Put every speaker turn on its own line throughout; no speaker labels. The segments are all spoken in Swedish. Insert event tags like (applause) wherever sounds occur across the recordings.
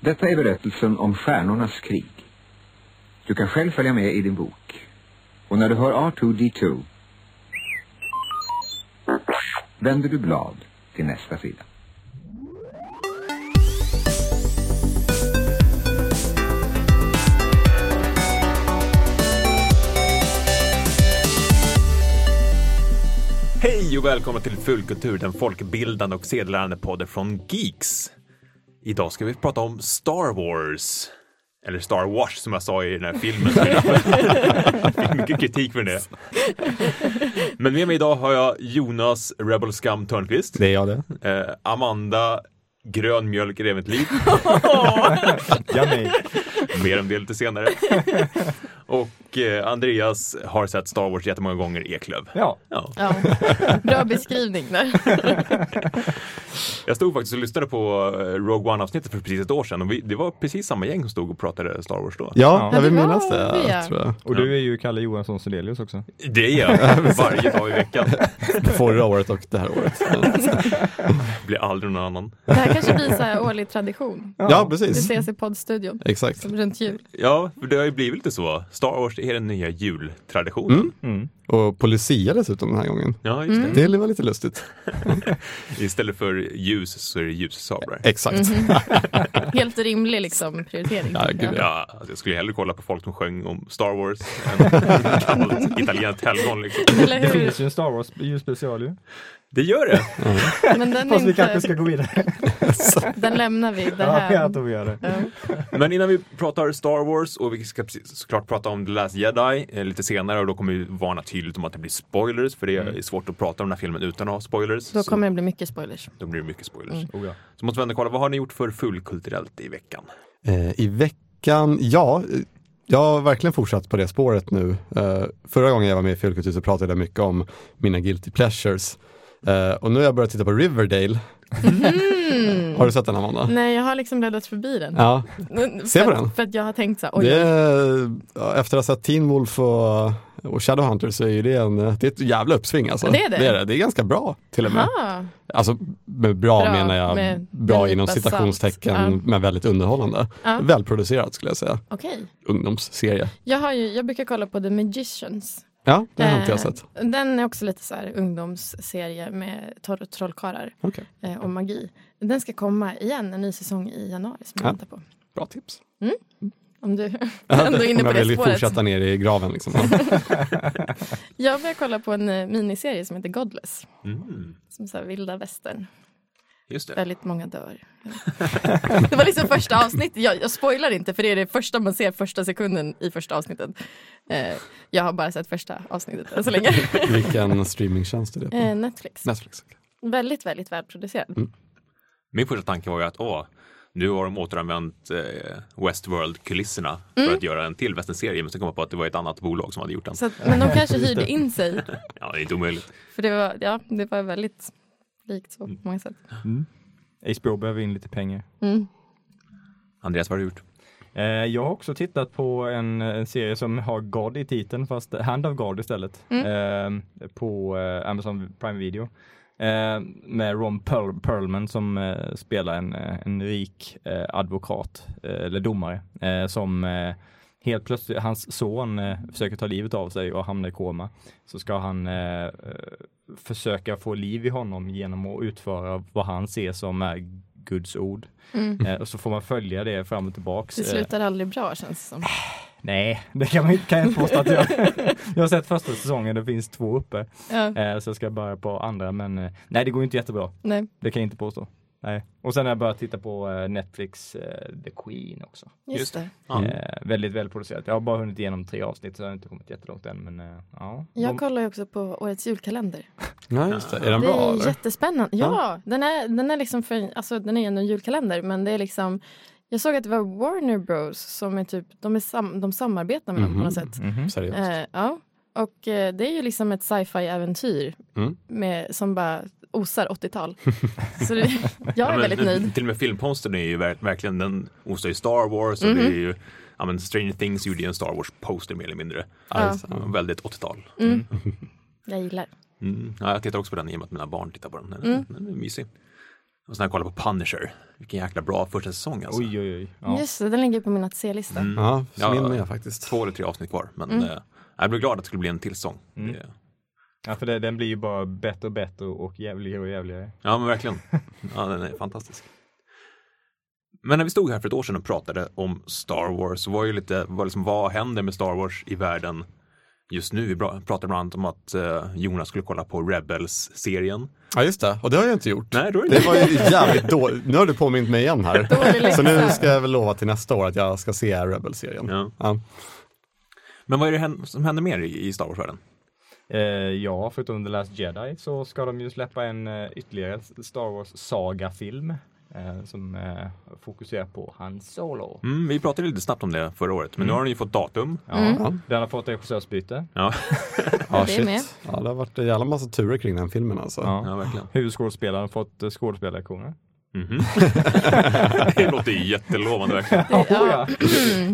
Detta är berättelsen om stjärnornas krig. Du kan själv följa med i din bok. Och när du hör R2D2 vänder du blad till nästa sida.
Hej och välkomna till Fulkultur, den folkbildande och sedelärande podden från Geeks. Idag ska vi prata om Star Wars. Eller Star Wars som jag sa i den här filmen. Jag fick mycket kritik för det. Men med mig idag har jag Jonas Rebel Scum Törnqvist,
Det är jag det.
eh, Amanda Grön Mjölk Reventliv,
Ja, nej.
mer om det lite senare. Och eh, Andreas har sett Star Wars jättemånga gånger, Eklöv.
Ja.
Ja.
Ja, bra beskrivning
(laughs)
där.
Jag stod faktiskt och lyssnade på eh, Rogue One-avsnittet för precis ett år sedan och vi, det var precis samma gäng som stod och pratade Star Wars då.
Ja,
Ja,
jag vill
det var
minnas det,
det.
tror jag.
Och du är ju Kalle Johansson Sedelius också.
Det gör jag varje dag i veckan.
Förra året och det här (laughs) året.
Blir aldrig någon annan.
Det här kanske blir så här årlig tradition.
Ja,
Vi
precis.
ses i poddstudion
Exakt.
som runt jul.
Ja, för det har ju blivit lite så. Star Wars är den nya jultraditionen.
Mm.
Och på Lucia dessutom den här gången.
Ja, just det.
Det var lite lustigt.
Istället för ljus så är det ljussablar.
Exakt.
Mhm. (laughs) Helt rimlig liksom prioritering.
Mm-hmm. Ja, gud,
ja.
Ja, alltså, jag skulle hellre kolla på folk som sjöng om Star Wars än kallt italienskt helgon liksom.
Eller
Det
hur?
finns ju en Star Wars julspecial ju.
Det gör det.
Men den,
Fast
är
vi kanske
inte,
ska gå (laughs) vidare.
den lämnar vi. Det
Ja, jag
här.
tror vi gör det.
Ja.
Men innan vi pratar Star Wars och vi ska precis- såklart prata om The Last Jedi eh, lite senare och då kommer vi varna tydligt om att det blir spoilers för det är svårt att prata om den här filmen utan att ha spoilers.
Mm. Då
Så
kommer Mm. det bli mycket spoilers.
då blir det mycket spoilers.
Oh, ja.
Så måste vi ändå kolla, vad har ni gjort för fullkulturellt i veckan?
Eh, I veckan, ja, eh, jag har verkligen fortsatt på det spåret nu. Eh, Förra gången jag var med i Fjällkultur så pratade jag mycket om mina guilty pleasures. Eh, Och nu har jag börjat titta på Riverdale.
Mhm.
Har du sett den Amanda?
Nej, jag har liksom bläddrat förbi den.
Ja, Se på
för,
den.
För att jag har tänkt så här, oj,
det är, ja, efter att ha sett Teen Wolf och, och Shadowhunter så är ju det, en, det är ett jävla uppsving alltså.
Det är det.
Det är, det. Det är ganska bra till och med.
ah,
Alltså med bra,
Bra,
menar jag,
med
bra
en
inom
nypa
citationstecken
salt. Ja.
men väldigt underhållande.
Ja.
Välproducerat skulle jag säga.
okej.
Ungdomsserie.
Jag, har ju, jag brukar kolla på The Magicians.
Ja, det har inte jag
Eh,
sett.
Den är också lite så här ungdomsserie med torr trollkarlar.
Okej,
eh, och magi. Den ska komma igen, en ny säsong i januari som jag
Ja.
väntar på.
bra tips.
Om du (laughs) ändå är
Om
inne på
jag
det
vill
spåret.
fortsätta ner i graven
(laughs)
liksom.
Jag börjar kolla på en eh, miniserie som heter Godless.
Mm,
Som så här vilda västern.
just det.
Väldigt
(laughs)
många dör. det var liksom första avsnittet. Jag, jag spoilar inte för det är det första man ser första sekunden i första avsnittet. Eh, jag har bara sett första avsnittet än
(laughs)
så länge.
Vilken streamingtjänst är det på?
eh, Netflix.
Netflix.
Väldigt, väldigt välproducerad.
Mm.
Min första tanke var ju att åh, nu har de återanvänt eh, Westworld-kulisserna för att göra en till västernserie. Men så kom jag på att det var ett annat bolag som hade gjort den.
Mm. Så att, men de
(laughs)
kanske hyrde in sig.
Ja, det är inte omöjligt.
För det var, ja, det var väldigt likt
Mm.
på många sätt.
HBO behöver in lite pengar.
Andreas, vad har du gjort?
Eh, jag har också tittat på en, en serie som har God i titeln fast Hand of God istället.
Mm.
Eh, på eh, Amazon Prime Video. Eh, med Ron Perl- Perlman som eh, spelar en, eh, en rik eh, advokat eh, eller domare eh, som eh, helt plötsligt, hans son eh, försöker ta livet av sig och hamnar i koma. Så ska han eh, eh, försöka få liv i honom genom att utföra vad han ser som är Guds ord. Eh, och så får man följa det fram och tillbaks.
Mm. Det
Eh,
slutar aldrig bra känns det som.
Nej, det kan, man, ju- kan jag inte påstå att jag Jag har sett första säsongen, det finns två uppe.
Ja,
Eh, så jag ska börja på andra, men eh, nej det går inte jättebra.
nej.
Det kan jag inte påstå. Nej. Och sen har jag börjat titta på eh, Netflix eh, The Queen också.
Just,
Just
det.
Ja.
Eh, väldigt välproducerat. Jag har bara hunnit igenom tre avsnitt så jag har inte kommit jättelångt än. Men, eh, ja.
Jag kollar ju också på årets julkalender.
Ja, just det. Är den
Det
bra
är
eller?
jättespännande. Ja, den är, den är liksom för, alltså den är ju ändå en julkalender men det är liksom jag såg att det var Warner Bros som är typ, de, är sam, de samarbetar med dem på något sätt.
mhm. Seriöst.
Eh, ja. Och eh, det är ju liksom ett sci-fi äventyr
Mm.
med, som bara osar 80-tal. Så det, jag är
men,
väldigt nöjd.
Till och med filmkonsten är ju ver- verkligen, den osar ju Star Wars och det
Mhm.
är ju, ja men Stranger Things gjorde ju en Star Wars-poster mer eller mindre. Alltså,
Ja, just det. Ja.
Väldigt 80-tal.
Jag gillar. Mm.
Mm. Ja, jag tittar också på den i och med att mina barn tittar på den. Den, den är mysig. Och sen har jag kollat på Punisher. Vilken jäkla bra första säsong alltså.
Oj, oj, oj. Ja.
Just det, den ligger på min att se-lista.
Mm.
Ja, så
Ja,
min med faktiskt.
Två eller tre avsnitt kvar, men
Mm.
eh, jag blev glad att det skulle bli en till säsong.
Mm.
Det-
ja, för det, den blir ju bara bättre och bättre och jävligare och jävligare.
Ja, men verkligen. Ja, den är fantastisk. Men när vi stod här för ett år sedan och pratade om Star Wars så var ju lite, var liksom, vad händer med Star Wars i världen just nu? Vi bra- pratade bland annat om att eh, Jonas skulle kolla på Rebels-serien.
Ja, just det. Och det har jag inte gjort.
Nej, då är det
Det var ju jävligt dåligt. Nu har du påmint mig igen här.
Dålig läxa.
Så nu ska jag väl lova till nästa år att jag ska se Rebel-serien.
ja.
Ja.
Men vad är det hän- som händer mer i i Star Wars-världen?
Eh, ja, förutom The Last Jedi så ska de ju släppa en eh, ytterligare Star Wars-saga-film eh, som eh, fokuserar på Han Solo.
Mm, vi pratade lite snabbt om det förra året, men nu har den ju fått datum.
Ja,
Mm.
Den har fått regissörsbyte.
Ja,
Ja,
det är med.
shit. Ja, det har varit en jävla massa turer kring den filmen alltså.
Ja.
ja verkligen.
Huvudskådespelaren har fått eh, skådespelarlektioner.
Mhm. det låter ju jättelovande verkligen.
Det, ja.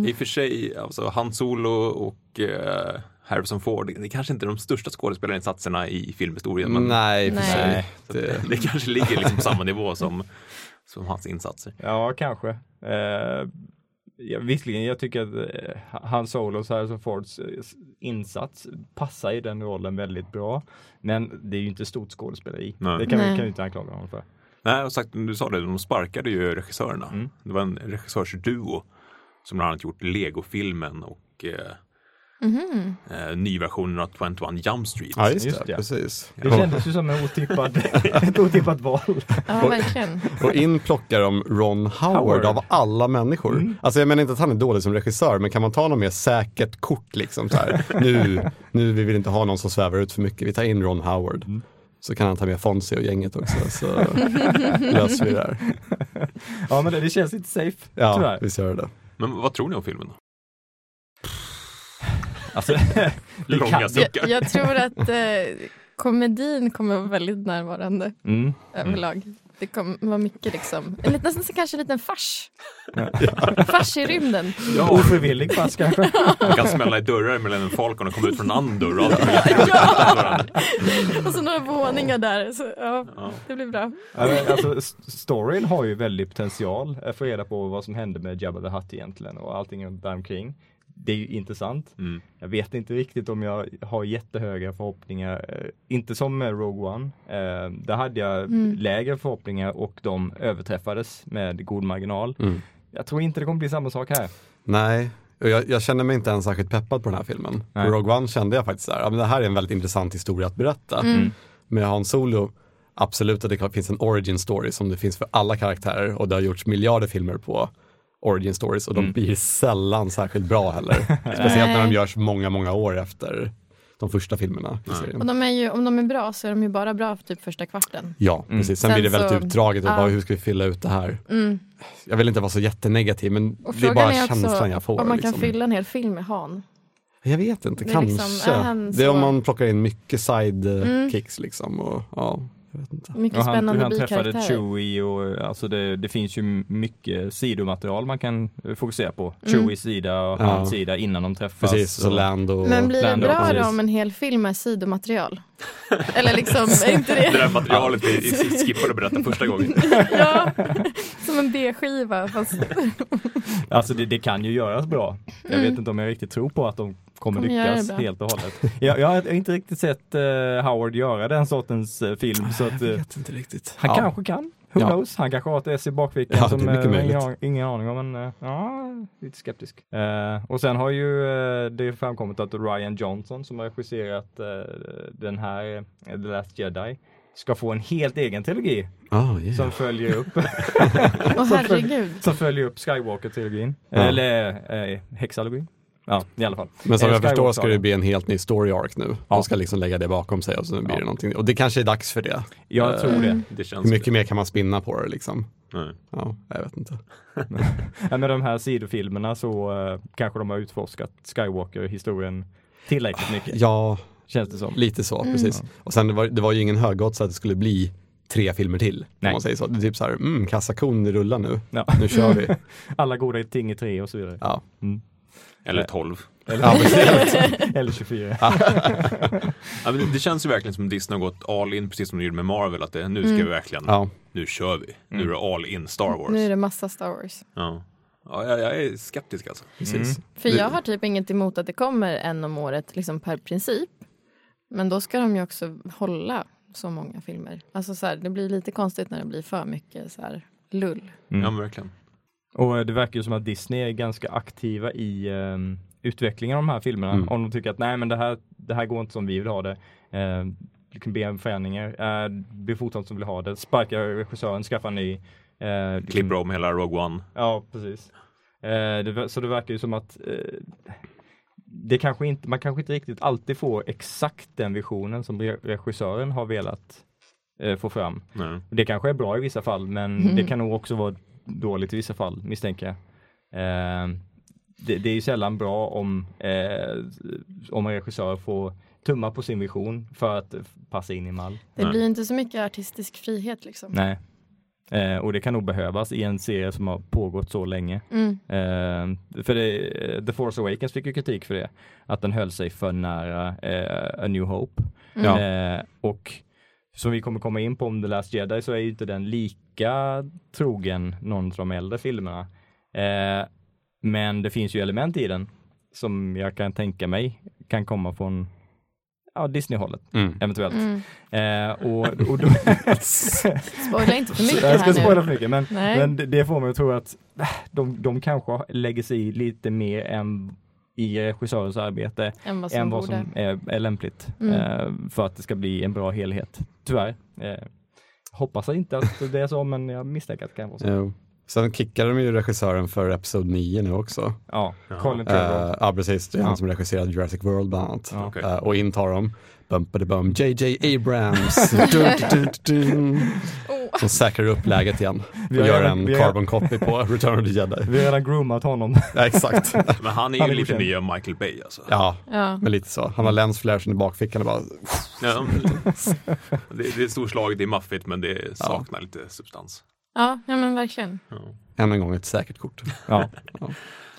I och för sig, alltså Han Solo och eh, Harrison Ford, det är kanske inte de största skådespelarinsatserna i filmhistorien, men
Mm. Nej, för
Nej.
sig.
Så att
Det...
det, det kanske ligger liksom på samma nivå som, som hans insatser.
Ja, kanske. Eh, ja, visserligen, jag tycker att eh, Han Solos, Harrison Fords eh, s- insats passar i den rollen väldigt bra. Men det är ju inte stort skådespeleri.
Nej.
Det kan vi
Nej.
kan vi inte anklaga honom för.
Nej, och sagt, du sa det, de sparkade ju regissörerna.
Mm.
Det var en regissörsduo som bland annat gjort Lego-filmen och eh,
Mhm.
eh, nyversionen av 21 Jump Street.
Ja, just,
Just
det.
det.
Precis.
Det kändes ju som en otippad, (laughs) ett otippat val.
ja, verkligen.
Och in plockar de Ron Howard,
Howard.
av alla människor. Alltså jag menar inte att han är dålig som regissör, men kan man ta något mer säkert kort liksom så här. Nu, nu vi vill inte ha någon som svävar ut för mycket, vi tar in Ron Howard. Så kan han ta med Fonzie och gänget också,
(laughs)
så löser vi det här.
Ja, men det, det känns inte safe,
Ja,
tyvärr.
visst gör det det
Men vad tror ni om filmen? då?
Alltså, (laughs) det
Långa
kan-
suckar.
Jag, jag tror att eh, komedin kommer vara väldigt närvarande
Mm.
överlag. Det kommer vara mycket liksom, en liten, nästan kanske en liten fars. Fars i rymden.
Ja,
Ofrivillig fast kanske.
man kan smälla i dörrar mellan en Falcon och komma ut från en annan dörr. och allt.
Ja! (laughs) Och så några våningar där. Så, ja,
Ja.
det blir bra.
Ja, men alltså, s- storyn har ju väldigt potential. eh, Få reda på vad som hände med Jabba the Hutt egentligen och allting däromkring. Det är ju intressant.
Mm.
Jag vet inte riktigt om jag har jättehöga förhoppningar. eh, Inte som med Rogue One. Eh, Där hade jag lägre förhoppningar och de överträffades med god marginal. Jag tror inte det kommer bli samma sak här.
Nej, och jag, jag känner mig inte ens särskilt peppad på den här filmen.
Nej.
På Rogue One kände jag faktiskt så här, ja, men det här är en väldigt intressant historia att berätta.
Mm.
Mm.
Med Han Solo, absolut att det finns en origin story som det finns för alla karaktärer och det har gjorts miljarder filmer på origin stories och de
Mm.
blir sällan särskilt bra heller.
(laughs)
Speciellt när de
Nej.
görs många, många år efter de första filmerna i
Och
serien.
de är ju, om de är bra så är de ju bara bra för typ första kvarten.
Ja,
Mm.
precis. Sen,
Sen
blir det väldigt
så-
utdraget och
ja. Mm.
bara, hur ska vi fylla ut det här? Jag vill inte vara så jättenegativ men
Och
det är
frågan
bara
är, också
känslan jag får.
om man
liksom.
kan fylla en hel film med Han.
Jag vet inte,
Det är
kanske.
liksom, ja, han
det är om
så- Mm.
man plockar in mycket side eh, kicks liksom. Och, ja, jag vet inte.
Mycket
Och han, hur
spännande
han träffade
bikaraktärer.
Chewie och eh, alltså det, det finns ju m- mycket sidomaterial man kan eh, fokusera på.
Mm.
Chewies sida och
Ja.
hans sida innan de träffas.
Precis, så
och-
Lando.
Men blir det
Lando,
bra då
precis.
om en hel film är sidomaterial? Eller liksom, är
(laughs)
inte det
Det där materialet vi skippade att berätta första gången.
ja, (laughs) som en B-skiva fast
Alltså det, det kan ju göras bra. Jag vet inte om jag riktigt tror på att de kommer
Mm. Kommer göra
lyckas
det bra.
helt och hållet. Jag, jag har inte riktigt sett eh, Howard göra den sortens eh, film så att eh,
inte riktigt.
han
ja.
kanske kan. Who
Ja.
knows? Han kanske har ett S i bakfickan
Ja, det är
som eh,
mycket möjligt.
ingen, an- ingen aning om. Men eh, ja, lite skeptisk. Eh, och sen har ju eh, det framkommit att Ryan Johnson som har regisserat eh, den här eh, The Last Jedi ska få en helt egen trilogi
Ah, yeah.
som följer upp
(laughs)
(laughs) Åh herregud.
Som följer upp Skywalker-trilogin.
Ja.
Eller eh, Hexalogin. Ja, i alla fall.
Men som
Eh,
jag förstår ska det
Skywalker-sagan.
bli en helt ny story arc nu. De ska liksom lägga det bakom sig och så blir det någonting. Och det kanske är dags för det. Eh.
Jag tror det.
Det känns
Hur mycket mer kan man spinna på det liksom?
Nej.
Ja, jag vet inte.
Ja, med de här sidofilmerna så eh, kanske de har utforskat Skywalker-historien tillräckligt mycket,
Ja,
känns det som.
Lite så,
Mm.
precis. Och sen det var, det var ju ingen högodds att det skulle bli tre filmer till. Om
Nej.
man säger så. Det är typ så här, mm, kassakon rullar nu.
Ja.
(laughs)
Nu kör vi.
Alla goda ting i tre och så vidare.
Ja.
Mm.
Eller 12.
Eller,
Ja,
(laughs) eller 24.
Ja, men det- det känns ju verkligen som Disney har gått all in, precis som de gjorde med Marvel, att det, nu ska vi verkligen,
Ja.
nu kör vi. Nu är det all in Star Wars.
Mm. Nu är det massa Star Wars.
Ja. Ja, jag, jag är skeptisk alltså.
Precis.
För jag har typ inget emot att det kommer en om året liksom per princip. Men då ska de ju också hålla så många filmer. Alltså så här, det blir lite konstigt när det blir för mycket så här lull.
Ja, men verkligen.
Och eh, det verkar ju som att Disney är ganska aktiva i ehm, utvecklingen av de här filmerna. Om de tycker att nej men det här, det här går inte som vi vill ha det. Eh, du kan be om förändringar. Eh, be foton som vill ha det. Sparka regissören, skaffa en ny. Eh, liksom-
Klipper om hela Rogue One.
Ja, precis. Eh, det, ver- så det verkar ju som att eh, det kanske inte, man kanske inte riktigt alltid får exakt den visionen som re- regissören har velat eh, få fram.
Nej.
Det kanske är bra i vissa fall, men det kan nog också vara dåligt i vissa fall, misstänker jag. Eh, det, det är ju sällan bra om, eh, om en regissör får tumma på sin vision för att passa in i mall.
Det
Nej.
blir ju inte så mycket artistisk frihet liksom.
Nej. Eh, och det kan nog behövas i en serie som har pågått så länge.
Mm.
Eh, för det, eh, The Force Awakens fick ju kritik för det. Att den höll sig för nära eh, A New Hope.
Mm.
Ja.
Eh, och som vi kommer komma in på om The Last Jedi så är ju inte den lika trogen någon av de äldre filmerna. Eh, men det finns ju element i den som jag kan tänka mig kan komma från ja, Disney-hållet
Mm.
eventuellt.
Mm.
Eh, och, och
(laughs)
då,
Spoila inte för mycket
jag ska
här
spoila
nu.
för mycket, men,
Nej.
men det- det får mig att tro att äh, de, de kanske lägger sig i lite mer än i regissörens arbete
Än vad som
än vad
borde.
som är, är lämpligt
Mm.
eh, för att det ska bli en bra helhet. Tyvärr. Eh, hoppas inte att det är så, men jag misstänker att det kan vara så.
Jo. Sen kickade de ju regissören för Episod 9 nu också.
Ja, Colin Trevorrow.
Eh, Ja, precis. Det är han
Ja.
som regisserade Jurassic World bland annat.
Ja.
Okej.
Eh, och in tar de Bumpadibum, JJ
(laughs)
Abrams. dun, dun, dun, dun.
Oh.
Som säkrar upp läget igen och
Vi har
gör
redan-
en
vi har-
carbon copy
(laughs)
på Return of the Jedi.
Vi har redan
(laughs)
groomat honom.
Ja, exakt.
Men han är
Han
ju
är
lite
godkänd.
nya Michael Bay alltså.
Ja,
Ja.
men lite så. Han har lensflashen i bakfickan
(laughs)
och bara,
Ja, det, det är storslaget, det är maffigt, men det saknar lite substans.
Ja, ja, men verkligen.
än en gång ett säkert kort.
Ja.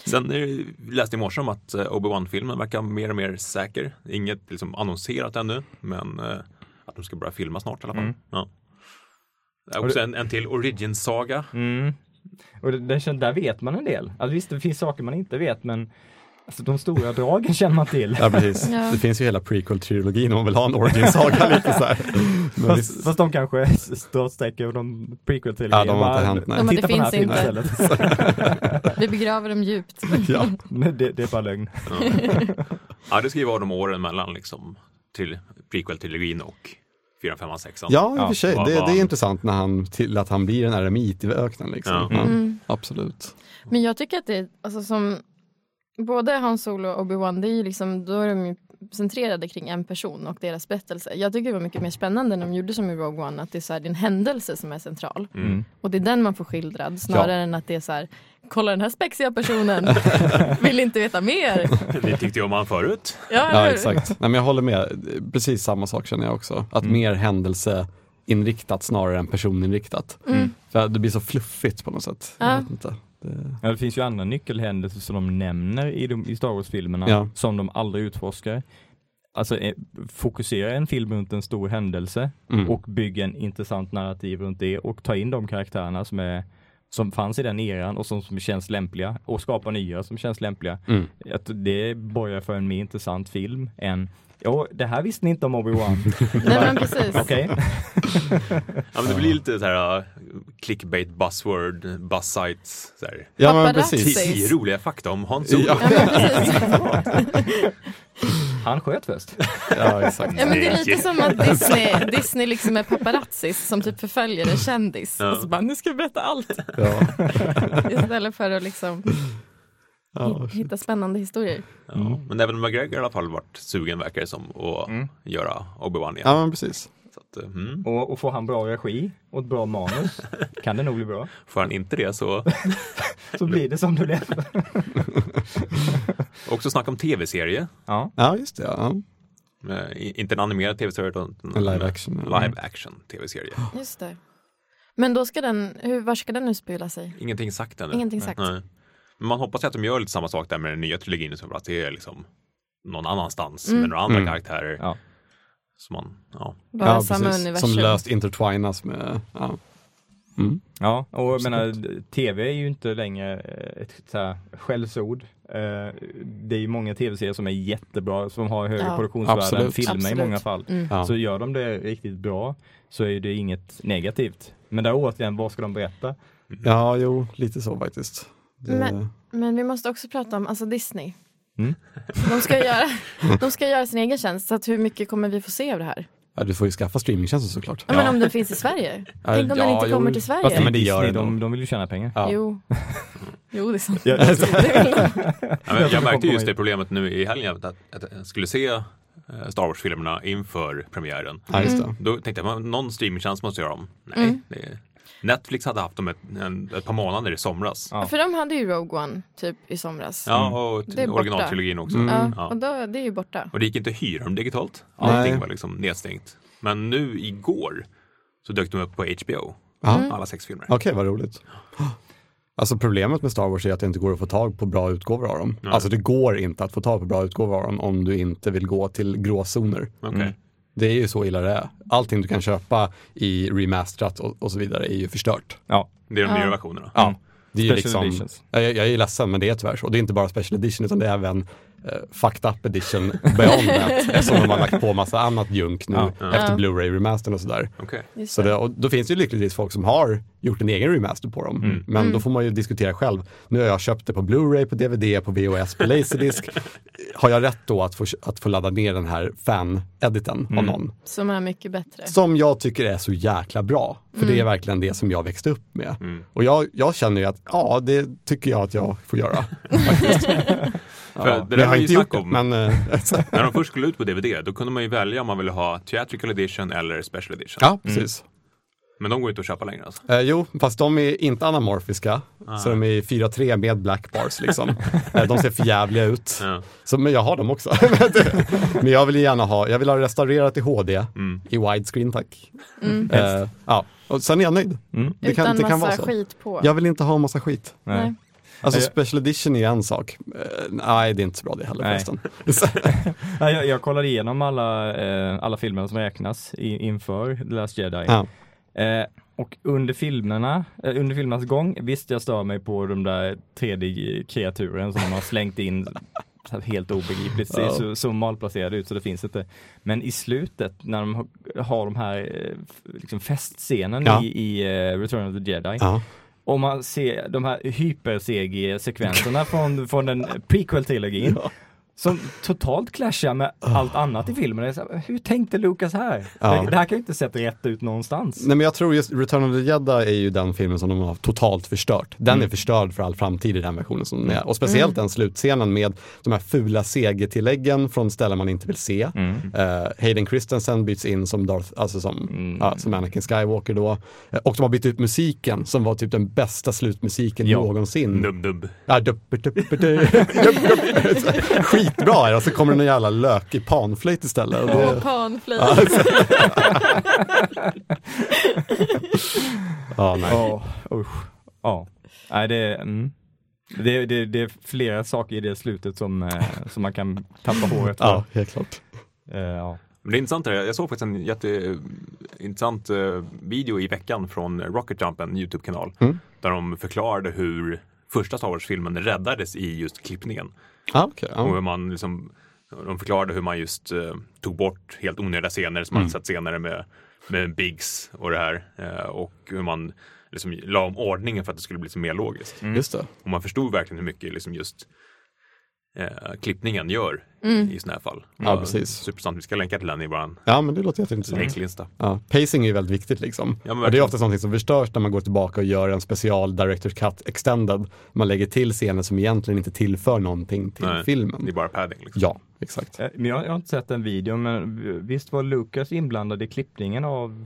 Sen är det- läste jag i morse om att eh, Obi-Wan-filmen verkar mer och mer säker. Inget liksom annonserat ännu, men eh, att de ska börja filma snart i alla fall.
Mm.
Ja. Det är också en, en till Origin-saga.
Mm. Och det, det, kän- där vet man en del. Alltså, visst, det finns saker man inte vet, men alltså, de stora dragen känner man till.
Ja, precis.
Ja.
Det finns ju hela prequel-trilogin om man vill ha en origin-saga lite så
(laughs)
här. Men
Fast,
visst.
fast de kanske (laughs) är störtstreckar och de prequel till
Ja, de har inte hänt, nej.
De har-
Titta
det
på den här
finns
filmen
(laughs)
inte.
istället.
Vi begraver
(laughs)
dem djupt.
ja.
Men det, det är bara lögn.
Ja, det ska ju vara de åren mellan liksom, till prequel-trilogin och 4, 5, 6. (laughs)
ja, i och
Ja,
för sig.
vad
Det,
var
det är
han?
intressant när han, till att han blir en eremit i öknen liksom.
Ja.
Ja,
Mm.
Absolut.
Men jag tycker att det är, alltså som både Han Solo och Obi-Wan, det är ju liksom, då är de ju centrerade kring en person och deras berättelse. Jag tycker det var mycket mer spännande när de gjorde som i Rogue One, att det är så här, det är en händelse som är central.
Mm.
Mm.
Och det är den man får skildrad, snarare
Ja.
än att det är så här, kolla den här spexiga personen, vill inte veta mer.
Det tyckte jag om han förut.
Ja, eller
Ja,
hur?
exakt. Nej, men jag håller med. Precis samma sak känner jag också.
Mm.
Att mer händelseinriktat snarare än personinriktat. För det blir så fluffigt på något sätt.
Mm. Ja.
Jag vet inte. Det...
Ja, det finns ju andra nyckelhändelser som de nämner i, de, i Star Wars-filmerna
Ja.
som de aldrig utforskar. Alltså eh, fokusera en film runt en stor händelse
Mm.
och bygga en intressant narrativ runt det och ta in de karaktärerna som, är, som fanns i den eran och som, som känns lämpliga och skapa nya som känns lämpliga.
Mm.
Att det borgar för en mer intressant film än Ja, det här visste ni inte
(laughs)
om Obi-Wan.
Nej men precis.
Okej.
Ja, men det blir lite så här eh, clickbait, buzzword, buzzsites. Så här.
Ja, men
Paparazzi.
precis.
Tio roliga fakta om Han Solo.
Ja.
Ja, men precis.
Han sköt först.
Ja, exakt.
Ja, men det är lite som att Disney, Disney liksom är paparazzis som typ förföljer en kändis.
Ja.
Och så bara, nu ska vi berätta allt.
Ja.
Istället för att liksom
Ja.
hitta spännande historier.
Ja,
Mm.
men även McGregor har i alla fall varit sugen verkar det som att göra Obi-Wan igen.
ja, men precis.
Så att, eh, mm.
Och, och får han bra regi och ett bra manus kan det nog bli bra.
Får han inte det så...
(laughs)
Så blir det som det blev.
Också snacka om tv-serie.
Ja.
Ja, just det. Ja.
Eh, i- Inte en animerad tv-serie utan
En live action. Mm. Ja.
live action
(gasps)
tv-serie.
Just det. Men då ska den, hur, var ska den nu spela sig?
Ingenting sagt ännu.
Ingenting sagt.
Nej. Men man hoppas ju att de gör lite samma sak där med den nya trilogin, som att det är liksom någon annanstans med några andra
Mm.
karaktärer.
Ja.
Som man, ja.
Bara samma universum.
Som löst intertwinas med, ja. Mm.
Ja, och jag
Absolut.
menar, d- tv är ju inte längre eh, ett så här, skällsord. Eh, Det är ju många tv-serier som är jättebra, som har högre
Ja.
produktionsvärde än
Absolut.
filmer i
Absolut.
många fall.
Mm.
Ja.
Så gör de det riktigt bra så är ju det inget negativt. Men där återigen, vad ska de berätta?
ja, jo, lite så faktiskt. Det,
Men- Men vi måste också prata om alltså Disney.
Mm.
De,
(laughs)
ska göra, de ska göra sin egen tjänst, så att hur mycket kommer vi få se av det här?
ja, du får ju skaffa streamingtjänsten såklart.
Ja. Men om den finns i Sverige? Tänk om den
ja,
inte
jo.
kommer till
Fast
Sverige?
nej, men det gör
Disney,
det
de,
nog.
de vill ju tjäna pengar.
Ja. (laughs)
Jo. jo, det är sant.
Ja,
(laughs) Det vill de.
Ja, men jag
tror
märkte
de
just
kommer-
det problemet nu i helgen, att, att jag skulle se eh, Star Wars-filmerna inför premiären.
Ja, just
Mm.
det.
Då tänkte jag, men någon streamingtjänst måste göra dem. Nej, det är... Netflix hade haft dem ett, en, ett par månader i somras. Ja,
Ja.
För de hade ju Rogue One typ i somras.
Mm.
och
Det
t-
är borta. Mm.
originaltrilogin också.
Ja,
Ja.
och då, det är ju borta.
Och det gick inte att hyra dem digitalt. Allting
Nej.
var liksom nedstängt. Men nu igår så dök de upp på HBO,
Ja.
Mm.
alla sex filmer.
Okej, vad roligt. Alltså problemet med Star Wars är att det inte går att få tag på bra utgåvor av dem. Alltså det går inte att få tag på bra utgåvor av dem om du inte vill gå till gråzoner.
Okej.
Det är ju så illa det är. Allting du kan köpa i remasterat och, och så vidare är ju förstört.
Ja. Mm.
Det är de nya versionerna.
Ja. Det är ju
Special
liksom,
editions.
jag, jag är ledsen men det är tyvärr så. Det är inte bara special edition utan det är även eh, fucked up edition beyond
(laughs)
that. Eftersom de har lagt på massa annat junk nu
Ja.
efter Blu-ray remastern och sådär.
Okej.
Just
Så det, och då finns det ju lyckligtvis folk som har gjort en egen remaster på dem.
Mm.
Men då får man ju diskutera själv. Nu har jag köpt det på Blu-ray, på DVD, på VHS,
(laughs)
på Laserdisc. har jag rätt då att få, att få ladda ner den här fan-editen
Mm.
av någon?
Som är mycket bättre.
Som jag tycker är så jäkla bra. För det är verkligen det som jag växte upp med.
Mm.
Och jag, jag känner ju att ja, det tycker jag att jag
(laughs)
får göra. faktiskt.
För
ja.
det
Men
där
jag har
var ju
inte gjort
snack
det.
om. Mm.
Men, eh, (laughs)
När de först skulle ut på DVD, då kunde man ju välja om man ville ha theatrical edition eller special edition.
ja, precis.
Men de går inte att köpa längre alltså.
Eh, jo, fast de är inte anamorfiska. Så de är 4-3 med black bars liksom. eh, de ser förjävliga ut.
Ja.
Så, men jag har dem också. (laughs) men jag vill ju gärna ha, jag vill ha restaurerat i HD
Mm.
i widescreen tack. Eh, ja, och sen är jag nöjd.
Mm.
Det
Utan
kan, det kan vara
massa
så.
skit på.
Jag vill inte ha massa skit.
Nej.
Alltså
Nej.
special edition är en sak. Eh, nej, det är inte så bra det heller
Nej.
förresten. (laughs)
(laughs) Ja, jag, jag kollade igenom alla, eh, alla filmer som räknas i, inför The Last Jedi.
ja.
Eh, och under filmerna, eh, under filmernas gång, visst jag stör mig på de där 3D-kreaturen som de har slängt in så här helt obegripligt, ser
Ja.
så, så malplacerade ut så det finns inte. Men i slutet när de har- har de här eh, f- liksom festscenen
Ja.
i, i eh, Return of the Jedi,
Ja.
om man ser de här hyper-CG-sekvenserna (laughs) från, från den prequel-trilogin som totalt clashar med allt annat i filmen. Det är så här, Hur tänkte Lucas här?
Ah. Ja.
Det, det här kan ju inte sett rätt ut någonstans.
Nej men jag tror just Return of the Jedi är ju den filmen som de har totalt förstört. Den är förstörd för all framtid i den versionen som den är. Och speciellt den slutscenen med de här fula CG-tilläggen från ställen man inte vill se. Eh, Hayden Christensen byts in som, Darth, alltså som, ja, som Anakin Skywalker då. Eh, och de har bytt ut musiken som var typ den bästa slutmusiken
Ja.
någonsin.
Dub-dub.
Ja, dupp, dupp, dupp, dupp. Skitbra är det, och så kommer det en jävla lökig panflöjt istället. Och
Åh,
det,
panflöjt.
ja, nej.
Ja, usch. Ja. Nej, det, är- mm. det, det, det är flera saker i det slutet som, eh, som man kan
(laughs)
tappa håret för.
ja, helt klart.
Eh, ja.
Men det är intressant det där. Jag såg faktiskt en jätteintressant eh, video i veckan från Rocket Jump, en YouTube-kanal,
Mm.
där de förklarade hur första Star Wars-filmen räddades i just klippningen.
Ja, okej.
Och
ja.
hur man liksom, de förklarade hur man just eh, tog bort helt onödiga scener som
Mm.
man sett senare med, med Biggs och det här. Eh, och hur man liksom la om ordningen för att det skulle bli så mer logiskt.
Just det.
Och man förstod verkligen hur mycket liksom just eh, klippningen gör i sådana här fall.
Mm. Ja,
Och
precis. Mm.
Superintressant, vi ska länka till den i vår
Ja, men det låter jätteintressant.
länklista.
Ja, pacing är ju väldigt viktigt liksom.
Mm. men
och det är
verkligen.
ofta någonting som förstörs när man går tillbaka och gör en special director's cut extended. Man lägger till scener som egentligen inte tillför någonting till
Nej, Det är
filmen.
bara padding. Liksom.
Ja,
(laughs)
exakt.
Eh, Men jag, jag har inte sett den videon, men vi- visst var Lucas inblandad i klippningen av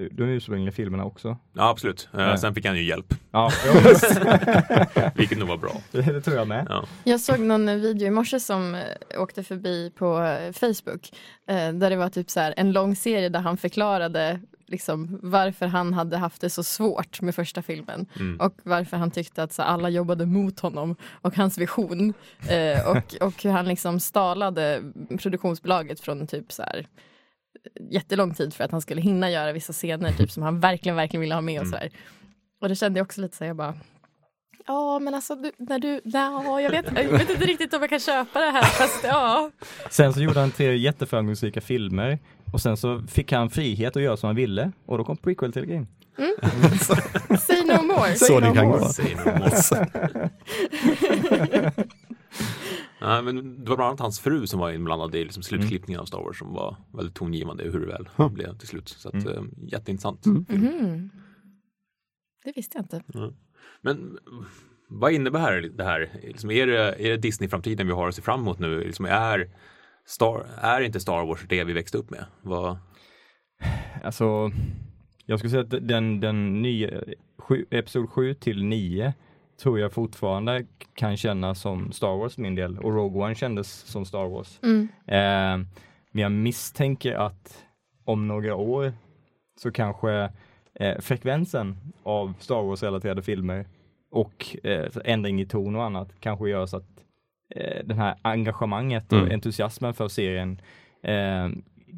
eh, de ursprungliga filmerna också?
Ja, absolut. Eh, sen fick han ju hjälp,
(laughs)
Ja,
vilket nog var bra.
det tror jag med.
Ja.
Jag såg någon video i morse som eh, åkte förbi på eh, Facebook eh, där det var typ så här en lång serie där han förklarade liksom, varför han hade haft det så svårt med första filmen
Mm.
och varför han tyckte att så, alla jobbade mot honom och hans vision eh, och,
(laughs)
och hur han liksom stalade produktionsbolaget från typ så här eh, jättelång tid för att han skulle hinna göra vissa scener typ som han verkligen, verkligen ville ha med och
Mm.
sådär. Och det kände jag också lite så här, jag bara Ja, men alltså du, när du, nej, jag, vet, jag vet inte riktigt om jag kan köpa det här fast ja.
Sen så gjorde han tre jätteframgångsrika filmer och sen så fick han frihet att göra som han ville och då kom prequel-trilogin.
Say no more.
Så det kan gå.
Säg nog (laughs) emot. Nej, men det var bland annat hans fru som var inblandad i liksom slutklippningen av Star Wars som var väldigt tongivande i hur det väl
Ja.
blev till slut. Så att,
Mm.
eh, jätteintressant. Mm.
Mhm. Det visste jag inte.
Men vad innebär det här? Liksom, är det, är det Disney-framtiden vi har att se fram emot nu? Liksom, är, Star, är inte Star Wars det vi växte upp med? Vad,
Alltså, jag skulle säga att den, den nya, sju, episod 7 till 9 tror jag fortfarande kan kännas som Star Wars för min del och Rogue One kändes som Star Wars.
Mm.
Eh, men jag misstänker att om några år så kanske eh, frekvensen av Star Wars-relaterade filmer och eh, så ändring i ton och annat kanske gör så att eh, den här engagemanget och
Mm.
entusiasmen för serien eh,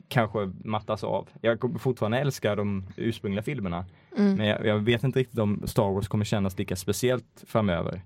kanske mattas av. Jag kommer fortfarande älska de ursprungliga filmerna,
Mm.
men jag, jag vet inte riktigt om Star Wars kommer kännas lika speciellt framöver.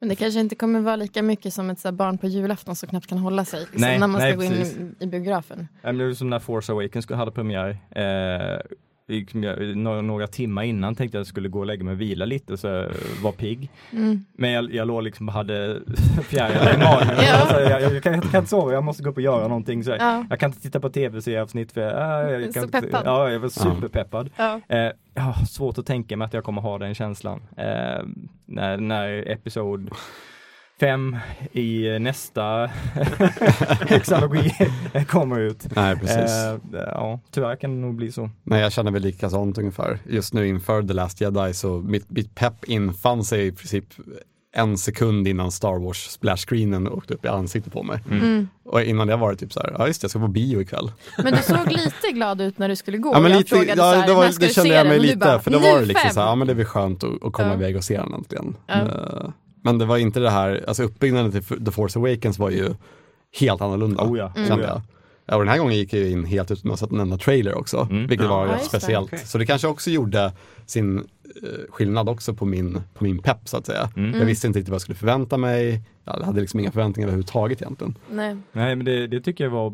Men det kanske inte kommer vara lika mycket som ett så här barn på julafton som knappt kan hålla sig. Liksom,
Nej,
när man ska
nej,
gå in
precis.
i, i biografen.
Ja, men Det är som när Force Awakens skulle- hade premiär. Eh, liksom jag, några, några timmar innan tänkte jag att jag skulle gå och lägga mig och vila lite så jag var pigg.
Mm.
Men jag, jag låg liksom och hade (laughs) fjärilar i magen.
Ja.
alltså, jag, jag, kan, jag kan inte sova, jag måste gå upp och göra någonting. Så jag,
Ja.
jag kan inte titta på tv-serieavsnitt för jag, äh, jag,
Så
kan, inte-
peppad.
Ja, jag var superpeppad.
Ja.
Eh, jag har svårt att tänka mig att jag kommer ha den känslan. Eh, när, när episod fem i eh, nästa (laughs) hexalogi kommer ut.
Nej, precis.
Eh, ja, tyvärr kan det nog bli så.
Nej, jag känner väl likadant ungefär. Just nu inför The Last Jedi så mitt, mitt pepp infann sig i princip en sekund innan Star Wars splash-screenen åkte upp i ansiktet på mig.
Mm.
Och innan det var det typ så här, ja just det, jag ska på bio ikväll.
Men du såg lite glad ut när du skulle gå.
Ja, men
jag
lite,
frågade så
ja,
här,
det, var,
när ska
det
du
kände
se
jag
den?
mig
Och du
lite,
bara,
för då
"Nu
var det liksom
fem."
så här, ja men det blir skönt att, att komma
Ja.
iväg och se den äntligen.
Ja.
Eh, Men det var inte det här, alltså uppbyggnaden till The Force Awakens var ju helt annorlunda.
Oh ja,
Kände
oh ja.
jag. Ja, och den här gången gick jag ju in helt utan att ha sett en enda trailer också,
Mm.
vilket var
Ja,
rätt
just det.
speciellt.
Okej.
Så det kanske också gjorde sin eh, skillnad också på min, på min pepp så att säga.
Mm.
Jag visste inte riktigt vad jag skulle förvänta mig, jag hade liksom inga förväntningar överhuvudtaget egentligen.
Nej.
Nej, men det, det tycker jag var, eh,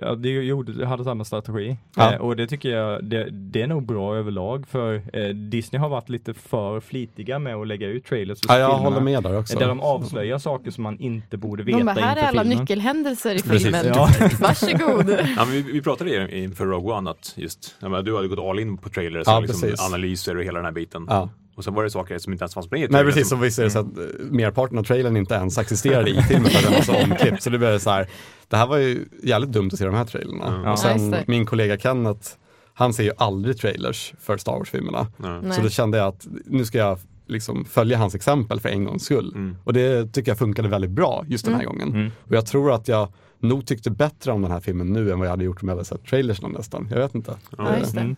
ja, det gjorde, jag hade samma strategi.
Ja.
Eh, och det tycker jag, det, det är nog bra överlag för eh, Disney har varit lite för flitiga med att lägga ut trailers för
Ja, jag
filmerna.
håller med där också.
Där de avslöjar saker som man inte borde veta
De bara, här är
inför
alla
filmen.
nyckelhändelser i
Precis.
filmen.
Ja.
(laughs) Varsågod.
Ja, men vi, vi pratade ju inför Rogue One att just, jag menar, du hade gått all in på trailers
Ja,
och liksom
precis.
analyser och hela den här biten.
Ja.
Och sen var det saker som inte ens fanns med i
Nej
trailern
precis, så
som-
visst är det så att eh, merparten av trailern inte ens existerade i filmen för den var så omklippt. Så det blev så här, det här var ju jävligt dumt att se de här trailerna.
Mm.
Ja.
Och
Ja, just
sen
det.
min kollega Kenneth, han ser ju aldrig trailers för Star Wars-filmerna.
Ja.
Nej.
Så då kände jag att nu ska jag liksom följa hans exempel för en gångs skull.
Mm.
Och det tycker jag funkade väldigt bra just den här gången.
Mm.
Och jag tror att jag nog tyckte bättre om den här filmen nu än vad jag hade gjort om jag hade sett trailersna nästan. Jag vet inte.
Ja, just det.
Mm.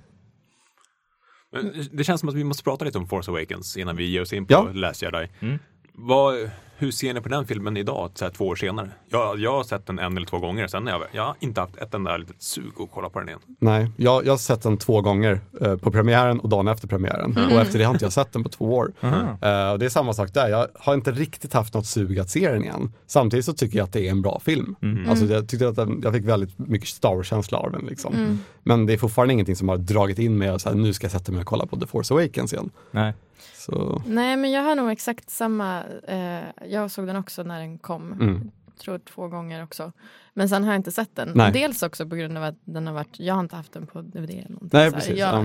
Men det känns som att vi måste prata lite om Force Awakens innan vi ger oss in på
Ja.
Last Jedi.
Mm.
Vad, hur ser ni på den filmen idag, så här, två år senare? Jag, jag har sett den en eller två gånger, sen har jag, jag har inte haft ett enda litet sug att kolla på den igen.
Nej, jag, jag har sett den två gånger eh, på premiären och dagen efter premiären.
Mm.
Och efter det har inte jag sett den på två år. Eh, och det är samma sak där, jag har inte riktigt haft något sug att se den igen. Samtidigt så tycker jag att det är en bra film. Alltså, jag tyckte att den, jag fick väldigt mycket Star Wars-känsla av den. Liksom.
Mm.
Men det är fortfarande ingenting som har dragit in mig och så här, nu ska jag sätta mig och kolla på The Force Awakens igen.
Nej.
Så,
Nej, men jag har nog exakt samma. Eh, jag såg den också när den kom.
mm.
tror två gånger också. Men sen har jag inte sett den.
Nej.
Dels också på grund av att den har varit, jag har inte haft den på DVD eller någonting.
Nej,
så här.
precis,
jag,
ja.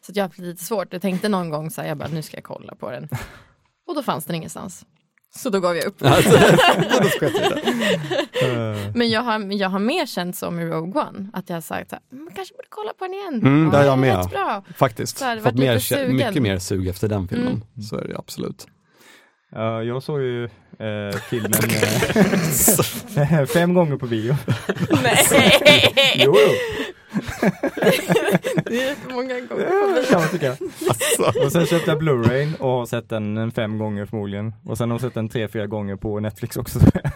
Så att jag har haft lite svårt. Jag tänkte någon gång så här, jag bara, nu ska jag kolla på den. Och då fanns den ingenstans. Så då gav jag upp.
Då sket jag i det.
Eh,
Men jag har, jag har mer känt som i Rogue One. Att jag har sagt så här, "Mm, man kanske borde kolla på den igen.
Mm,
Ja,
där är jag
den
med. (laughs)
rätt bra.
Faktiskt,
Så här,
fått
varit lite
mer, kä-
sugen. Mm.
mycket mer sug efter den filmen. Så är det ju absolut.
Ja, jag såg ju eh, filmen
(laughs)
(laughs) eh, fem gånger på bio.
Nej.
Jo, jo.
Det är jättemånga gånger.
(laughs)
(laughs) kan man tycka. Och sen köpte jag Blu-rayn och har sett den en fem gånger förmodligen. Och sen har jag sett den tre, fyra gånger på Netflix också. Eh,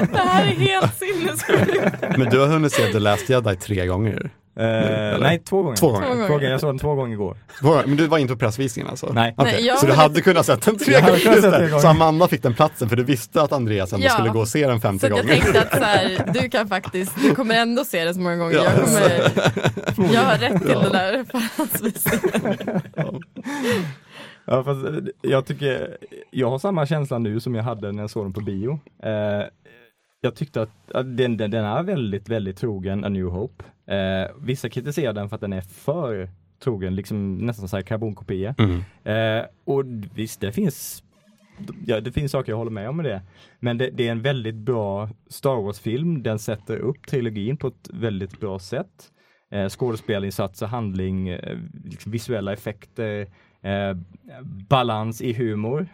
Det här är helt sinnessjukt.
Men du har hunnit se The Last Jedi tre gånger.
Eh, nej, två gånger.
Två gånger.
Två gånger.
Två gånger. Jag såg den två gånger igår.
Två- Men du var inte på pressvisningen alltså?
Nej.
Okej,
Nej, jag
så du
var-
hade kunnat sett den tre
Jag hade
gånger?
kunnat
Just
sett den
det.
gånger.
Så Amanda fick den platsen för du visste att Andreas ändå
Ja.
skulle gå och se den
Så
femte
att jag
gången.
tänkte att så här, du kan faktiskt, du kommer ändå se det så många gånger.
Ja,
Jag, kommer, jag har rätt till det där. (laughs) förhandsvisningen.
Ja, fast eh, jag tycker, jag har samma känsla nu som jag hade när jag såg den på bio. Eh, jag tyckte att, att den, den, den är väldigt, väldigt trogen A New Hope. Eh, vissa kritiserar den för att den är för trogen, liksom nästan så här karbonkopia.
Mm.
Eh, och visst, det finns, ja, det finns saker jag håller med om med det. Men det, det är en väldigt bra Star Wars-film. Den sätter upp trilogin på ett väldigt bra sätt. Eh, skådespelarinsatser, handling, eh, liksom visuella effekter, eh, balans i humor.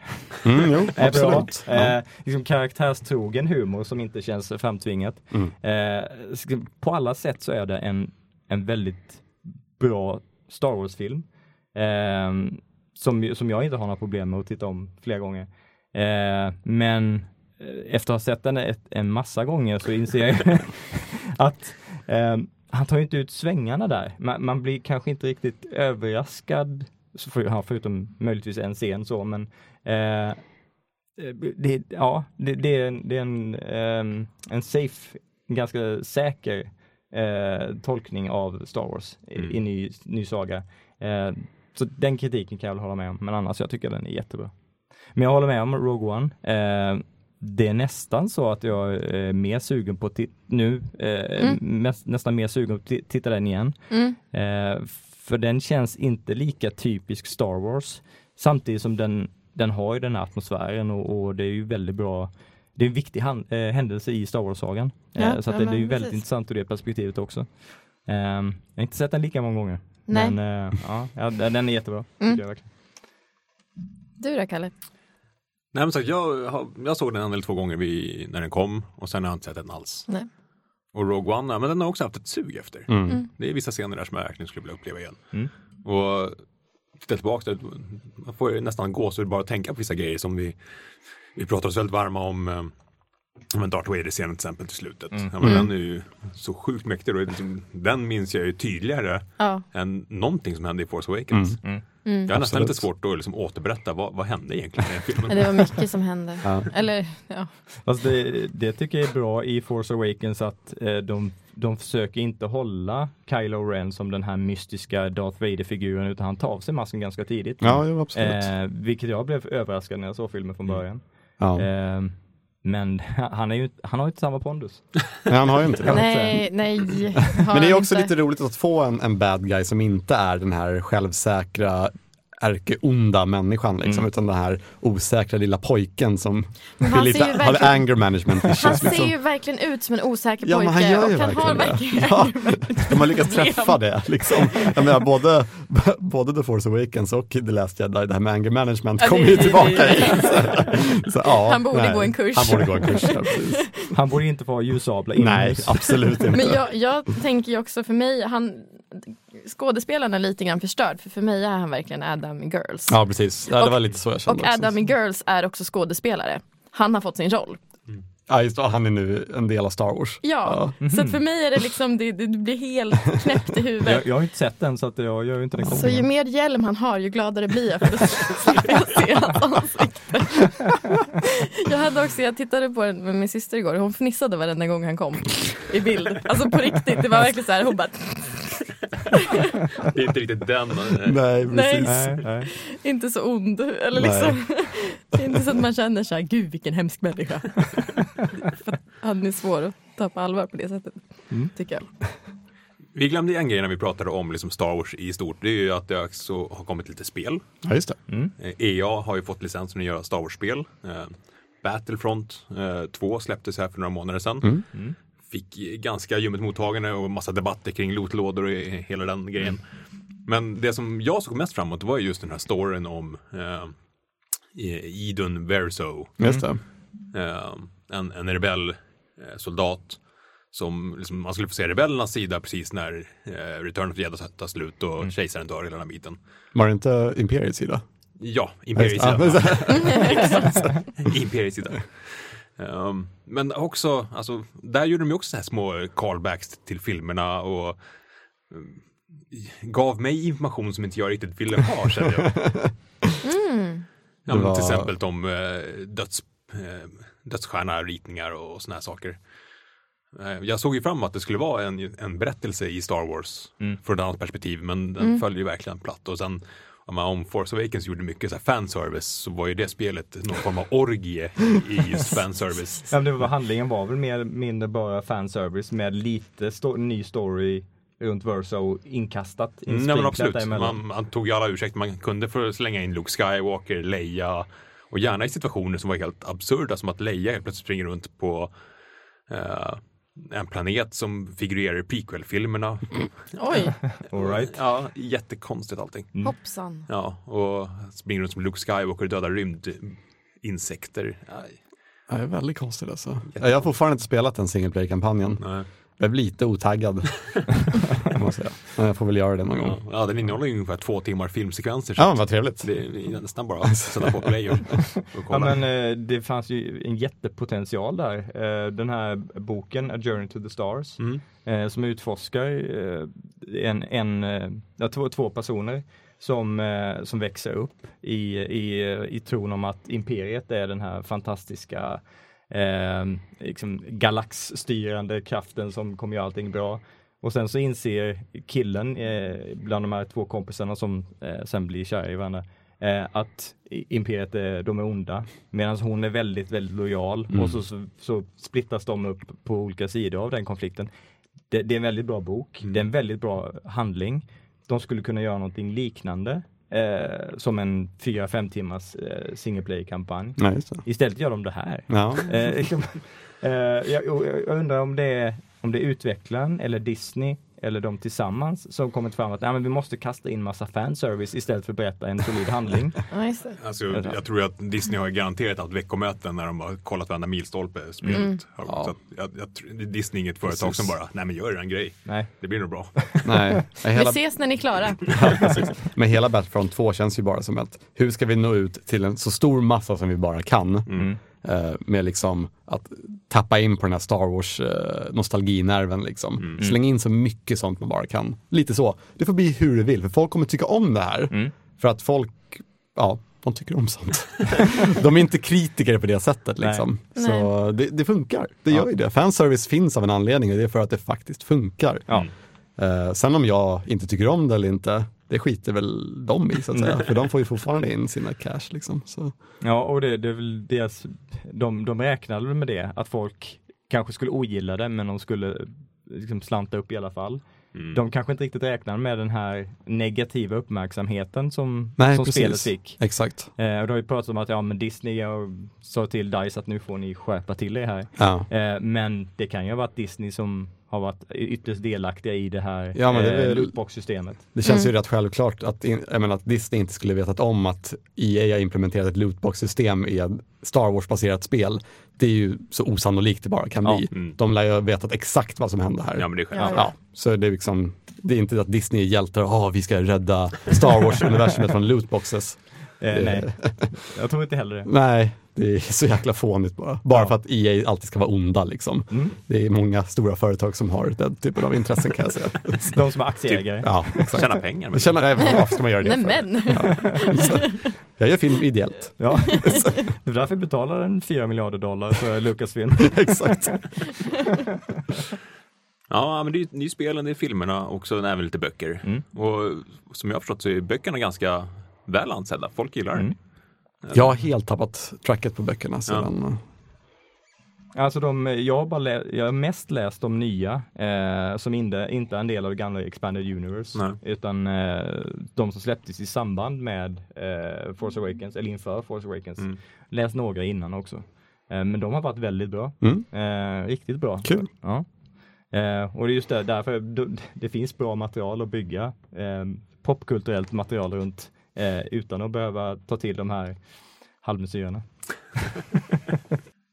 Mm, jo,
är
(laughs)
bra.
absolut.
Eh, liksom karaktärstrogen humor som inte känns framtvingat. Eh, sk- på alla sätt så är det en, en väldigt bra Star Wars-film. Eh, som, ju- som jag inte har några problem med att titta om flera gånger. Eh, men eh, efter att ha sett den ett, en massa gånger så inser jag (laughs) ju att eh, han tar ju inte ut svängarna där. Man, man blir kanske inte riktigt överraskad, så för, ja, förutom möjligtvis en scen så, men eh, det, ja, det, det är, en- det är en, ehm, en safe, en ganska säker eh, tolkning av Star Wars i, i ny, ny saga. Eh, så den kritiken kan jag väl hålla med om, men annars jag tycker den är jättebra. Men jag håller med om Rogue One. Eh, det är nästan så att jag är mer sugen på att tit- nu, eh,
Mm.
mest, nästan mer sugen på att ti- titta den igen. Eh, för den känns inte lika typisk Star Wars. Samtidigt som den, den har ju den här atmosfären och, och det är ju väldigt bra. Det är en viktig han, eh, händelse i Star Wars-sagan. eh,
Ja,
så att
ja,
det, det är ju
men
väldigt
precis.
intressant ur det perspektivet också. Eh, jag har inte sett den lika många gånger.
Nej. Mm.
Men eh, ja, ja, den den är jättebra. tycker Jag verkligen.
Du då Kalle?
Nej, men så att jag, har- jag såg den en eller två gånger vid, när den kom och sen har jag inte sett den alls.
Nej.
Och Rogue One, ja, men den har också haft ett sug efter.
Mm.
Det är vissa scener där som jag verkligen skulle vilja uppleva igen.
Mm.
Och titta tillbaka, där, man får ju nästan gåshud bara att tänka på vissa grejer som vi, vi pratar oss väldigt varma om. eh, ja, Men Darth Vader-scenen till exempel till slutet. Ja, men Den är ju så sjukt mäktig. Och liksom, den minns jag ju tydligare
Ja.
än någonting som hände i Force Awakens. Jag har nästan lite svårt att liksom återberätta vad, vad hände egentligen i den filmen.
Men (laughs) Det var mycket som hände. Eller ja.
Fast det, det tycker jag är bra i Force Awakens att eh, de, de försöker inte hålla Kylo Ren som den här mystiska Darth Vader-figuren utan han tar av sig masken ganska tidigt.
Ja, jo, absolut. Mm.
Eh, vilket jag blev överraskad när jag såg filmen från början.
ja.
Eh, men (laughs) han, är ju, han har ju inte samma pondus.
Nej, han har ju inte det.
Nej, nej. har
Men det är
han
också
inte.
lite roligt att få en, en bad guy som inte är den här självsäkra ärkeonda människan liksom, utan den här osäkra lilla pojken som
Mm. Men han
lite,
ser ju
har
verkligen-
anger management
Han
issues.
ser
Liksom.
ju verkligen ut som en osäker
Ja, men
pojke.
han gör ju
och han har
verkligen
verkligen
Ja,
(laughs)
de har lyckats träffa det. Liksom. Jag menar, både, både The Force Awakens och The Last Jedi, det här med anger management
Ja,
kommer
det-
ju
det-
tillbaka
det-
igen. Så, så, ja,
Han borde gå en kurs.
Han borde gå en kurs, ja,
(laughs)
precis.
Han borde inte få ha ljussablar
Nej,
inomhus.
absolut inte.
Men jag, jag tänker ju också för mig, han, skådespelaren är lite grann förstörd för för mig är han verkligen Adam i Girls.
Ja, precis. Ja, det
Och-
var lite så jag kände
och
också.
Adam i Girls är också skådespelare. Han har fått sin roll.
Ja, just det, han är nu en del av Star Wars.
Ja, så att för mig är det liksom, det, det blir helt knäppt i huvudet.
Jag, jag har ju inte sett den så att jag gör ju inte den
Så ju
kopplingen.
mer hjälm han har ju gladare blir jag för då slipper jag se hans ansikte. Jag hade också, jag tittade på den med min syster igår och hon fnissade varenda gång han kom i bild. Alltså på riktigt, det var verkligen så här, hon bara
Det är inte riktigt den. eh,
Nej,
Nej.
precis.
Nej, nej.
inte så ond. Eller liksom, det är inte så att man känner så här, gud vilken hemsk människa. För att Han är svår att ta på allvar på det sättet, tycker jag.
Vi glömde en grej när vi pratade om liksom Star Wars i stort. Det är ju att det också har kommit lite spel.
Ja, just det.
Mm.
Eh, EA har ju fått licensen att göra Star Wars-spel. Eh, Battlefront eh, 2 släpptes här för några månader sedan. Fick ganska ljummet mottagande och massa debatter kring lootlådor och eh, hela den grejen. Men det som jag såg mest framåt var ju just den här storyn om eh, Idun Verso.
Just det.
Ehm, Eh, en, en rebell eh, soldat som liksom, man skulle få se rebellernas sida precis när eh, Return of the Jedi tar slut och kejsaren dör hela den här biten.
Var det inte Imperiets sida?
Ja,
just-
Imperiets
ja,
sida. (laughs)
men så-
Imperiets sida. Ehm, men också, alltså, där gjorde de ju också så här små callbacks till filmerna och mm, gav mig information som inte jag riktigt ville ha, kände jag. Ja,
Det
men
var-
Till exempel om eh, döds, eh, dödsstjärna, ritningar och såna här saker. Eh, Jag såg ju fram emot att det skulle vara en, en berättelse i Star Wars från ett annat perspektiv, men den föll ju verkligen platt. Och sen om man- om Force Awakens gjorde mycket så här fanservice så var ju det spelet någon form av orgie i just fanservice. (laughs)
Ja, men det var, handlingen var väl mer mindre bara fanservice med lite sto- ny story runt Verso inkastat.
Nej Mm, men
insprinklat
absolut,
däremellan.
man, man tog ju alla ursäkter man kunde för att slänga in Luke Skywalker, Leia och gärna i situationer som var helt absurda som att Leia helt plötsligt springer runt på eh, en planet som figurerar i prequel-filmerna.
Oj,
All right.
Ja, jättekonstigt allting.
hoppsan.
Ja, och springer runt som Luke Skywalker och dödar rymdinsekter. Aj,
Ja, det är väldigt konstigt alltså. Jag har fortfarande inte spelat den single player-kampanjen.
nej.
Jag blir lite (laughs) otaggad. måste jag säga. Men jag får väl göra det någon gång.
Ja, den innehåller ju ungefär två timmar filmsekvenser. Så
Ja, vad trevligt.
Det är nästan bara att sätta på play och, och
Ja
kolla.
men eh, det fanns ju en jättepotential där. Eh, Den här boken A Journey to the Stars
Mm.
eh, som utforskar eh, en, en, eh, ja, två, två personer som, eh, som växer upp i, i, eh, i tron om att imperiet är den här fantastiska eh, liksom galaxstyrande kraften som kommer göra allting bra. Och sen så inser killen eh, bland de här två kompisarna som eh, sen blir kära i varandra eh, att i- imperiet är, de är onda. Medan hon är väldigt, väldigt lojal och så, så, så splittas de upp på olika sidor av den konflikten. Det, det är en väldigt bra bok. Det är en väldigt bra handling. De skulle kunna göra någonting liknande eh, som en 4-5 timmars eh, single player-kampanj.
Nej, just det.
Istället gör de det här.
Ja. (laughs)
Eh, (laughs) liksom, eh, jag, jag jag undrar om det, är, om det är utvecklaren eller Disney eller de tillsammans som kommit fram att nej, men vi måste kasta in massa fanservice istället för att berätta en solid handling.
Ja, just det.
Alltså, jag tror att Disney har garanterat haft veckomöten när de har kollat varenda milstolpe spelet. har gått. Så att jag, jag, tror- Disney är inget företag som bara, nej men gör en grej.
Nej.
Det blir nog bra.
Nej.
Vi
Hela,
ses när ni är klara.
men hela Battlefront 2 känns ju bara som att hur ska vi nå ut till en så stor massa som vi bara kan? Eh, med liksom att tappa in på den här Star Wars eh, nostalginerven liksom. Släng in så mycket sånt man bara kan. Lite så. Det får bli hur det vill, för folk kommer tycka om det här. För att folk, ja, de tycker om sånt. (laughs) de är inte kritiker på det sättet
Nej.
liksom. Så det, det funkar. Det gör ju det. Fanservice finns av en anledning och det är för att det faktiskt funkar.
Ja.
Eh, sen om jag inte tycker om det eller inte, det skiter väl de i så att
Mm.
säga. för de får ju fortfarande in sina cash liksom. Så.
Ja, och det, det är väl deras, de, de räknade väl med det, att folk kanske skulle ogilla det, men de skulle eh, liksom slanta upp i alla fall. De kanske inte riktigt räknade med den här negativa uppmärksamheten som, som spelet fick.
Exakt.
Eh, och då har vi pratat om att ja, men Disney och sa till DICE att nu får ni skärpa till er här.
Ja.
Eh, men det kan ju ha varit Disney som har varit ytterst delaktiga i det här
Ja, men det är
eh,
väl-
lootbox-systemet.
Det känns ju rätt självklart att, in, jag menar, att Disney inte skulle vetat om att EA har implementerat ett lootbox-system i ett Star Wars-baserat spel. Det är ju så osannolikt det bara kan
Ja. Mm.
bli. De lär ju ha vetat exakt vad som hände här.
Ja men det är
Ja,
självklart.
Ja, så det är liksom, det är inte att Disney är hjältar och "Ah, vi ska rädda Star Wars-universumet från lootboxes.
Eh, nej, jag tror inte
(laughs)
heller det.
Nej, det är så jäkla fånigt bara. Bara
Ja.
för att EA alltid ska vara onda liksom. Det är många stora företag som har den typen av intressen kan jag säga.
De som är aktieägare.
Ja, exakt.
Tjäna pengar. Men
Jag känner, nej, varför ska man göra det?
Nej
för?
men,
Jag gör film ideellt.
Ja. (laughs) Det är därför vi betalar en 4 miljarder dollar för Lucasfilm.
exakt.
Ja, men det är ju det är ju spelen, det är filmerna och så även lite böcker. Och som jag har förstått så är böckerna ganska väl ansedda. Folk gillar den.
Jag har helt tappat tracket på böckerna sedan.
Alltså de, jag, har bara lä- jag har mest läst de nya eh, som inte, inte är en del av det gamla Expanded Universe.
Nej.
Utan eh, de som släpptes i samband med eh, Force Awakens, eller inför Force Awakens. Läst några innan också. Eh, men de har varit väldigt bra. Eh, riktigt bra.
Kul.
Ja. Eh, och det är just det, därför d- det finns bra material att bygga. Eh, popkulturellt material runt eh, utan att behöva ta till de här halvmesyrerna.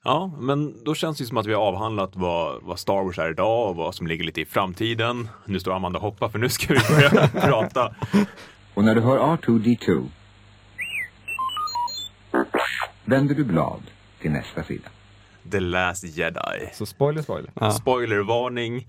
Ja, men då känns det som att vi har avhandlat vad, vad Star Wars är idag och vad som ligger lite i framtiden. Nu står Amanda och hoppar för nu ska vi börja prata.
Och när du hör R2D2 vänder du blad till nästa sida.
The Last Jedi.
Så spoiler, spoiler.
Ja.
Spoilervarning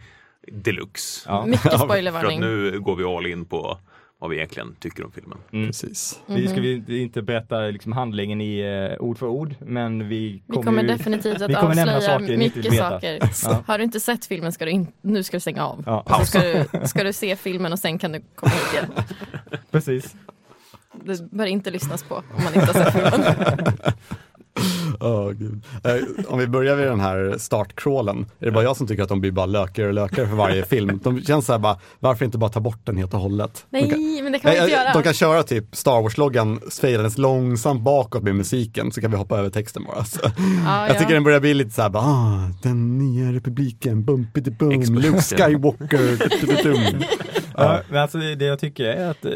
deluxe.
Ja.
Mycket
För att
spoilervarning.
nu går vi all in på vad vi egentligen tycker om filmen.
Precis.
Vi ska vi vi inte berätta liksom handlingen i eh, ord för ord, men vi
Vi
kommer,
kommer
ju...
definitivt att
vi kommer nämna
avslöja
saker ni inte vill
mycket
veta.
saker.
Ja.
Har du inte sett filmen ska du in, nu ska du stänga av.
Ja.
Och Så ska, du, ska du se filmen och sen kan du komma hit igen.
(laughs) Precis.
Det bör inte lyssnas på om man inte har
(laughs)
sett filmen.
Åh, gud. Eh, om vi börjar vid den här startcrawlen, är det bara jag som tycker att de blir bara lökigare och lökigare för varje film? De känns så här bara, varför inte bara ta bort den helt och hållet? De kan-
Nej, men det kan man
Nej,
inte
eh, De
göra.
kan köra typ Star Wars-loggan svejandes långsamt bakåt med musiken så kan vi hoppa över texten bara. Så.
Ja,
Jag tycker
ja.
den börjar bli lite såhär, bara, ah, den nya republiken, bumpity bum,
Explosion.
Luke
(laughs)
Skywalker, tututum.
Ja, men alltså det jag tycker är att eh,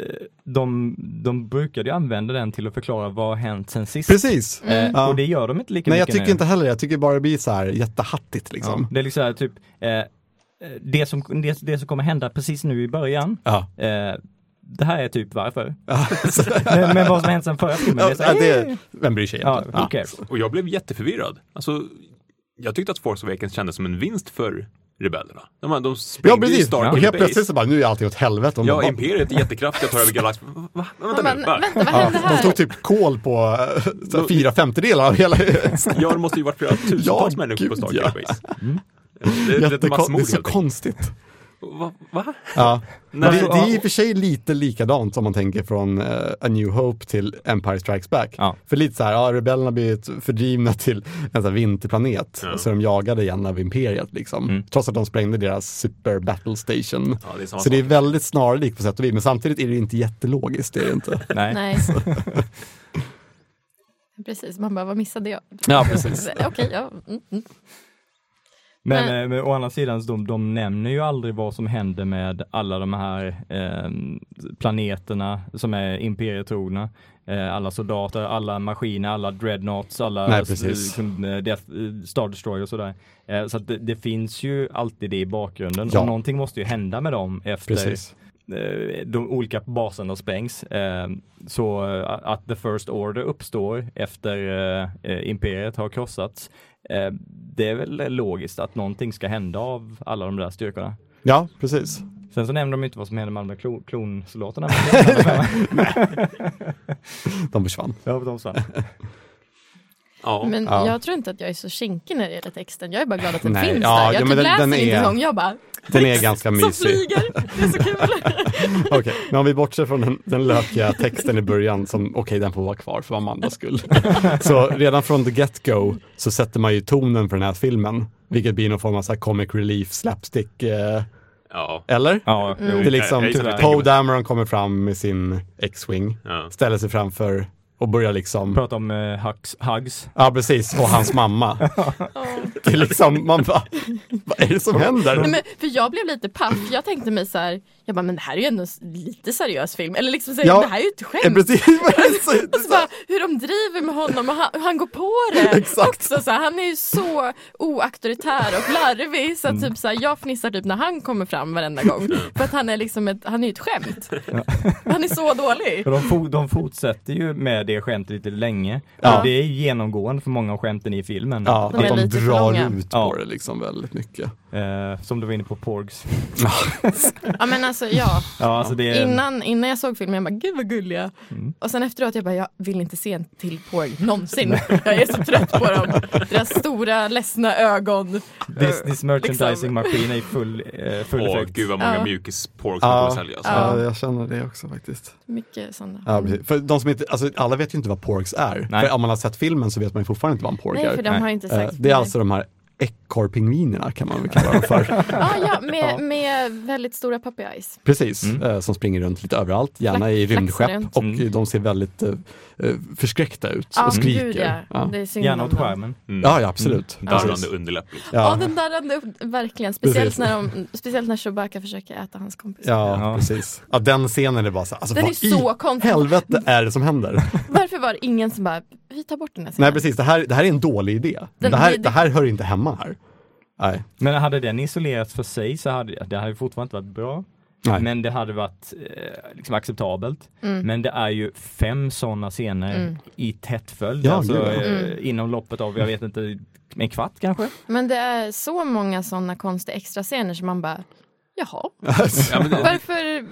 de, de brukade ju använda den till att förklara vad har hänt sen sist.
Precis.
Mm.
Eh,
Ja.
Och det gör de inte lika
Nej jag
mycket
tycker
nu.
inte heller det. jag tycker bara det blir så här jättehattigt liksom.
Det är liksom så här, typ, eh, det, som, det, det som kommer hända precis nu i början,
Ja.
eh, det här är typ varför.
Ja.
(laughs) men, men vad som hänt sen förra filmen, det är så
Ja,
här,
det, vem bryr sig
ja,
egentligen?
who cares?
Och jag blev jätteförvirrad. Alltså, jag tyckte att Force Awakens kändes som en vinst för rebellerna. De, här- de
Ja
sprängde ju
precis,
Starkiller
och helt plöttet
Base.
så bara nu är allting åt helvete. Och man
Ja,
bara,
Imperiet är jättekraftiga och tar
(laughs)
över galaxen. Va? Va? Vänta nu,
Men,
va?
vänta, vad
ja,
hände
de
här?
tog typ kol på eh, så här fyra femtedelar av hela...
Ja, (laughs) det måste ju varit flera tusentals
Ja,
människor på
gud,
Starkiller
ja.
Base. Det, det, det är
Jättekon- det
massmord
är så
helt enkelt.
konstigt.
Va? va?
Ja. Men
Nej.
det, det är i och för sig lite likadant om man tänker från eh, A New Hope till Empire Strikes Back.
Ja.
För lite så här, ja, rebellerna har blivit fördrivna till en sån här vinterplanet.
Ja. Mm.
Så de jagade igen av Imperiet liksom. Trots att de sprängde deras super battle station.
Ja, det är samma
så det är
sak.
väldigt snarlikt på sätt och vis. Men samtidigt är det inte jättelogiskt, det är
(laughs)
det inte.
Nej.
Nej.
(laughs)
Precis, man bara, vad missade jag?
ja,
(laughs) Okej, ja. Mm, mm.
Men,
Men-
eh, men å andra sidan, så de, de nämner ju aldrig vad som händer med alla de här eh, planeterna som är imperietrogna. Eh, alla soldater, alla maskiner, alla dreadnoughts, alla
Nej,
s-
precis.
liksom, eh, death, eh, Star Destroyer och sådär. Eh, så att det, det finns ju alltid det i bakgrunden.
Ja.
Och någonting måste ju hända med dem efter
Precis.
eh, de olika baserna sprängs. Eh, så eh, att The First Order uppstår efter eh, eh, Imperiet har krossats. Eh, det är väl logiskt att någonting ska hända av alla de där styrkorna.
Ja, precis.
Sen så nämner de ju inte vad som hände med alla klo- klonsoldaterna.
De försvann.
Jag hoppas de försvann.
Ja.
Men
Ja.
jag tror inte att jag är så kinkig när det gäller texten. Jag är bara glad att den
Nej,
finns
ja,
där. Jag
ja,
typ
men den-
läser
den
inte
är-
är... jag bara,
Den är ganska
som
mysig.
flyger, det är
(laughs)
så kul.
Okej, men om vi bortser från den, den lökiga texten i början som, okej den får vara kvar för Amandas
(laughs)
skull. Så redan från the get-go så sätter man ju tonen för den här filmen, vilket blir någon form av så här comic relief, slapstick, eh,
ja.
eller?
Ja,
Det
jo.
är liksom,
Jag- jag
typ,
gissar det.
Poe Dameron kommer fram med sin X-Wing,
Ja.
ställer sig framför och börjar liksom,
Prata om eh, hugs, hugs.
ja precis, och hans mamma. Det är liksom, man bara, vad är det som händer?
Nej, men, för jag blev lite paff. Jag tänkte mig så här, jag bara, men det här är ju ändå en lite seriös film. Eller liksom, så här,
Ja.
det här är ju ett
Eh,
skämt.
Precis, (laughs) vad är det som-
Och så bara, hur de driver med honom och han, hur han går på
(laughs)
det
Exakt.
också. Så här, han är ju så oauktoritär och larvig så
Mm.
att typ så här, jag fnissar typ när han kommer fram varenda gång. För att han är liksom ett, han är ju ett skämt. Han är så dålig.
För de, fo- de fortsätter ju med det skämtet lite länge.
Ja.
Och det är genomgående för många av skämten i filmen.
Ja,
De
att
är
de
lite för långa.
drar ut
Ja.
på det liksom väldigt mycket.
Eh, som du var inne på, Porgs.
Ja men alltså ja,
Ja, alltså det
Ehm.
är...
innan, innan jag såg filmen jag bara gud vad gulliga.
Mm.
Och sen efteråt jag bara jag vill inte se en till porg någonsin. (laughs) Jag är så trött på dem. Deras stora ledsna ögon.
This, this
Liksom.
merchandising-maskin är i full, eh, full
Åh,
effekt.
gud vad många
Ja.
mjukispork man kommer sälja. alltså.
ja, jag känner det också faktiskt.
Mycket sådana.
Ja, precis. För de som inte, alltså, alla vet ju inte vad porgs är.
Nej.
För om man har sett filmen så vet man ju fortfarande inte vad en porg
Nej
är.
för de har inte
Eh,
sagt
det är alltså de här ekorrpingvinerna kan man väl kalla dem
(laughs)
för.
Ja,
(laughs)
ja, med, med väldigt stora puppy eyes.
Precis, eh, som springer runt lite överallt, gärna
Flax-
i
flaxar
rymdskepp
runt.
och de ser väldigt eh, eh, förskräckta ut
Ja,
och skriker.
gud ja.
ja.
Det är synd
Gärna
om
åt
dem.
skärmen.
ja, ja absolut.
Darrande Mm. underläpp. liksom.
Ja,
Ja.
den darrande upp, verkligen. Speciellt
Precis.
när, de, speciellt när Chewbacca försöker äta hans kompis.
Ja,
Ja.
precis. Ja, den scenen är bara så här, alltså,
Den
vad
är så
i
konstig.
helvete är det som händer?
Varför var det ingen som bara, vi tar bort den här
Nej
scenen.
precis, det här, det här är en dålig idé.
Den-
det, här,
det-
det... här hör inte hemma här. Nej.
Men hade den isolerats för sig så hade det hade ju fortfarande inte varit bra.
Nej.
Men det hade varit eh, liksom acceptabelt.
Mm.
Men det är ju fem sådana scener
Mm.
i tätt följd.
Ja,
alltså,
gud, ja.
eh,
Mm.
Inom loppet av, jag vet inte, en kvart kanske?
Men det är så många sådana konstiga extra scener som man bara, jaha.
Ja, men det,
Varför,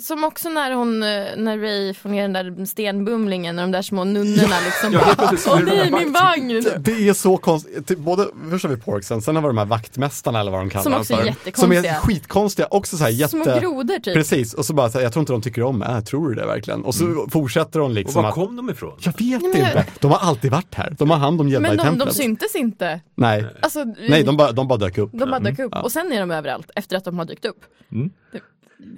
som också när hon, eh, när Ray får ner den där stenbumlingen och de där små nunnorna liksom
Ja, helt
bara,
plötsligt så
åh
är det
nej
bara-
min vagn!
(laughs) Det är så konstigt, typ, både, först har vi porksen, sen har vi de här vaktmästarna eller vad de kallar
Som också är
för. Som
jättekonstiga.
är skitkonstiga, också så här jätte...
Små grodor typ.
Precis, och så bara så här, jag tror inte de tycker om det, äh, tror du det verkligen? Och så fortsätter de
Mm. och
liksom
var
att,
kom de ifrån?
jag vet
men jag-
inte, de har alltid varit här, de har hand om gädda i
Men de,
templet.
de syntes inte.
Nej,
Alltså,
nej de, bara, de bara dök upp.
de bara dök upp.
ja.
Och sen är de överallt efter att de har dykt upp.
Mm.
Det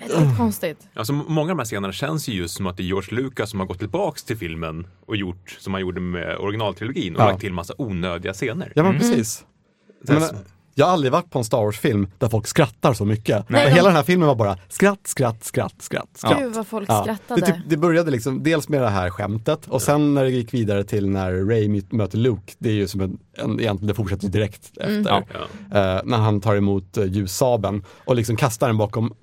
är väldigt konstigt.
Alltså, många av de här scenerna känns ju just som att det är George Lucas som har gått tillbaks till filmen och gjort som han gjorde med originaltrilogin och
Ja.
lagt till massa onödiga scener.
Ja men
Mm.
precis. Jag,
Mm.
menar, jag har aldrig varit på en Star Wars-film där folk skrattar så mycket.
Nej,
Men
de-
Hela den här filmen var bara skratt, skratt, skratt, skratt, skratt.
Gud vad folk
Ja.
skrattade.
Det, typ, det började liksom dels med det här skämtet och sen när det gick vidare till när Ray my- möter Luke, det är ju som en, en egentligen, det fortsätter ju direkt efter.
Mm.
Ja.
Eh, när han tar emot uh, ljussabeln och liksom kastar den bakom.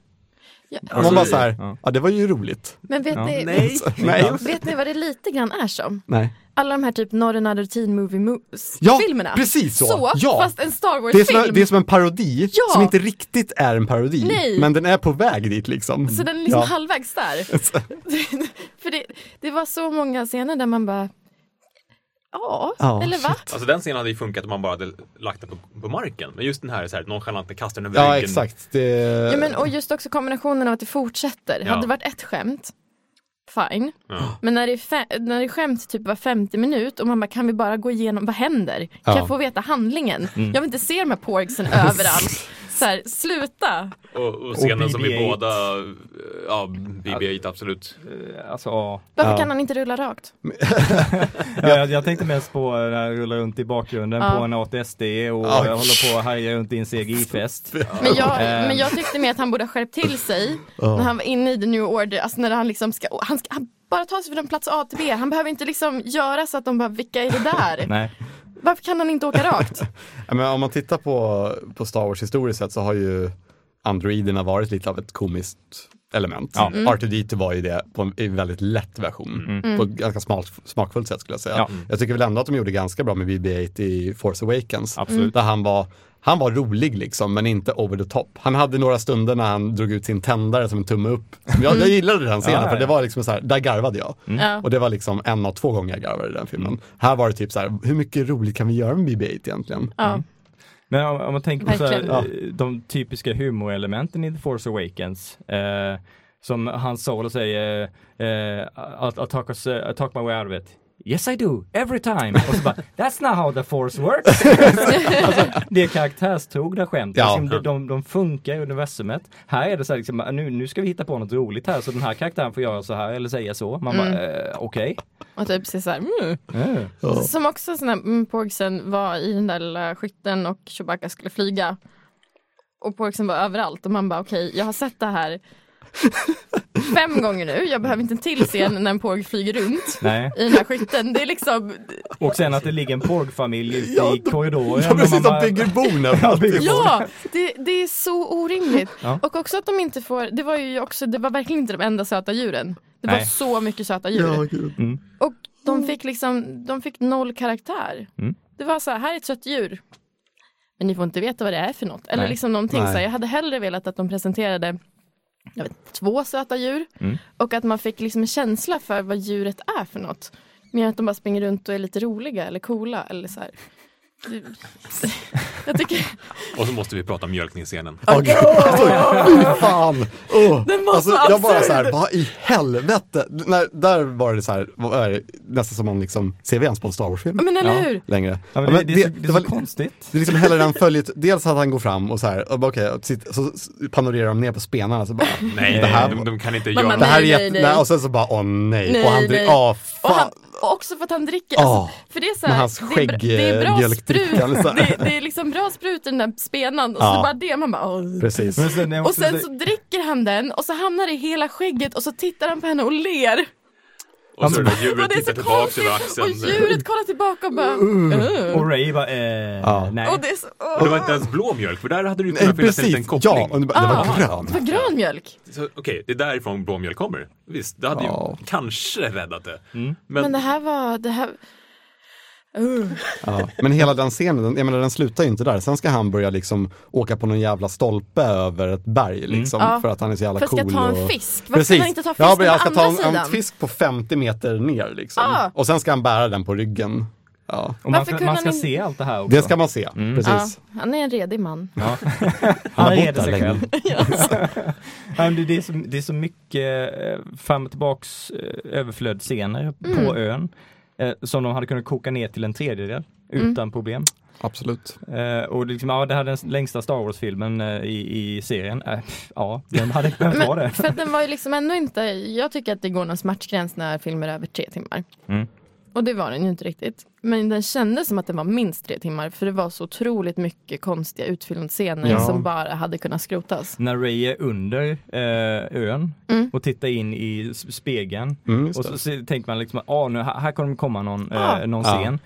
Ja.
Och man bara så här, ja.
Ja.
det var ju roligt.
Men vet,
Ja.
ni,
Nej.
(laughs) Nej.
vet ni vad det lite grann är som?
Nej.
Alla de här typ Not Another Teen
Ja,
Movie-filmerna.
precis så.
så
Ja.
fast en Star
Det är, som,
Wars-film.
en- det är som en parodi
Ja.
som inte riktigt är en parodi,
Nej.
men den är på väg dit liksom.
Så den är liksom
Ja.
halvvägs där.
(laughs)
(laughs) För det, det var så många scener där man bara, ja,
Ja,
eller va?
Alltså den scenen hade ju funkat om man bara hade lagt den på, på marken. Men just den här, är så här nonchalanta kasten över
Ja,
väggen.
exakt. Det...
Ja, men, och just också kombinationen av att det fortsätter.
Ja.
Hade det varit ett skämt, fine.
Ja.
Men när det, är fe- när det är skämt typ var 50 minut och man bara kan vi bara gå igenom, vad händer? Kan
Ja.
jag få veta handlingen? Jag vill inte se de här
(laughs)
porgsen (laughs) överallt. Så här, sluta!
Och, och scenen som vi
BB-8.
båda, ja, BB-8 absolut.
Eh, Alltså, ja.
Varför
Ja.
kan han inte rulla rakt?
Ja, jag, jag tänkte mest på när jag rullar runt i bakgrunden
Ja.
på en ATSD och
Ja.
jag håller på att haja runt i en CGI-fest.
Men jag,
Eh.
men jag tyckte mer att han borde ha skärpt till sig när han var inne i the new order, alltså när han liksom ska, han ska han bara ta sig från plats A till B. Han behöver inte liksom göra så att de bara, vilka är det där?
Nej.
Varför kan han inte åka rakt?
Ja, men om man tittar på, på Star Wars historiskt sett så har ju androiderna varit lite av ett komiskt element.
Ja. Mm.
R2D2 var ju det på en, i en väldigt lätt version. På ett ganska smalt, smakfullt sätt skulle jag säga.
Ja.
Jag tycker väl ändå att de gjorde ganska bra med BB-8 i Force Awakens.
Absolut.
Där han var, han var rolig liksom, men inte over the top. Han hade några stunder när han drog ut sin tändare som en tumme upp. Jag, jag gillade den scenen
Ja, ja,
för det
ja. Mm.
var liksom så här, där garvade jag.
Ja.
Och det var liksom en av två gånger jag garvade i den filmen. Här var det typ så här, hur mycket roligt kan vi göra med BB-8 egentligen?
Ja.
Men om, om man tänker på så här,
Verkligen.
eh, de typiska humorelementen i The Force Awakens. Eh, som han Solo säger, eh, I'll, I'll, talk us, I'll talk my way out of it. Yes I do, every time! Och så bara, that's not how the force
(laughs)
works! alltså, det är karaktärstrogna skämt,
Ja.
liksom, de, de, de funkar i universumet. Här är det så här, liksom, nu, nu ska vi hitta på något roligt här, så den här karaktären får göra så här eller säga så. Man bara,
Mm.
eh, okej.
Och typ se så här, mm.
Eh.
Som också sån här, mm, porgsen var i den där lilla skytten och Chewbacca skulle flyga. Och porgsen var överallt och man bara okej, jag har sett
(laughs)
det här fem gånger nu. Jag behöver inte en till scen när en porg flyger runt
Nej.
i den här skytten. Det är liksom,
Och sen att det ligger en porgfamilj ute i korridoren.
Ja, precis,
och man
de
bara-
bygger bon (laughs) överallt.
bygger bon.
ja, det, det är så orimligt.
Ja.
Och också att de inte får, det var ju också, det var verkligen inte de enda söta djuren. Det var
Nej.
så mycket söta djur.
gud.
Och de fick liksom, de fick noll karaktär.
Mm.
Det var så här, här är ett sött djur. Men ni får inte veta vad det är för något. Eller
Nej.
liksom någonting
Nej.
så här, jag hade hellre velat att de presenterade jag vet, två söta djur.
Mm.
Och att man fick liksom en känsla för vad djuret är för något. Mer än att de bara springer runt och är lite roliga eller coola
(laughs)
eller så här. Det- Jag tycker
Och så måste vi prata om mjölkningsscenen.
Åh, gud. Alltså, fy fan! Åh.
Den var
Alltså,
så
jag bara
absurd.
så här, vad i helvete? När, där var det så här, vad är det? nästan som om liksom, ser vi ens på en Star Wars-film?
Men eller
Ja.
hur?
Längre.
Ja, men
Ja,
det,
men
det, är så- det, är så
var-
konstigt.
Det är liksom
(laughs)
hellre den följet, dels att han går fram och så här, och bara, okej, och sitt- så så panorerar de ner på spenarna så
(laughs)
bara,
Nej,
det här,
de, de kan inte
Mamma,
göra
nej.
det här är
nej,
jätte,
nej.
nej, och sen så bara, åh nej,
Nej,
och han
nej.
dricker, åh fan.
Och, han, och också för att han dricker.
Åh,
Alltså, för det är så
med
här,
hans eh,
det, är bra, det är bra sprut.
skäggmjölkdrickande så här.
Det, det är liksom bra sprut i den där spenan. Och så
Ja.
bara det, man bara åh.
Precis.
(laughs) Men sen är
Och
också
sen
det-
så dricker han den och så hamnar det i hela skägget och så tittar han på henne och ler.
Och så
Ja,
det där djuret
Och det är
tittar
så
tillbaka
konstigt!
över
Och
axeln.
djuret kollar tillbaka och bara...
Mm.
"Ugh."
Och Ray bara, eh,
Ja.
nej.
Och det är så... åh.
Det var inte ens blå mjölk, för där hade du
Nej,
kunnat finnas en
precis.
liten
Ja,
koppling.
och det, bara- det var
Ah.
grön.
Det var grön mjölk.
Så, Okej, det är därifrån blå mjölk kommer. Visst, det hade
Ja. Mm.
ju kanske räddat det. Men,
Men det här var... Det här... Ugh.
Ja. Men hela den scenen, den, jag menar den slutar ju inte där. Sen ska han börja liksom åka på någon jävla stolpe över ett berg liksom.
Mm. Ja.
För att han är så jävla
För att
cool.
ska ta en
och...
fisk. Varför kan han inte ta fisken
ja, men jag ska
på andra
ta en, en
sidan?
fisk på 50 meter ner liksom.
Ja.
Och sen ska han bära den på ryggen. Ja.
Och man,
Varför
ska-
kunde
man ska
han
se allt det här också.
Det ska man se,
Mm.
Ja,
precis.
han är en redig man.
(laughs)
Han
har bott
reder
där
sig
länge.
själv.
(laughs)
(laughs) Ja, men det, det, är så, det är så mycket eh, fram och tillbaks eh, överflödsscener
Mm.
på ön eh, som de hade kunnat koka ner till en tredjedel
Mm.
utan problem.
Absolut.
Eh, och det liksom, ja, det här är den s- längsta Star Wars-filmen eh, i, i serien. Eh, pff, ja, den hade behövt vara det.
För att den var ju liksom ändå inte, jag tycker att det går någon smärtgräns när filmer är över tre timmar.
Mm.
Och det var den ju inte riktigt. Men den kändes som att den var minst tre timmar för det var så otroligt mycket konstiga utfyllnadsscener
Ja.
som bara hade kunnat skrotas.
När Ray är under eh, ön
Mm.
och tittar in i s- spegeln
Mm, just
och så, så tänker man liksom, ah, nu, här här kommer det komma någon, eh,
Ja.
någon
Ja.
scen.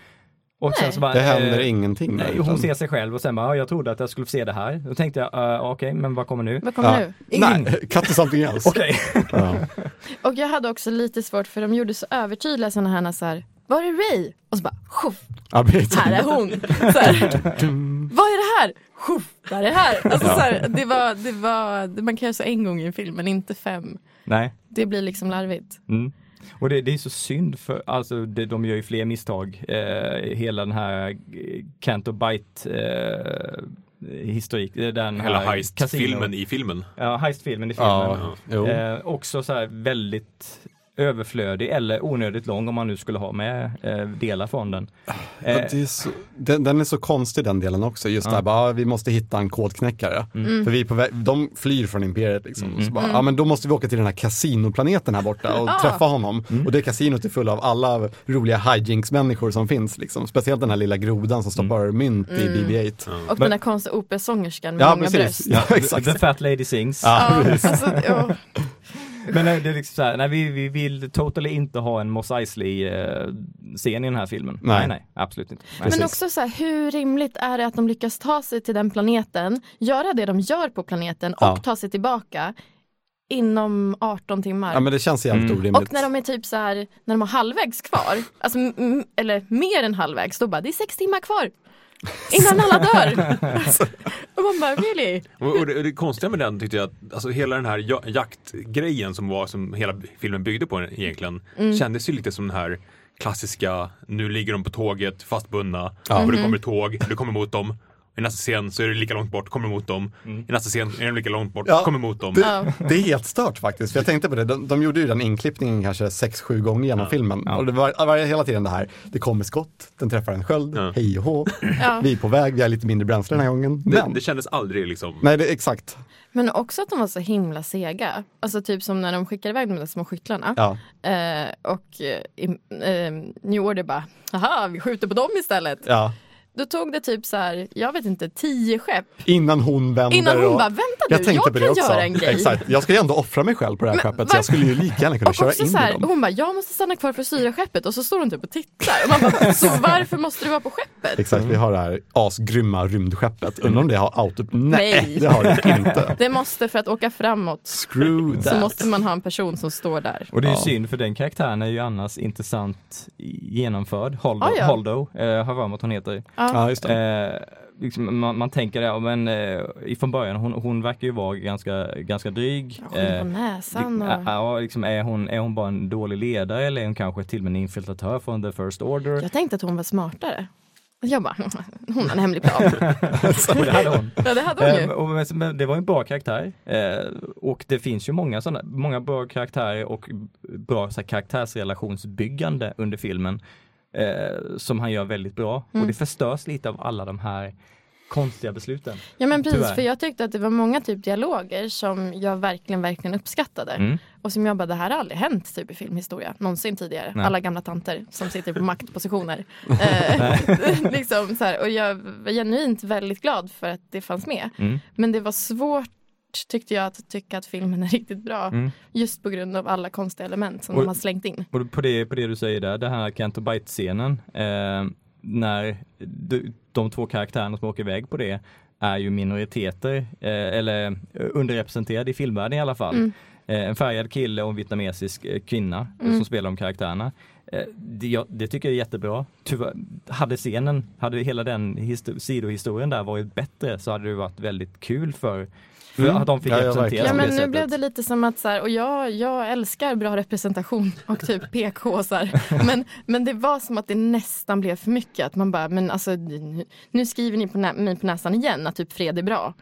Och sen
Ah. Nej.
så bara,
Det händer
eh,
ingenting. där,
Nej,
utan-
hon ser sig själv och sen bara, "Ja, jag trodde att jag skulle få se det här. Då tänkte jag, "Eh, okej, men vad kommer nu?
Vad kommer
Ja.
nu?
Nej, (laughs) cut to something else.
(laughs) Okej.
ja.
Och jag hade också lite svårt för de gjorde så övertydliga sådana här, så här var är Ray? Och så bara, "Sjuff,
Arbete.
här är hon. Så här, Vad är det här? Sjuff, där är det här. Alltså, så här det var, det var, man kan göra så en gång i en film men inte fem.
Nej.
Det blir liksom larvigt.
Mm. Och det, det är så synd för, alltså det, de gör ju fler misstag. Eh, hela den här eh, Canto Bite eh, historik, eh, den
hela
här
heist-filmen
casino-
i filmen.
Ja, heistfilmen i filmen.
Ja, jo.
Eh, också så här väldigt överflödig eller onödigt lång om man nu skulle ha med eh, delar från den.
Alltså,
Ja,
Eh,
det är så, den, den är så konstig den delen också, just där bara, ah, vi måste hitta en kodknäckare.
Mm.
För vi är på väg, de flyr från imperiet liksom. Så bara, ah, men då måste vi åka till den här kasinoplaneten här borta
(laughs)
och träffa honom.
Mm.
Och det kasinot är fullt av alla roliga hijinks-människor som finns liksom. Speciellt den här lilla grodan som stoppar
Mm.
mynt i BB-8.
Och den här konstiga operasångerskan med
Ja,
många bröst.
precis. Ja, exakt.
The Fat Lady Sings.
(laughs) Ja, alltså, ja.
Men nej, det är liksom så här, nej vi, vi vill totally inte ha en Mos Eisley-scen i den här filmen.
Nej.
Nej, nej, absolut inte. Nej.
Precis.
Men också så här, hur rimligt är det att de lyckas ta sig till den planeten, göra det de gör på planeten och
Ja.
ta sig tillbaka inom 18 timmar?
Ja men det känns jävligt orimligt.
och när de är typ så här, när de har halvvägs kvar, alltså, m- m- eller mer än halvvägs, då bara det är sex timmar kvar innan alla
(laughs)
dör. och man bara really?
Och, och, det, och det konstiga med den tyckte jag att alltså, hela den här ja- jaktgrejen som, var, som hela filmen byggde på egentligen kändes ju lite som den här klassiska, nu ligger de på tåget fastbundna och
Mm.
det kommer ett tåg, det kommer mot dem. I nästa scen så är det lika långt bort, kommer mot dem. I nästa scen är de lika långt bort,
Mm. Ja.
kommer mot dem.
Det, det är helt stört faktiskt. För jag tänkte på det, de, de gjorde ju den inklippningen kanske 6-7 gånger genom filmen. Och det var, var hela tiden det här, det kommer skott, den träffar en sköld,
Ja.
hej och hå.
Ja.
Vi är på väg, vi har lite mindre bränsle den här gången.
Det,
Men,
det kändes aldrig liksom...
nej det, exakt.
Men också att de var så himla sega. Alltså typ som när de skickade iväg de där små skyttlarna.
Ja.
Eh, och eh, im- eh, New Order bara, haha vi skjuter på dem istället.
Ja.
Då tog det typ så här, jag vet inte, tio skepp
Innan hon vänder
innan hon
och-
bara, vänta du,
jag
jag,
tänkte på
kan
det också.
göra en grej.
Exakt. Jag ska ju ändå offra mig själv på det här
Men
skeppet så
varför-
jag skulle ju lika gärna kunna
Och
köra
också
in
så här,
i dem.
hon bara, jag måste stanna kvar för att styra skeppet och så står hon typ och tittar. Och man bara, (laughs) så varför måste du vara på skeppet?
Exakt, vi har det här asgrymma rymdskeppet. Undrar om det har auto... Nej,
Nej.
det har det inte.
Det måste för att åka framåt
Screw
så
that.
måste man ha en person som står där.
Och det är ju
Ja.
synd för den karaktären är ju annars intressant i- genomförd. Holdo,
Ah, ja. Ah,
Holdo eh, har jag för mig att hon heter.
Ja, just det.
Eh, liksom, man, man tänker det, ja, men eh, ifrån början, hon, hon verkar ju vara ganska, ganska dryg.
Hon på
Eh,
näsan
Ja,
och...
ja, liksom, är, hon, är hon bara en dålig ledare eller är hon kanske till och med en infiltratör från The First Order?
Jag tänkte att hon var smartare. Jag bara, (laughs) hon har en hemlig
(laughs)
plan.
Och (laughs) det hade hon.
Ja det hade hon
Eh,
ju.
och, men- men det var en bra karaktär eh, och det finns ju många sådana, många bra karaktärer och bra så här, karaktärsrelationsbyggande under filmen eh, som han gör väldigt bra
Mm.
och det förstörs lite av alla de här konstiga besluten.
Ja men precis,
Tyvärr.
för jag tyckte att det var många typ dialoger som jag verkligen, verkligen uppskattade.
Mm.
Och som jag bara, det här har aldrig hänt typ i filmhistoria någonsin tidigare. Alla gamla tanter som
(laughs)
sitter på maktpositioner. eh, (laughs)
Mm.
liksom så här, och jag var genuint väldigt glad för att det fanns med. Men det var svårt svårt tyckte jag att tycka att filmen är (laughs) riktigt bra.
Mm.
Just på grund av alla konstiga element som
Och-
de har slängt in.
Och på det, på det du säger där, den här Kent och Bite-scenen, eh, när de, de två karaktärerna som åker iväg på det är ju minoriteter, eh, eller eh, underrepresenterade i filmvärlden i alla fall.
Mm.
Eh, en färgad kille och en vietnamesisk eh, kvinna eh,
Mm.
som spelar de karaktärerna. Eh, det, jag, det tycker jag är jättebra. Tyvärr, hade scenen, hade hela den histo- sidohistorien där varit bättre så hade det varit väldigt kul för, för
Mm.
att de fick
Ja, ja,
representera
verkligen.
Ja
på det
men nu
sättet.
blev det lite som att så här, och jag, jag älskar bra representation (laughs) och typ PK-sar. Men, men det var som att det nästan blev för mycket. Att man bara, men alltså nu- nu skriver ni på, nä- mig på näsan igen att typ fred är bra.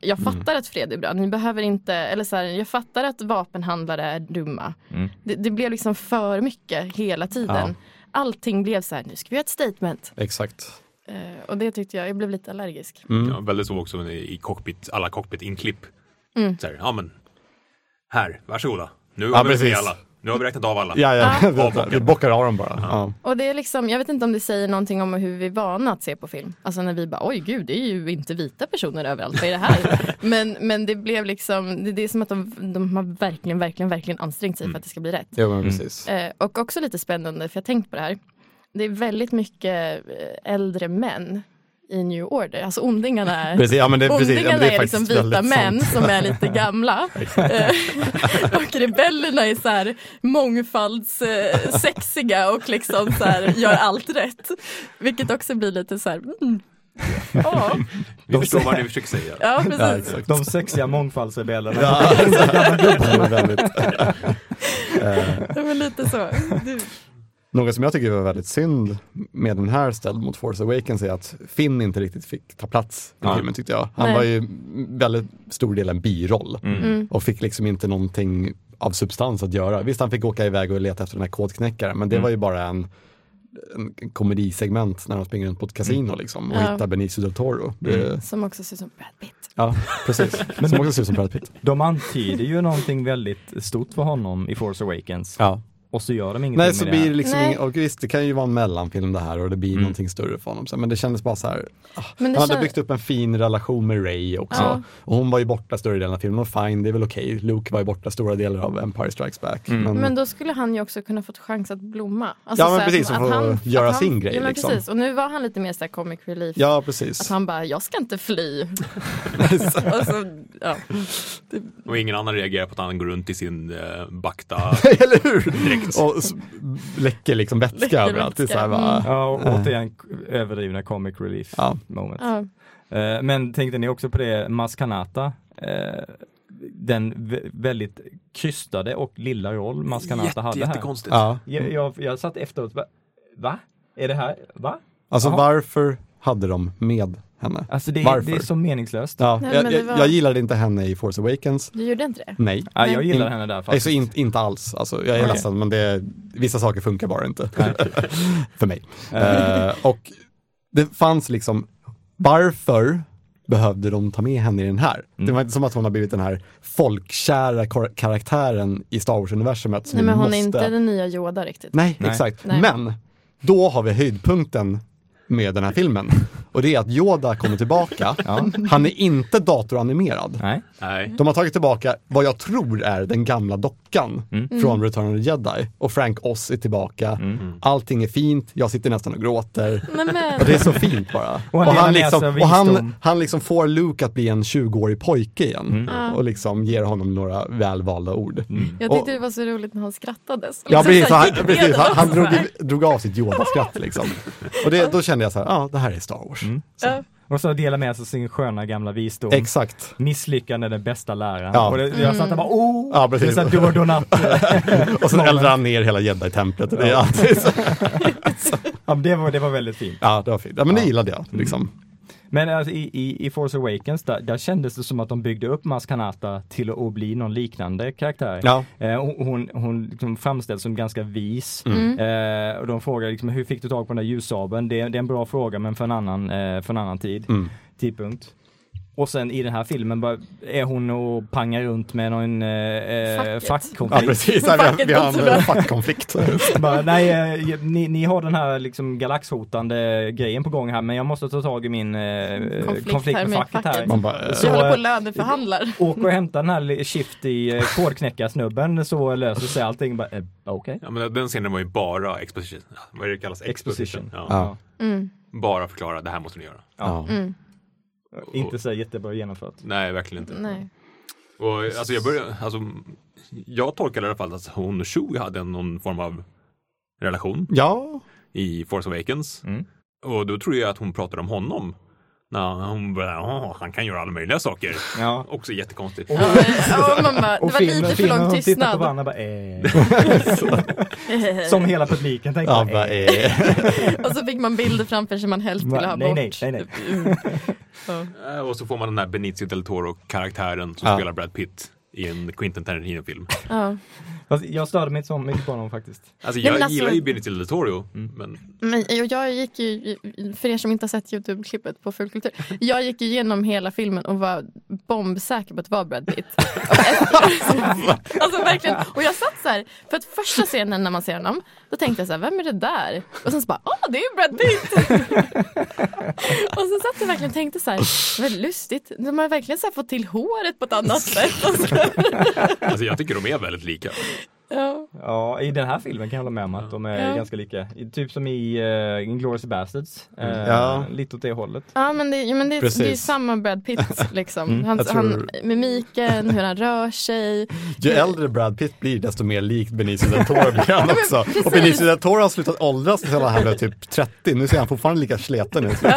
Jag
Mm.
fattar att fred är bra. Ni behöver inte, eller så här, jag fattar att vapenhandlare är dumma.
Mm.
Det, det blev liksom för mycket hela tiden. Allting blev så här, nu ska vi göra ett statement.
Exakt.
Eh, och det tyckte jag, jag blev lite allergisk.
Mm.
Ja, väldigt så också i cockpit, alla cockpit-inklipp.
Mm.
Så här, ja men, här, varsågoda. Nu har, vi
precis.
vi alla. nu har vi räknat av alla.
Ja, (laughs) ja.
Ja.
vi bockar av dem bara. Ja.
Och det är liksom, jag vet inte om det säger någonting om hur vi är vana att se på film. Alltså när vi bara, oj gud, det är ju inte vita personer överallt, vad är
(laughs)
det här? men, men det blev liksom, det, det är som att de, de har verkligen, verkligen, verkligen ansträngt sig för att det ska bli rätt.
Mm. Jo, men precis.
Eh, och också lite spännande, för jag har tänkt på det här. Det är väldigt mycket eh, äldre män i New Order, alltså ondingarna är
Precis, ja, men det, Eh, precis. Ja,
Ondingarna
men det
är, liksom
faktiskt
vita
väldigt
män
sant.
som är
(laughs)
lite gamla. Eh, (laughs) och rebellerna är så här mångfaldssexiga och liksom så här gör allt rätt. Vilket också blir lite så här, mm. Ja,
Vi förstår vad ni försöker säga.
ja
Ja,
precis.
exakt.
De
(laughs)
sexiga mångfaldsrebellerna.
Ja, det är väldigt.
Det var lite så. Du,
Något som jag tycker var väldigt synd med den här ställd mot Force Awakens är att Finn inte riktigt fick ta plats i
Ja.
filmen tyckte jag. Han
Nej. Mm.
var ju väldigt stor del en biroll och fick liksom inte någonting av substans att göra. Visst, han fick åka iväg och leta efter den här kodknäckaren, men det var ju bara en, en komedisegment när de springer runt på ett kasino liksom, och
Ja.
hittar Benicio del Toro. Det,
som också ser ut som Brad Pitt.
ja, (laughs) precis. Som också ser ut som Brad Pitt.
De antyder ju någonting väldigt stort för honom i Force Awakens
Ja.
och så gör de ingenting
Nej, så
med
blir det
det.
liksom
Nej.
ingen, och visst, det kan ju vara en mellanfilm det här och det blir någonting större för honom. Så- Men det kändes bara så här, ah,
Men det
han hade
kän-
byggt upp en fin relation med Ray också.
Ja.
Och hon var ju borta större delen av filmen och fine, det är väl okej. Luke var ju borta stora delar av Empire Strikes Back. Men,
Men då skulle han ju också kunna fått chans att blomma. Alltså
Mm. Ja, men
så här,
precis,
som
och få göra sin grej,
Ja, men
liksom.
precis. Och nu var han lite mer så här comic relief.
ja,
Att
precis.
han bara, jag ska inte fly. och så, ja.
Och ingen annan reagerar på att han går runt i sin eh, bakta.
(laughs) Eller hur? Och s- läcker liksom vätska
Läcker
överallt. Det är så här,
vätska, Mm.
bara,
Ja, och återigen k- överdrivna comic relief
Ja.
moments.
ja.
Eh, Men tänkte ni också på det Maskanata? eh, Den vä- väldigt krystade och lilla roll Maskanata hade här.
jättekonstigt.
ja.
Jag, jag, jag satt efteråt, va? va? Är det här, va?
Alltså
Jaha.
varför hade de med henne?
Alltså det, är-
varför?
det är så meningslöst.
ja,
Nej,
jag,
men det
jag,
var-
jag gillade inte henne i Force Awakens.
Du gjorde inte det?
Nej.
Ja, jag
Nej.
gillar henne där faktiskt.
Alltså in, inte alls, alltså, jag är
Okej.
ledsen men det, är- vissa saker funkar bara inte. (laughs) för mig. Eh, och det fanns liksom, varför behövde de ta med henne i den här?
Mm.
Det var inte som att hon har blivit den här folkkära kar- karaktären i Star Wars-universumet. som
Nej
vi
men hon
måste...
är inte den nya Yoda riktigt.
Nej, exakt.
Nej.
Men då har vi höjdpunkten med den här filmen. Och det är att Yoda kommer tillbaka. Han är inte datoranimerad.
Nej.
Nej.
De har tagit tillbaka vad jag tror är den gamla dockan
Mm.
från Return of the Jedi. Och Frank Oz är tillbaka. Allting är fint, jag sitter nästan och gråter.
Nej, men,
Och det är så fint bara.
(laughs) Och han delar med sig av
liksom, och han,
visdom.
han liksom får Luke att bli en 20-årig pojke igen. Och liksom ger honom några välvalda ord.
Mm.
typ-
jag tyckte det var så roligt när han skrattade. Så
Ja,
liksom
precis.
så här, gick
han, precis
igenom
han, han
så
drog,
här.
drog av sitt Yoda-skratt liksom. Och det, då kände jag så här, ja, det här är Star Wars.
Ja.
Och så delar med sig av sin sköna gamla visdom.
Exakt.
Misslyckande är den bästa läraren.
Ja.
Och det, jag satt där bara oh!
Ja,
det är
precis.
så att du och Donat.
Och sen eldar han ner hela Jedi-templet. (laughs) Det, är alltid så-
Ja, men det, var, det var väldigt fint.
ja, det var fint. Ja, men det gillade jag. Liksom.
Men alltså, i, i, i Force Awakens, där, där kändes det som att de byggde upp Maz Kanata till att bli någon liknande karaktär.
Ja.
Eh, hon hon, hon liksom framställs som ganska vis.
Mm.
Eh, och de frågar liksom, hur fick du
Mm.
tag på den där ljussabeln? Det, är- det är en bra fråga men för en annan, eh, för en annan tid. Tidpunkt. Och sen i den här filmen bara, är hon och pangar runt med någon eh,
Facket.
Ja,
fackkonflikt.
precis. Här, vi, vi har
Facket också.
en fackkonflikt.
(laughs) Bara, nej, eh, ni, ni har den här liksom galaxhotande grejen på gång här men jag måste ta tag i min eh, konflikt, med,
Konflikt här med
facket här.
facket.
Man bara, eh,
Vi
Så-
håller på och löneförhandlar.
Åk och hämta den här li- shift i eh, kodknäckarsnubben så löser sig allting. Bara, eh, Okej.
Ja, men den scenen var ju bara exposition. Ja, Vad är det kallas?
Exposition.
Ja.
Ja.
Mm.
Bara förklara, det här måste ni göra.
ja.
Inte så jättebra genomfört.
Nej, verkligen
Mm.
inte.
Nej.
Och, alltså, jag, började, alltså, jag tolkade i alla fall att hon och Shu hade någon form av relation
ja,
i Force Awakens.
Mm.
Och då tror jag att hon pratade om honom. När hon bara, "Åh, han kan göra alla möjliga saker.
Ja.
Också jättekonstigt.
Ja, eh, ja, man bara, det var lite för lång
de tittar på
tystnad.
varandra bara,
(laughs)
eh. Som hela publiken tänkte.
ja,
bara,
bara,
eh.
eh.
Och så fick man bilder framför sig man helst ville ha
Nej,
bort.
nej, nej, nej.
Eh, Och så får man den här Benicio del Toro-karaktären som
Ja.
spelar Brad Pitt i en Quentin Tarantino-film.
Ja.
Fast jag störde mig inte så mycket på honom faktiskt.
Alltså,
Nej,
jag
men alltså-
gillar ju Benicio del Toro,
Mm.
men
Men jag- jag gick ju, för er som inte har sett Youtube-klippet på Fullkultur, jag gick igenom hela filmen och var bombsäker på att det var Brad
(laughs)
Pitt. alltså verkligen, och jag satt så här, för att första scenen när man ser honom, då tänkte jag så här, vem är det där? Och sen så bara, ah det är ju Brad Pitt! (laughs) och sen satt jag verkligen och tänkte så här, väldigt lustigt, de har verkligen så här fått till håret på
(laughs)
ett annat sätt. Alltså,
alltså, jag tycker de är väldigt
(laughs)
lika.
ja.
Ja, i den här filmen kan jag hålla med om att de är
Ja.
ganska lika. I- Typ som i uh, Inglourious Basterds. Eh,
Mm. Ja.
Lite åt det hållet.
Ja men det, ja, men det,
Precis. Mm,
det är ju samma Brad Pitt liksom. han,
jag
han,
tror-
mimiken, hur han rör sig.
Ju äldre Brad Pitt blir, desto mer likt Benicio del Toro blir han också.
precis.
Och Benicio del Toro har slutat åldras sedan han blev typ 30. Nu ser han fortfarande lika sleten ut.
Ja,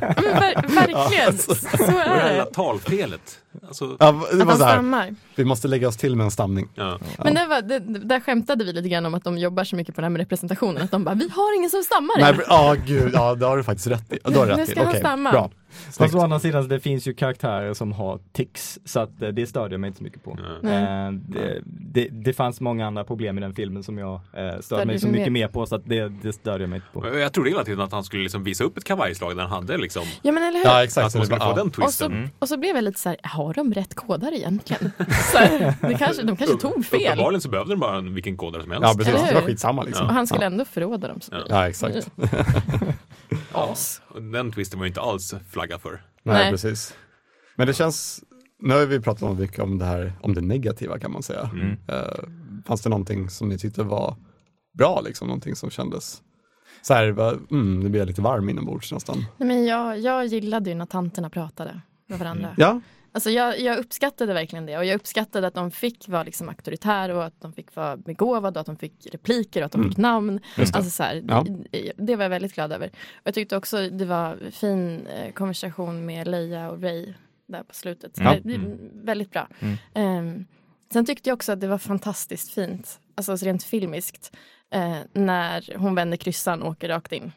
men ver, verkligen, så
Och det
är
här
det.
talfelet. Alltså,
Ja, alltså. det
Att
var
han
så här,
stammar.
vi måste lägga oss till med en stamning.
ja.
Men det var, det, där skämtade vi lite grann om att de jobbar så mycket på det här med representationen. Att de bara, vi har ingen som stammar.
Nej, ja gud, ja det har du faktiskt rätt i. Ja, Då har du
Nu
rätt i.
ska han
Okej,
stamma.
bra.
Fast
Snyggt.
å andra sidan, det finns ju karaktärer som har tics, så att eh, det störde jag mig inte så mycket på. Eh, det, det, det fanns många andra problem i den filmen som jag eh, störde mig
du
så
dig
mycket
mer?
mer på, så att det, det störde jag mig inte på.
Och Jag trodde hela tiden att han skulle liksom visa upp ett kavajslag där han hade liksom.
Ja men eller hur.
Ja, exakt. Mm.
Att man
Så
skulle få
det bara, ja.
den
och, så,
twisten.
och så blev jag lite så här, har de rätt koder egentligen? (laughs) Så här, det kanske, de kanske tog fel.
Uppenbarligen så behövde den bara en- vilken kodare som helst.
Ja, precis.
Eller
Det var
hur?
skitsamma liksom.
Och han skulle ändå förråda dem. Så.
Ja, exakt.
As.
Och Den twisten var ju inte alls flaggad för.
Nej,
Nej.
precis. Men det känns, nu har vi pratat om mycket om det här, om det negativa kan man säga.
Mm.
Eh, fanns det någonting som ni tyckte var bra, liksom, någonting som kändes så här, bara, mm, nu blir jag lite varm inombords nästan.
Nej, men jag, jag gillade ju när tanterna pratade med varandra.
Ja,
Alltså jag, jag uppskattade verkligen det och jag uppskattade att de fick vara liksom auktoritära och att de fick vara begåvade och att de fick repliker och att de fick namn. Alltså så här,
Mm. Ja.
det, det var jag väldigt glad över. Och jag tyckte också det var fin eh, konversation med Leia och Ray där på slutet. Så
Ja. Mm.
det, det, väldigt bra. Ehm, sen tyckte jag också att det var fantastiskt fint, alltså rent filmiskt, eh, när hon vänder kryssan och åker rakt in.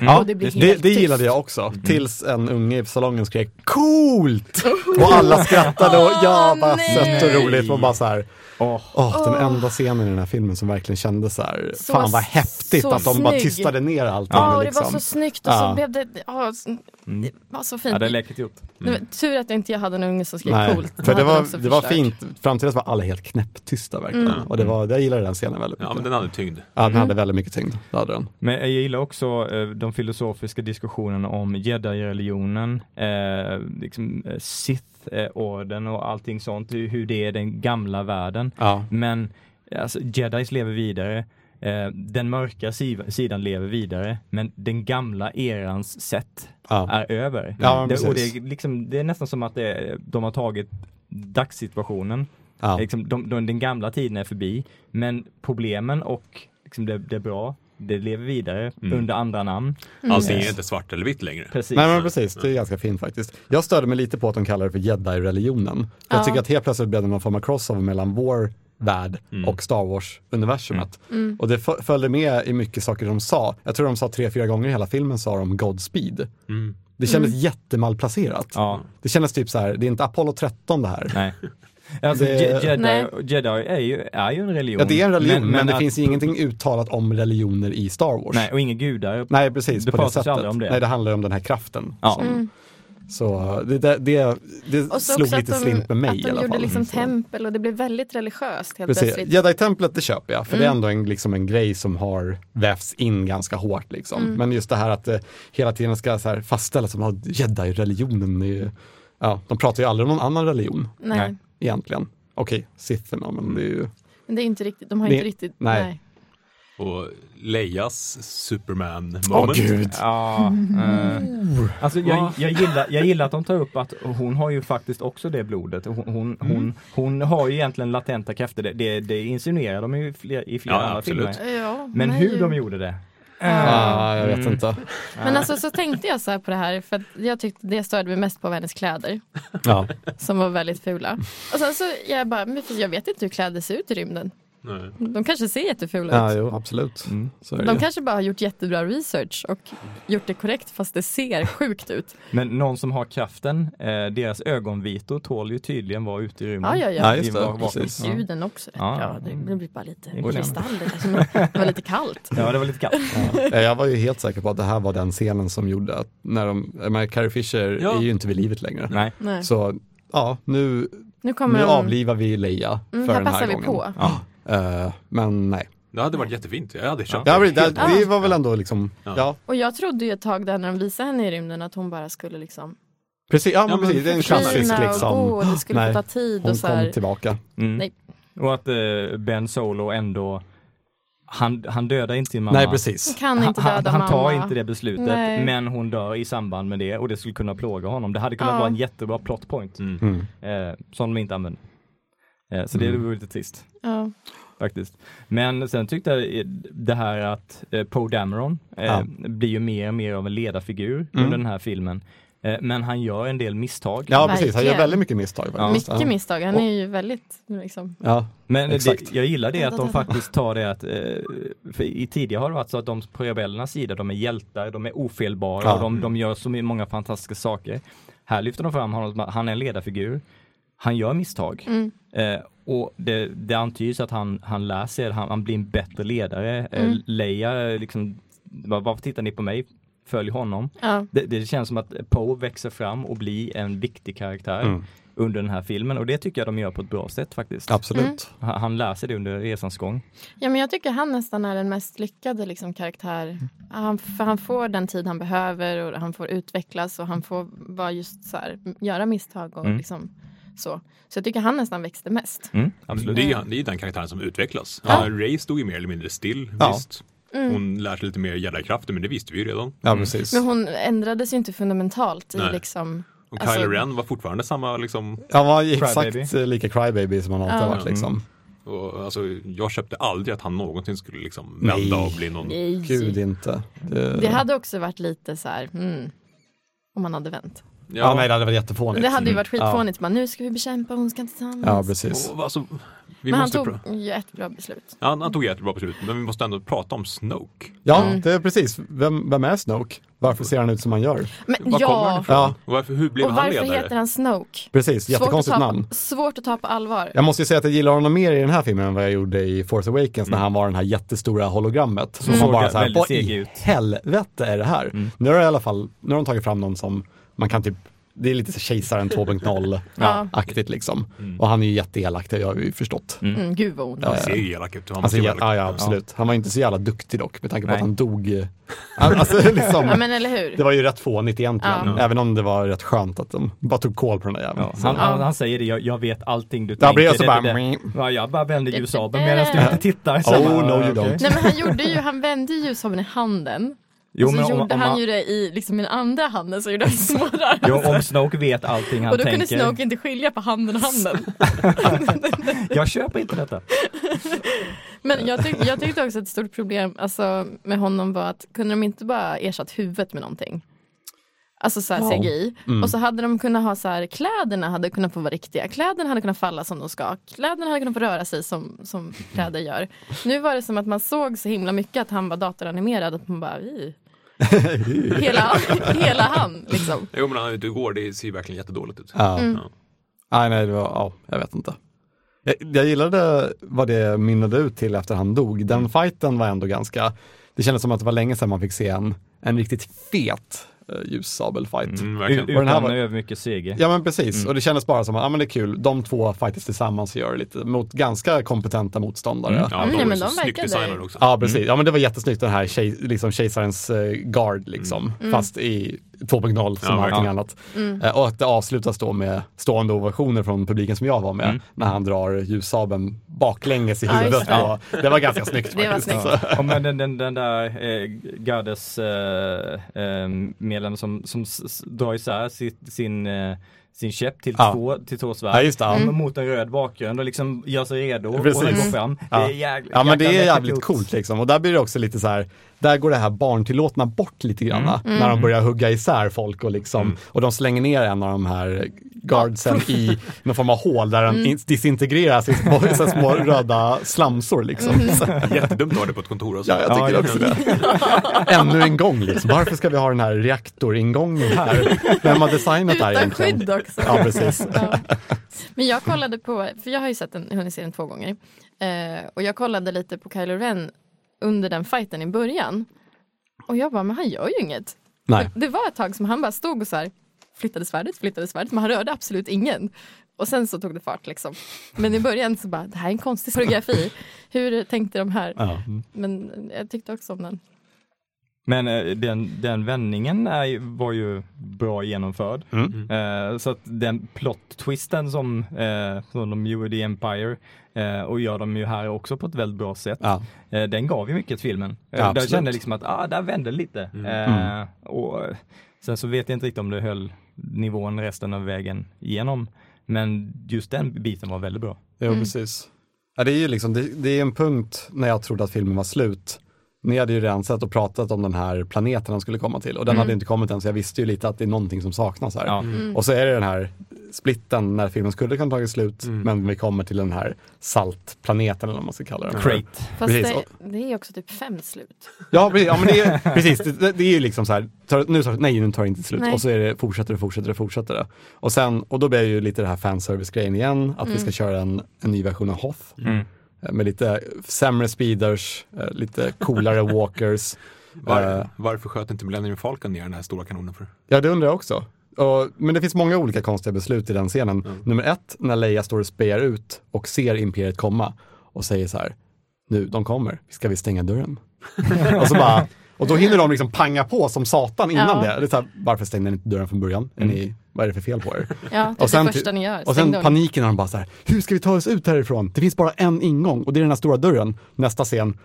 ja
Och det blir
det,
helt
det
tyst. Mm.
gillade jag också. Tills en unge i salongen skrek coolt! Och alla skrattade och ja,
Åh,
bara sött och
nej.
roligt. Och bara så här,
Åh.
åh, den enda scenen i den här filmen som verkligen kändes så här,
Så
fan vad häftigt
så
att de bara
snygg.
tystade ner allting.
Ja, och det
liksom.
var så snyggt och
Ja. Mm.
så blev det, ja, så- det var så fint.
Ja, det är läckert gjort.
Det var tur att jag inte jag hade en unge som skrek
Nej,
coolt. Då
för det
hade
var,
också
det var
förstört. Mm.
fint. Fram till dess var alla helt knäpptysta verkligen. Och det var, jag gillade den scenen väldigt mycket.
Ja, men den hade tyngd.
Ja, den hade väldigt mycket tyngd. Det hade den.
Men jag gillar också eh, de filosofiska diskussionerna om jedi-religionen, eh, liksom eh, Sith-orden och allting sånt, hur hur det är den gamla världen.
Ja.
Men alltså, jedis lever vidare. Eh, den mörka siv- sidan lever vidare, men den gamla erans sätt
Ja.
är över.
Ja, men
det, och det,
precis.
är liksom, det är nästan som att det är, de har tagit dagssituationen.
Ja.
Liksom, de, de, den gamla tiden är förbi, men problemen och liksom, det, det är bra, det lever vidare under andra namn.
Mm.
Allting är inte svart eller vitt längre.
Precis.
Mm. Nej men precis, det är ganska fint faktiskt. Jag störde mig lite på att de kallar det för jedi-religionen. Jag
Ja.
tycker att helt plötsligt blev det någon form av crossover mellan vår värld och Star Wars-universumet.
Mm.
Och det fö- följde med i mycket saker de sa. Jag tror de sa tre, fyra gånger i hela filmen sa de Godspeed. Det kändes
Mm.
jättemalplacerat.
Ja.
Det kändes typ så här, det är inte Apollo 13 det här.
Nej. Alltså,
Det-
Je- Jedi,
Nej.
Jedi är, ju, är ju en religion.
Ja, det är en religion, men, det
att-
finns ingenting uttalat om religioner i Star Wars.
Nej, och inga gudar.
Nej, precis.
Det
på det
pratas ju
sättet.
aldrig om det.
Nej, det handlar ju om den här kraften.
Ja.
Som, Så eh, det, det, det, det
Mm. Och så
slog
också
lite
att de,
slint med mig
att
i alla
de
fall. Mm.
gjorde liksom
Så.
tempel och det blev väldigt religiöst helt
Precis.
plötsligt. Mm.
Jedi-templet, det köper jag, för det är ändå en, liksom en grej som har vävts in ganska hårt. Liksom.
Mm.
Men just det här att det hela tiden ska så här fastställas som att jedi-religionen, är ju- ja, de pratar ju aldrig om någon annan religion
Nej.
Nej.
egentligen. Okej, sitherna, men det är ju...
Men det är inte riktigt, de har
Det-
inte riktigt,
nej.
nej.
Och Leias Superman moment.
Ja, eh, alltså jag, jag, gillar, jag gillar att de tar upp att hon har ju faktiskt också det blodet. Hon, hon, hon, hon har ju egentligen latenta krafter. Det, det, det insinuerar de ju i flera, i flera
Ja,
andra
absolut.
filmer.
Ja,
Men
nej.
hur de gjorde det.
Ah, jag vet
Mm.
inte.
Men alltså så tänkte jag så här på det här, för att jag tyckte det störde mig mest på var hennes kläder.
Ja.
Som var väldigt fula. Och sen så jag bara, men för jag vet inte hur kläder ser ut i rymden.
Nej.
De kanske ser jättefula
ja,
ut.
jo, absolut. Mm. Så är det
De
ju.
kanske bara har gjort jättebra research och gjort det korrekt fast det ser sjukt ut.
Mm.
Men någon som har kraften, eh, deras ögonvitor tål ju tydligen vara ute i rymden.
Ja, ja,
Ja,
ja.
just
I
det.
vak-
Precis.
Ljuden också.
Ja.
Ja, det det blir bara lite
går igen.
kristaller. Alltså, det var lite kallt.
Ja, det var lite kallt.
Ja, Jag var ju helt säker på att det här var den scenen som gjorde att när de, jag menar, Carrie Fisher
Ja.
är ju inte vid livet längre.
Nej.
Nej.
Så ja, nu,
Nu kommer
nu
de...
avlivar vi Leia
Mm,
för
här
den här
passar vi
gången.
på.
Eh, men nej.
Det hade varit jättefint. Jag hade köpt
Ja, men
Helt
det, det var väl ändå liksom, ja,
Ja.
Och jag trodde ju ett tag där när de visade henne i rymden att hon bara skulle liksom
precis, ja, men
Ja, men
precis, det är en
försvinna
klassisk
och gå
liksom,
och det skulle
nej,
få ta tid
hon
och så här.
kom tillbaka.
Mm.
Nej.
Och att eh, Ben Solo ändå, han, han dödar inte sin mamma.
Nej, precis.
Kan inte
han,
döda
han, han tar
mamma.
inte det beslutet,
Nej.
men hon dör i samband med det och det skulle kunna plåga honom. Det hade kunnat
Ja.
vara en jättebra plot point
Mm.
eh, som de inte använde. Eh, så det var lite trist
Ja.
faktiskt. Men sen tyckte jag eh, det här att eh, Poe Dameron eh,
Ja. Mm.
blir ju mer och mer av en ledarfigur under den här filmen. Eh, men han gör en del misstag.
Ja, precis, han gör
Verkligen.
väldigt mycket misstag. faktiskt.
Mycket misstag. Han är ju väldigt liksom.
Ja,
Men
Exakt.
det, jag gillar det att de
Vänta, vänta.
faktiskt tar det att, eh, för i tidigare har det varit så att de på rebellernas sida, de är hjältar, de är ofelbara
Ja.
och de, de gör så många fantastiska saker. Här lyfter de fram honom som att han är en ledarfigur, han gör misstag. Eh, och det, det antyds att han, han lär sig, han, han blir en bättre ledare. Eh, Leia, eh, liksom, var- varför tittar ni på mig? Följ honom.
Ja.
Det, det känns som att Poe växer fram och blir en viktig karaktär under den här filmen och det tycker jag de gör på ett bra sätt faktiskt.
Mm. absolut.
Mm.
Han han lär sig det under resans gång.
ja, men jag tycker han nästan är den mest lyckade liksom, karaktär. Han, för han får den tid han behöver och han får utvecklas och han får vara just så här, göra misstag och liksom så. Så jag tycker han nästan växte mest.
Absolut.
Det är, ju- det är ju den karaktären som utvecklas. Ja. Ray stod ju mer eller mindre still,
Ja.
visst.
Mm.
Hon lär sig lite mer jedi-krafter, men det visste vi ju redan.
Ja, precis.
Men hon ändrades ju inte fundamentalt i
Nej.
liksom.
Och
Alltså-
Kylo Ren var fortfarande samma liksom.
Han var ju exakt
Crybaby.
eh, lika crybaby som han alltid har varit liksom.
Och, alltså, jag köpte aldrig att han någonsin skulle liksom vända
Nej.
och bli någon.
Gud inte. Det,
Det hade också varit lite så här, mm, om man hade vänt.
ja. nej, det hade varit jättefånigt.
Det hade ju varit
Mm. Ja.
skitfånigt. Man, nu ska vi bekämpa, hon ska inte tillsammans.
Ja, Mm. precis.
Och, alltså, vi
Men han
måste
tog
pra-
ju ett bra beslut.
Ja, han tog ett bra beslut, men vi måste ändå prata om Snoke.
Ja, det är precis. Vem, vem är Snoke? Varför ser han ut som han gör?
Men
Var kommer han
ja,
ifrån?
Ja,
Och varför, hur blev
och
han
varför
ledare?
heter han Snoke?
precis. Jättekonstigt
svårt att ta,
namn.
Svårt att ta på allvar.
Jag måste ju säga att jag gillar honom mer i den här filmen än vad jag gjorde i Force Awakens när han var den här jättestora hologrammet. Mm. Som man
såg
bara så här,
väldigt
vad
seg
i
ut."
helvete är det här? Nu har de i alla fall, nu har de tagit fram någon som man kan typ, det är lite så kejsaren 2.0-aktigt liksom. Och han är ju jätteelak, det har vi ju förstått.
Mm, gud vad onödigt.
Han ser ju typ. elak ut. Han
Eh, Alltså,
måste ju
ja,
vara
ja,
elak.
absolut. Han var inte så jävla duktig dock med tanke på
Nej.
att han dog. eh, han- Alltså, liksom,
Ja men eller hur.
Det var ju rätt fånigt egentligen, även om det var rätt skönt att de bara tog koll på den där
Mm.
jäveln.
Ja, han, han, han säger det, jag, jag vet allting du
Där
tänker.
blir jag så
det-
bara, mm.
det- det- Ja, jag bara vänder ljussabeln medan
(laughs)
du inte tittar. Så
Oh,
bara,
no you
okej.
don't.
Nej men han gjorde ju, han vände ju som i handen.
Jo,
och så
men om,
gjorde
om,
han
han,
ju det i liksom i den andra handen så gjorde han snårar.
jo, om Snoke vet allting han
och då
tänker.
kunde Snoke inte skilja på handen och handen.
Jag köper
(laughs)
inte detta.
Men jag, tyck, jag tyckte också att ett stort problem alltså, med honom var att kunde de inte bara ersatt huvudet med någonting? Alltså så här CGI.
Mm.
Och så hade de kunnat ha så här, kläderna hade kunnat få vara riktiga. Kläderna hade kunnat falla som de ska. Kläderna hade kunnat få röra sig som, som
(laughs)
kläder gör. Nu var det som att man såg så himla mycket att han var datoranimerad. Att man
(laughs)
bara, "Ih." hela, hela han liksom.
Jo, men han är ute och går. Det ser ju verkligen jättedåligt ut.
Ja. Mm.
Ja.
Nej, nej, det var, ja, jag vet inte. Jag, jag gillade vad det mynnade ut till efter han dog. Den fighten var ändå ganska, det kändes som att det var länge sedan man fick se en, en riktigt fet eh, ljussabelfight.
Mm,
U-
verkligen.
Och den
utan
här var-
övermycket seger. (laughs)
Ja men precis, och det kändes bara som att, ja men det är kul, de två fightas tillsammans och gör lite mot ganska kompetenta motståndare.
Mm. Ja,
Mm,
de
men
är så
de
snyggt
verkade-
designade också.
Ja, precis. Ja, men det var jättesnyggt den här tjej, liksom kejsarens eh, guard, liksom. fast i 2.0 som
Mm. Ja,
allting
verkligen.
annat.
Mm.
Eh, och att det avslutas då med stående ovationer från publiken som jag var med,
Mm.
när han drar ljussabeln baklänges i
Ja, just
huvudet.
det.
Ja, det var ganska snyggt
Det var
faktiskt.
snyggt.
Så-
Ja, men den, den, den där eh, Gardes eh, eh, medlem som, som s- s- drar isär sitt, sin, eh, sin käpp till,
Ja.
två, till två svärd.
Ja, just det. Ja.
Mm. Mot en röd bakgrund och liksom gör sig redo och
Precis.
går fram. Det
Ja.
är jäkligt,
Ja men det är jävligt coolt liksom. Och där blir det också lite så här, där går det här barntillåtna bort lite grann. När de börjar hugga isär folk och liksom, och de slänger ner en av de här guardsen i någon form av hål där den in- disintegreras i små, så här små röda slamsor liksom. Så,
Jättedumt att ha det på ett kontor och så.
ja, jag tycker
Ja,
också det. (laughs) Ännu en gång liksom. Varför ska vi ha den här reaktoringången här? Vem har designat det här
Utan
egentligen?
skydd också.
Ja, precis.
(laughs) Ja. Men jag kollade på, för jag har ju sett den, hunnit se den två gånger. Eh, och jag kollade lite på Kylo Ren under den fighten i början. Och jag bara, men han gör ju inget.
Nej.
Det var ett tag som han bara stod och så här flyttade svärdet, flyttade svärdet, men han rörde absolut ingen. Och sen så tog det fart liksom. Men i början så bara, det här är en konstig koreografi. Hur tänkte de här?
Ja.
Men jag tyckte också om den.
Men eh, den, den vändningen är, ju- var ju bra genomförd.
Mm.
Eh, så att den plot-twisten som, eh, som de gjorde i Empire eh, och gör de ju här också på ett väldigt bra sätt.
Ja.
Eh, den gav ju mycket till filmen.
Ja,
Ja, där
absolut. Mm.
kände jag liksom att, ah, där vände det lite. Eh, och eh, sen så vet jag inte riktigt om det höll nivån resten av vägen igenom. Men just den biten var väldigt bra.
Jo,
Mm.
precis. Ja, det är ju liksom, det, det är en punkt när jag trodde att filmen var slut. Ni hade ju redan sett och pratat om den här planeten de skulle komma till och den
Mm.
hade inte kommit än så jag visste ju lite att det är någonting som saknas här.
Ja.
Och så är det den här splitten när filmen skulle kunna tagit slut men vi kommer till den här saltplaneten eller vad man ska kalla den. för.
Great.
Fast
Precis,
det,
och-
det är också typ fem slut.
Ja, precis. Ja, men det är, precis det, det är ju liksom så här, tar, nu tar, nej nu tar det inte slut
Nej.
och så är det, fortsätter det, fortsätter det, fortsätter det. Och, sen, och då blir det ju lite det här fanservice-grejen igen, att vi ska köra en, en ny version av Hoth. eh, Med lite sämre speeders, eh, lite coolare walkers. Eh,
Var, varför sköt inte Millennium Falcon ner den här stora kanonen för?
Ja, det undrar jag också. Och, men det finns många olika konstiga beslut i den scenen. Nummer ett, när Leia står och spejar ut och ser Imperiet komma och säger så här, nu, de kommer, ska vi stänga dörren? och, så bara, och då hinner de liksom panga på som satan innan
Ja.
det. det är så här, varför stängde ni inte dörren från början? Är ni, vad är det för fel på er?
Ja, Typ
Och
det är
sen
det första ni gör.
Och
Stäng
sen
dörren.
paniken när de bara så här, hur ska vi ta oss ut härifrån? Det finns bara en ingång och det är den här stora dörren. Nästa scen,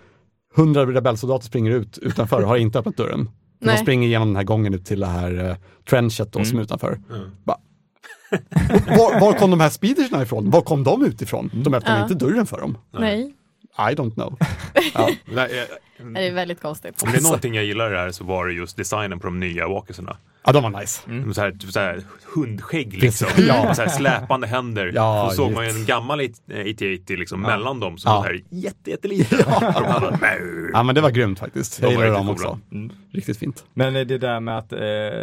hundra rebellsoldater springer ut utanför och har inte öppnat dörren. För De
Nej.
springer igenom den här gången ut till det här eh, trenchet då, som är utanför. Bara, (laughs) var, var kom de här speedersna ifrån? Var kom de utifrån?
Mm.
De öppnade inte dörren för dem.
Nej,
I don't know.
Nej, eh,
det är väldigt konstigt.
Alltså.
Om det är någonting jag gillar i det här så var det just designen på de nya walkersarna.
Ja, de var nice.
De Så här, typ så här hundskägg liksom.
Ja.
Och Så här släpande händer.
Ja,
så såg
just.
man ju en gammal 8080 liksom mellan dem som
Ja.
var så här jätte, jätteliten. Och de här bara, "Brr."
Ja, men det var grymt faktiskt. Jag
De var
gillar Mm. dem
riktigt
också. Riktigt fint.
Men eh, det där med att eh,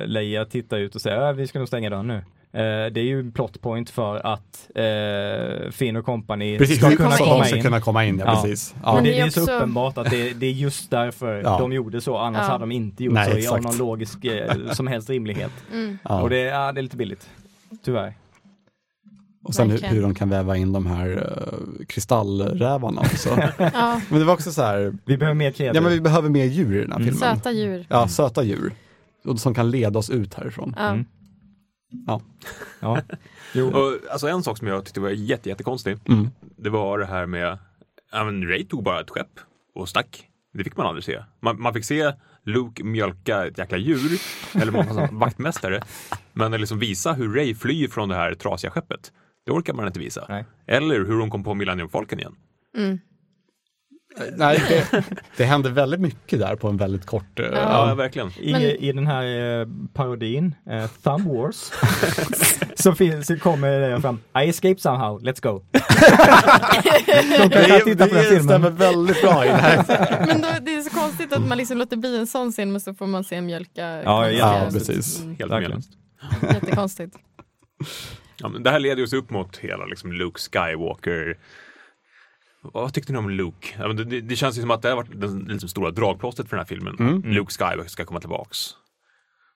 Leia tittar ut och säger "Äh, vi ska nog stänga dörren nu. Eh, det är ju en plot point för att eh, Finn och company
Precis,
ska
hur
kunna
ska
komma
de ska
in.
kunna komma in? Ja,
Ja.
precis.
Och
Ja.
det,
Men
det är
det är
så
också-
uppenbart att det, det är just därför
Ja.
de gjorde så, annars
Ja.
hade de inte gjort
Nej,
så
exakt.
av någon logisk eh, som helst rimlighet.
Mm.
Ja.
Och det, ja, det är lite billigt, tyvärr.
Och sen hur,
Verkligen.
hur de kan väva in de här eh, kristallrävarna också.
(laughs)
Ja,
men det var också så här,
Vi behöver mer kreativ.
ja men vi behöver mer djur i den här
Mm.
filmen. (laughs)
söta djur.
Ja, söta djur. Och som kan leda oss ut härifrån.
Ja.
Mm.
Ja.
ja.
(laughs)
Mm. Jo.
Och, alltså en sak som jag tyckte var jätte, jättekonstig. Det var det här med, ja men Ray tog bara ett skepp och stack. Det fick man aldrig se. Man, man fick se Luke mjölka ett jäkla djur, eller man
(laughs)
var vaktmästare. Men liksom visa hur Ray flyr från det här trasiga skeppet. Det orkar man inte visa.
Nej.
Eller hur hon kom på Millennium Falcon igen.
Nej, det, det händer väldigt mycket där på en väldigt kort... eh,
Ja, verkligen.
I,
Men-
I den här eh, parodin, eh, Thumb Wars, (laughs) så, finns, så kommer det fram I escaped somehow, let's go.
(laughs)
Det,
Jag tittar på den
det
filmen.
stämmer väldigt bra in här.
Men då, det är så konstigt att man liksom låter bli en sån scen men så får man se en mjölka.
Ja,
Ja, Ja,
precis.
Mm,
Helt
Verkligen.
meningslöst.
jättekonstigt.
Ja, men det här leder oss upp mot hela liksom, Luke Skywalker. Vad tyckte ni om Luke? Ja, men det- det, det
Mm.
känns ju som att det har varit det liksom, stora dragplåstret för den här filmen. Luke Skywalker ska komma tillbaks.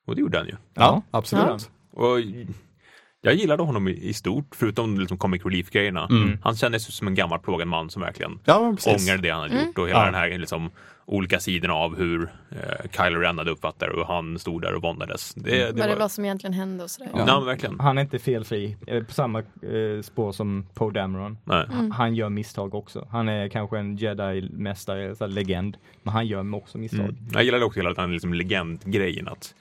Och det gjorde han ju.
Ja, absolut.
Och jag gillade honom i, i stort, förutom liksom comic relief-grejerna. Han kändes som en gammal plågad man som verkligen
Mm. Ja, men precis. Mm.
ångrade det han hade gjort och hela
Ja.
den här liksom, olika sidorna av hur eh, Kylo Ren hade uppfattat det och han stod där och våndades.
Mm.
Det, det
Vad det
var...
var som egentligen hände och sådär.
Ja, men verkligen.
Han är inte felfri, eh, på samma eh, spår som Poe Dameron.
Nej.
Mm.
Mm.
Han gör misstag också. Han är kanske en jedi-mästare, så här legend, men han gör också misstag.
Mm.
Jag gillade också hela den här liksom legendgrejen, att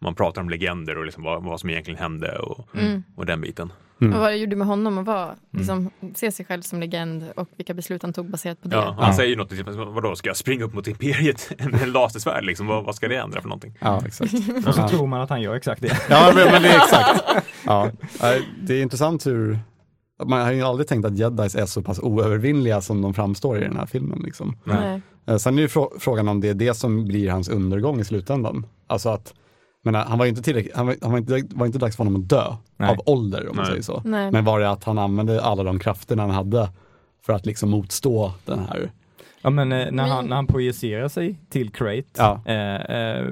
man pratar om legender och liksom vad, vad som egentligen hände och,
Mm.
och den biten.
Och vad det gjorde med honom att vara, liksom, se sig själv som legend och vilka beslut han tog baserat på det.
Ja, han säger ju något, typ, vadå, ska jag springa upp mot Imperiet (laughs) med en lasersvärd liksom? Vad, vad ska det ändra för någonting?
Ja,
(laughs)
exakt.
Och så tror man att han gör exakt det.
Ja, men men det är exakt.
(laughs)
Ja. Nej, Det är intressant hur, man har ju aldrig tänkt att jedis är så pass oövervinnliga som de framstår i den här filmen. Liksom.
Nej.
Eh, Sen är ju frå- frågan om det är det som blir hans undergång i slutändan. Alltså att, men han var ju inte tillräckligt, han var, han var inte, det var inte dags för honom att dö
Nej.
av ålder om man
Nej.
säger så.
Nej.
Men var det att han använde alla de krafterna han hade för att liksom motstå den här,
Ja men eh, när,
Men-
han, när han projicerar sig till Crate,
Ja.
eh, eh,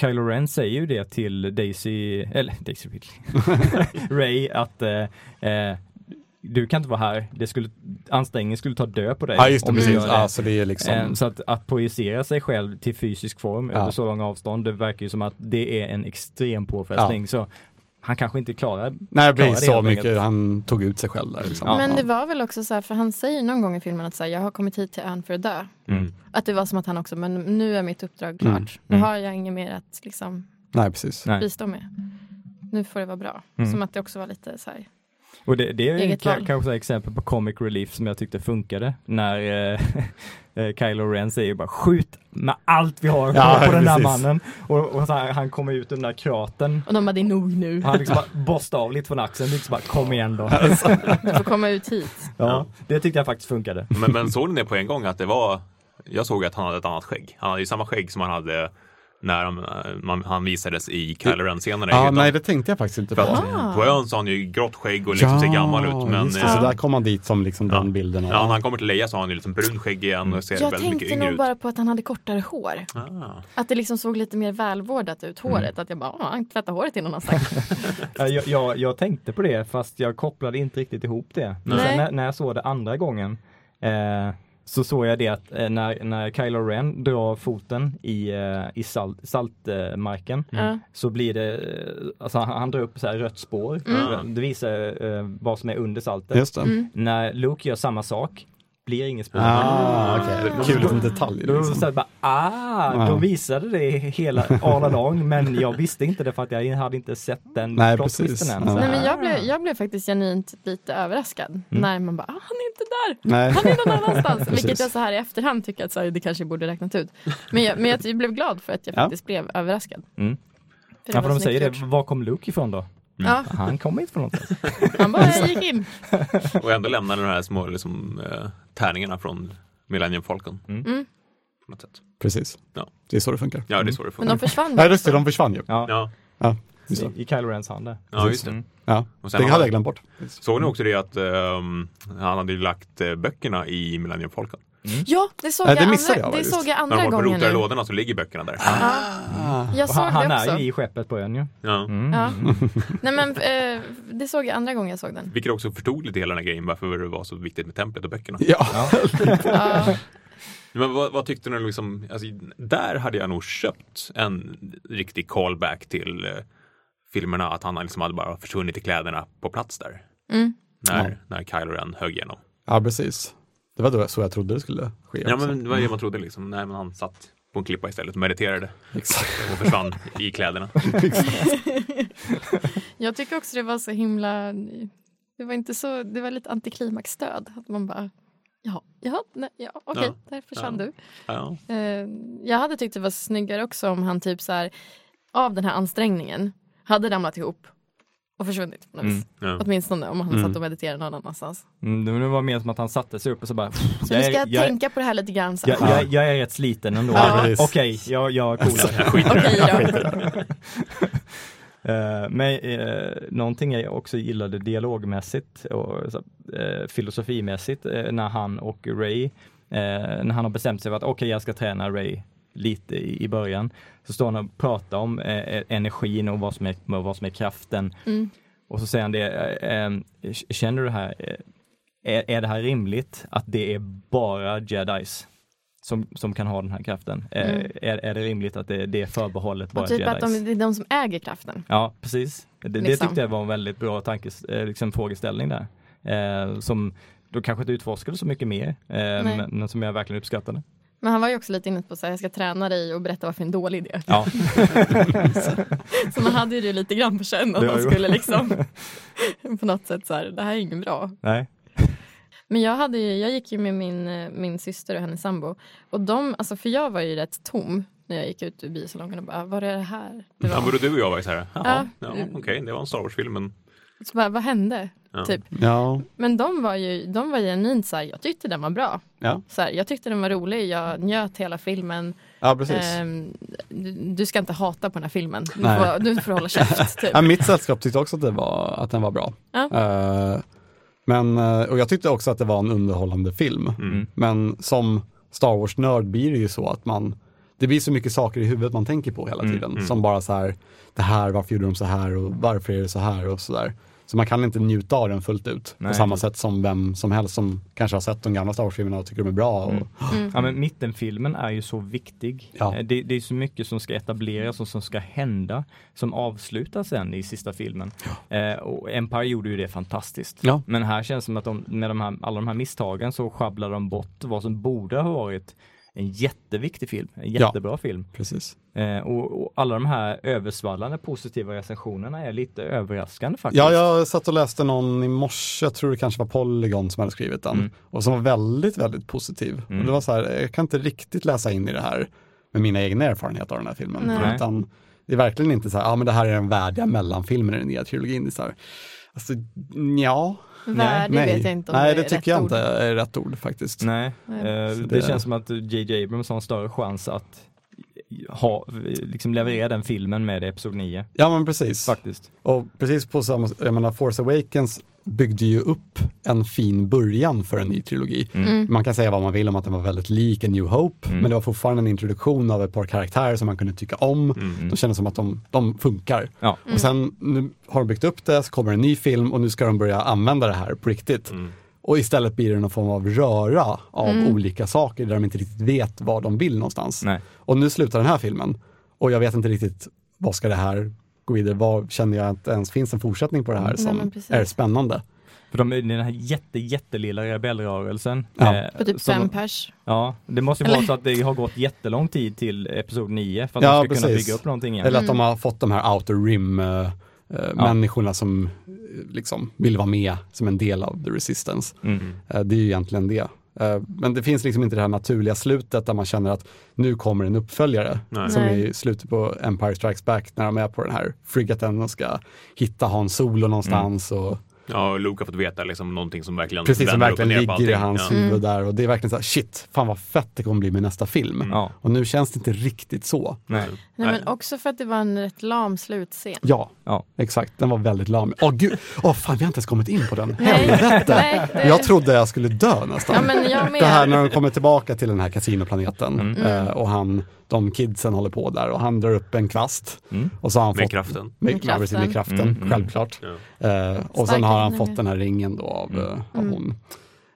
Kylo Ren säger ju det till Daisy, eller (laughs) Daisy Ridley,
(laughs)
Ray att eh, eh, du kan inte vara här, det skulle, ansträngningen skulle ta död på dig.
ja just det,
om du
precis.
gör det.
Ja, så det är liksom,
Eh, Så att, att projicera sig själv till fysisk form
Ja.
över så långa avstånd, det verkar ju som att det är en extrem påfrestning. Så han kanske inte klarar
nej
klarar
precis
det
så
helt
mycket,
enkelt.
han tog ut sig själv där liksom.
Men det var väl också så här, för han säger någon gång i filmen att så här, jag har kommit hit till ön för att dö.
Mm.
Att det var som att han också, men nu är mitt uppdrag klart. Nu har jag inget mer att liksom,
Nej precis.
Nej.
bistå med. Nu får det vara bra. Som att det också var lite så här,
Och det, det är ju
Eget
ka-
val.
kanske ett exempel på comic relief som jag tyckte funkade när eh, (laughs) eh, Kylo Ren säger bara skjut med allt vi
(laughs)
har
Ja,
på den där
precis.
mannen. Och, och så här, han kommer ut ur den där kraten.
och de bara, det är nog nu.
och Han liksom bara (laughs) borstar av lite från axeln, liksom bara kom igen då.
Alltså.
Du får komma ut hit.
(laughs) Ja, det tyckte jag faktiskt funkade.
Men, men såg ni det på en gång att det var, jag såg att han hade ett annat skägg. Han hade ju samma skägg som han hade när han, man, han visades i Kylo Ren-scenerna. i
Ja,
hyllan.
nej det tänkte jag faktiskt inte
För
på.
att på ön så har han ju grått skägg och liksom ser gammal ut. Men
just det,
eh,
så där kom han dit som liksom den bilden. Av.
ja, när han kommer till Leia så har han ju liksom brunt skägg igen och ser
Jag
väldigt mycket
tänkte
yngre
nog
ut.
bara på att han hade kortare hår.
Ah.
Att det liksom såg lite mer välvårdat ut,
Mm.
håret. Att jag bara, "Ah, han tvättar håret innan
(laughs)
han stack.
Ja, Jag, jag, jag tänkte på det fast jag kopplade inte riktigt ihop det. Men
Nej.
sen när, när jag såg det andra gången eh, så såg jag det att eh, när, när Kylo Ren drar foten i, eh, i saltmarken salt, eh, marken,
Mm. Ja.
så blir det, eh, alltså han, han drar upp så här rött spår.
Mm.
Det visar eh, vad som är under saltet.
Just det.
När Luke gör samma sak blir inget spår.
Ah, okej. Kul liten detalj.
Då
Liksom.
så här bara, ah,
Ja.
de visade det hela all along, men jag visste inte det för att jag hade inte sett den
Nej,
plot twisten
precis.
än.
Ja.
Så
Nej,
här,
men jag, blev, jag blev faktiskt genuint lite överraskad
Mm.
när man bara, ah, han är inte där.
Nej.
Han är
(laughs)
någon annanstans.
Precis.
Vilket jag så här i efterhand tycker att så här, det kanske borde räknat ut. Men jag, men jag blev glad för att jag
Ja.
faktiskt blev överraskad.
Mm.
För det
Ja,
var
för de
snyggt
säger det,
gjort.
var kom Luke ifrån då?
Ja,
Han kommer inte från någonstans.
han bara jag gick in.
Och ändå lämnar de här små liksom, eh, tärningarna från Millennium Falcon.
Mm.
På något sätt.
Precis.
Ja.
Det är så det funkar.
Ja, det är så det
Men
funkar.
de försvann.
Nej, just det, de försvann ju.
Ja,
Ja,
Ja,
i,
just det.
i Kylo Rens hand där.
ja, just det.
Ja.
Och
Det
sen
hade
har-
jag glömt bort.
Såg ni också det att ehm, han hade ju lagt eh, böckerna i Millennium Falcon?
Ja, det såg
Nej,
jag
det
andra,
missade jag
det
faktiskt.
såg jag
När de
andra
var på
gången
rotar i
nu.
lådorna så ligger böckerna där.
Jag
Ah.
Och
såg
han, han
det
är
också.
ju i skeppet på ön ju.
Ja.
Ja.
Mm.
(laughs) Nej, men, eh, det såg jag andra gången jag såg den.
Vilket också förtog lite hela den här grejen varför det var så viktigt med templet och böckerna.
Ja,
Ja.
Men vad, vad tyckte ni liksom, alltså, där hade jag nog köpt en riktig callback till eh, filmerna att han liksom hade bara försvunnit i kläderna på plats där.
Mm.
När, när Kylo Ren högg igenom.
ja precis. Det var då så jag trodde det skulle ske.
Ja
också.
men det var det man trodde liksom, nej men han satt på en klippa istället och mediterade
Exakt.
och försvann i
(laughs)
kläderna.
Jag tycker också det var så himla... Det var inte så... Det var lite antiklimaxstöd. Att man bara... Ja, ja, nej, ja okej,
Ja,
där försvann
ja.
du.
Ja.
Eh, jag hade tyckt det var snyggare också om han typ så här... Av den här ansträngningen hade ramlat ihop och försvunnit. på något vis.
Ja.
Åtminstone om han satt och mediterade någon annannanstans.
Mm, det var mer som att han satte sig upp och så bara...
Så
jag,
nu ska
är,
jag,
jag,
tänka på det här lite grann sen.
jag, jag, jag är rätt sliten ändå.
Ja,
Okej,
precis.
jag, jag coolar. (laughs)
(laughs) Okej då.
Eh, men eh, någonting jag också gillade dialogmässigt och så, eh, filosofimässigt eh, när han och Ray, eh, när han har bestämt sig för att okej jag ska träna Ray lite i i början. Så står han och pratar om eh, energin och vad som är, vad som är kraften.
Mm.
Och så säger han det, eh, eh, känner du det här, eh, är, är det här rimligt att det är bara jedis som, som kan ha den här kraften? Eh,
Mm.
Är, är det rimligt att det, det är förbehållet bara
Och typ
jedis?
att de, det är de som äger kraften.
Ja, precis. Det, det
Liksom.
tyckte jag var en väldigt bra tankes, eh, liksom frågeställning där. Eh, som då kanske inte utforskade så mycket mer, eh, men, men som jag verkligen uppskattade.
Men han var ju också lite inne på att jag ska träna dig och berätta varför det är en dålig idé.
Ja,
Så man hade ju det lite grann på känn att
Det var
han
ju-
skulle liksom på något sätt så här, det här är inget bra.
(laughs) nej.
Men jag, hade ju, jag gick ju med min, eh, min syster och hennes sambo. Och de, alltså för jag var ju rätt tom när jag gick ut ur biosalongen och bara, var är det här? Det
Ja,
var.
både du och jag var ju så här, jaha, ja,
Ja.
okej, det var en Star Wars-film, men
Så bara, vad hände?
Ja.
Typ.
Ja.
Men de var ju de var genuint så här, jag tyckte den var bra.
Ja.
Så här, jag tyckte den var rolig, jag njöt hela filmen.
ja, precis.
Ehm, du, du ska inte hata på den här filmen, du
Nej.
får, du får hålla käft. Typ.
Ja, mitt sällskap tyckte också att, det var, att den var bra.
Ja.
Eh, men, eh, och jag tyckte också att det var en underhållande film. Men som Star Wars-nörd blir det ju så att man, det blir så mycket saker i huvudet man tänker på hela tiden. Som bara så här, det här, varför gjorde de så här och varför är det så här och så där. Så man kan inte njuta av den fullt ut
Nej.
på samma sätt som vem som helst som kanske har sett de gamla Star Wars-filmerna och tycker de är bra. Och,
Ja, men mittenfilmen är ju så viktig.
Ja.
Eh, Det, det är så mycket som ska etableras och som ska hända som avslutas sen i sista filmen. Eh, och Empire gjorde ju det fantastiskt.
Ja.
Men här känns det som att de, med de här, alla de här misstagen så sjabblar de bort vad som borde ha varit en jätteviktig film, en
Ja.
jättebra film.
(gasps) Precis.
Eh, och, och alla de här översvallande positiva recensionerna är lite överraskande faktiskt.
Ja, jag satt och läste någon i morse, jag tror det kanske var Polygon som hade skrivit den,
Mm.
och som var väldigt, väldigt positiv. Och det var så här, jag kan inte riktigt läsa in i det här med mina egna erfarenheter av den här filmen.
Nej.
Utan det är verkligen inte så här, ja ah, men det här är den värdiga mellanfilmen i den nya trilogin. Det är så här, alltså, ja,
Värdig
nej.
vet jag inte om
nej,
det
det,
är rätt
tycker jag
ord.
inte är rätt ord faktiskt.
Nej, eh, det,
det-
känns som att JJ Abrams har en större chans att ha, liksom leverera den filmen med Episod 9.
Ja, men precis.
Faktiskt.
Och precis på samma, jag menar Force Awakens byggde ju upp en fin början för en ny trilogi. Man kan säga vad man vill om att den var väldigt lik en New Hope, men det var fortfarande en introduktion av ett par karaktärer som man kunde tycka om. De kändes som att de, de funkar.
Ja.
Mm.
Och sen nu har de byggt upp det, så kommer en ny film och nu ska de börja använda det här på riktigt. Och istället blir det någon form av röra av
Mm.
olika saker där de inte riktigt vet vad de vill någonstans.
Nej.
Och nu slutar den här filmen och jag vet inte riktigt vad ska det här gå vidare, vad känner jag att det ens finns en fortsättning på det här som
Mm. men precis.
är spännande.
För de, den här jätte, jättelilla rebellrörelsen. eh,
Ja.
På typ
som-
fem pers.
Ja, det måste ju vara så att det har gått jättelång tid till Episod 9 för att
Ja,
de ska kunna
precis.
bygga upp någonting igen.
Eller att de har fått de här outer rim eh, eh, människorna som eh, liksom vill vara med som en del av the resistance.
Mm.
Eh, det är ju egentligen det. Eh, men det finns liksom inte det här naturliga slutet där man känner att nu kommer en uppföljare.
Nej.
Som
Nej.
i slutet på Empire Strikes Back när de är på den här frigaten och ska hitta Han Solo någonstans.
Mm.
Och,
ja, Luke har fått veta liksom någonting som verkligen
Precis, som
vänder upp och
verkligen
ner på
ligger i
allting.
hans
ja.
huvud där. Och det är verkligen så här, shit, fan vad fett det kommer bli med nästa film.
Mm. Ja.
Och nu känns det inte riktigt så.
Nej.
Nej,
Nej.
men också för att det var en rätt lam slutscen.
Ja,
Ja.
exakt. Den var väldigt lam. Åh gud, åh fan vi har inte ens kommit in på den.
Nej, nej, det,
Jag trodde jag skulle dö nästan.
ja, men jag med.
Det här när de kommer tillbaka till den här kasinoplaneten eh,
Mm.
och han, de kidsen håller på där och han drar upp en kvast. Och så har han
Med
fått,
kraften.
Med,
Med
med kraften, med kraften självklart. Eh, och sen
Starka
har han
kvinnor.
fått den här ringen då av, eh, av
Mm.
hon.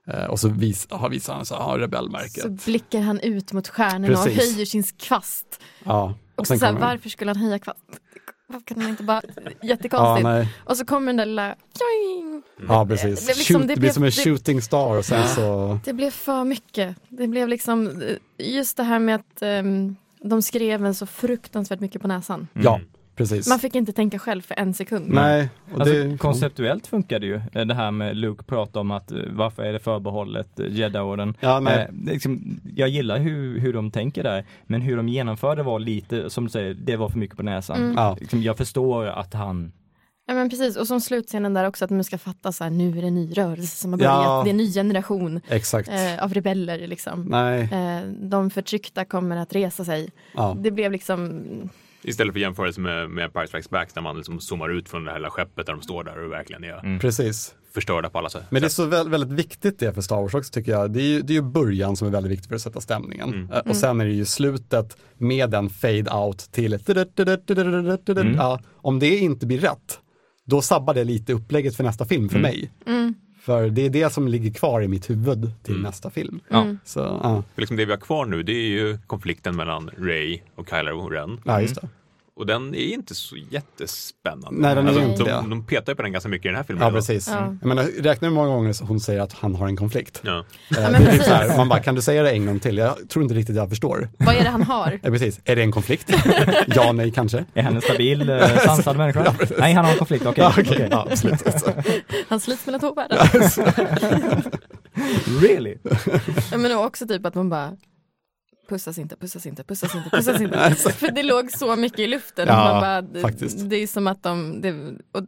Eh, och så vis, har visar han så här, ah, rebellmärket.
Så blickar han ut mot stjärnorna och
Precis.
höjer sin kvast.
ja,
Och så såhär,
kommer-
varför skulle han höja kvast? Varför kan han inte bara,
Ja,
jättekonstigt.
nej.
och så kommer den där lilla, Kling!
ja precis.
Det
Det blir,
blev liksom-
Shoot, det
det blev-
blir som en
det-
shooting star och sen så,
det blev för mycket. Det blev liksom, eh, just det här med att ehm, de skrev en så fruktansvärt mycket på näsan.
ja, precis.
Man fick inte tänka själv för en sekund.
Nej, och
Alltså,
det,
konceptuellt funkar det ju. Eh, Det här med Luke pratar om att eh, varför är det förbehållet eh, Jedi-orden.
Ja, nej.
Eh, det är liksom, jag gillar hur, hur de tänker där, men hur de genomförde var lite, som du säger, det var för mycket på näsan.
Ja.
Liksom, jag förstår att han,
Ja men precis, och som slutscenen där också att man ska fatta så här, nu är det en ny rörelse som har börjat,
Ja.
det är en ny generation
Exakt.
eh, av rebeller liksom.
Nej,
Eh, de förtryckta kommer att resa sig.
ja.
Det blev liksom,
Istället för jämförelse med, med Empire Strikes Back när man liksom zoomar ut från det här lilla skeppet där de står där och verkligen är
Precis.
förstörda på alla sätt.
Mm. Men det är så vä- väldigt viktigt det för Star Wars också tycker jag. Det är ju, det är ju början som är väldigt viktig för att sätta stämningen. Eh,
Mm.
Och sen är det ju slutet med den fade out till ett ja, om det inte blir rätt, då sabbar det lite upplägget för nästa film för mig.
Mm.
För det är det som ligger kvar i mitt huvud till nästa film.
Mm.
Ja.
Så, ja,
För liksom det vi har kvar nu det är ju konflikten mellan Ray och Kylo Ren.
ja just det.
Och den är inte så jättespännande.
Nej, den är
alltså,
inte
de,
det.
de petar ju på den ganska mycket i den här filmen.
Ja,
idag.
precis.
Ja.
Jag menar, räkna hur många gånger hon säger att han har en konflikt.
Ja.
Eh,
men
det är typ
precis.
så här, man bara, kan du säga det en gång till? Jag tror inte riktigt jag förstår.
Vad är det
(laughs)
han har?
Ja, precis. Är det en konflikt? ja, nej, kanske.
Är han en stabil, eh,
(laughs)
sansad människa? Nej, han har en konflikt, okej.
Ja, okej.
okej.
Ja, absolut.
Han slits mellan två världar.
Really?
Ja, men också typ att man bara pussas inte, pussas inte,
(laughs)
pussas inte, pussas inte. För det låg så mycket i luften.
Ja,
och man bara, det,
faktiskt.
det är som att de, det, och,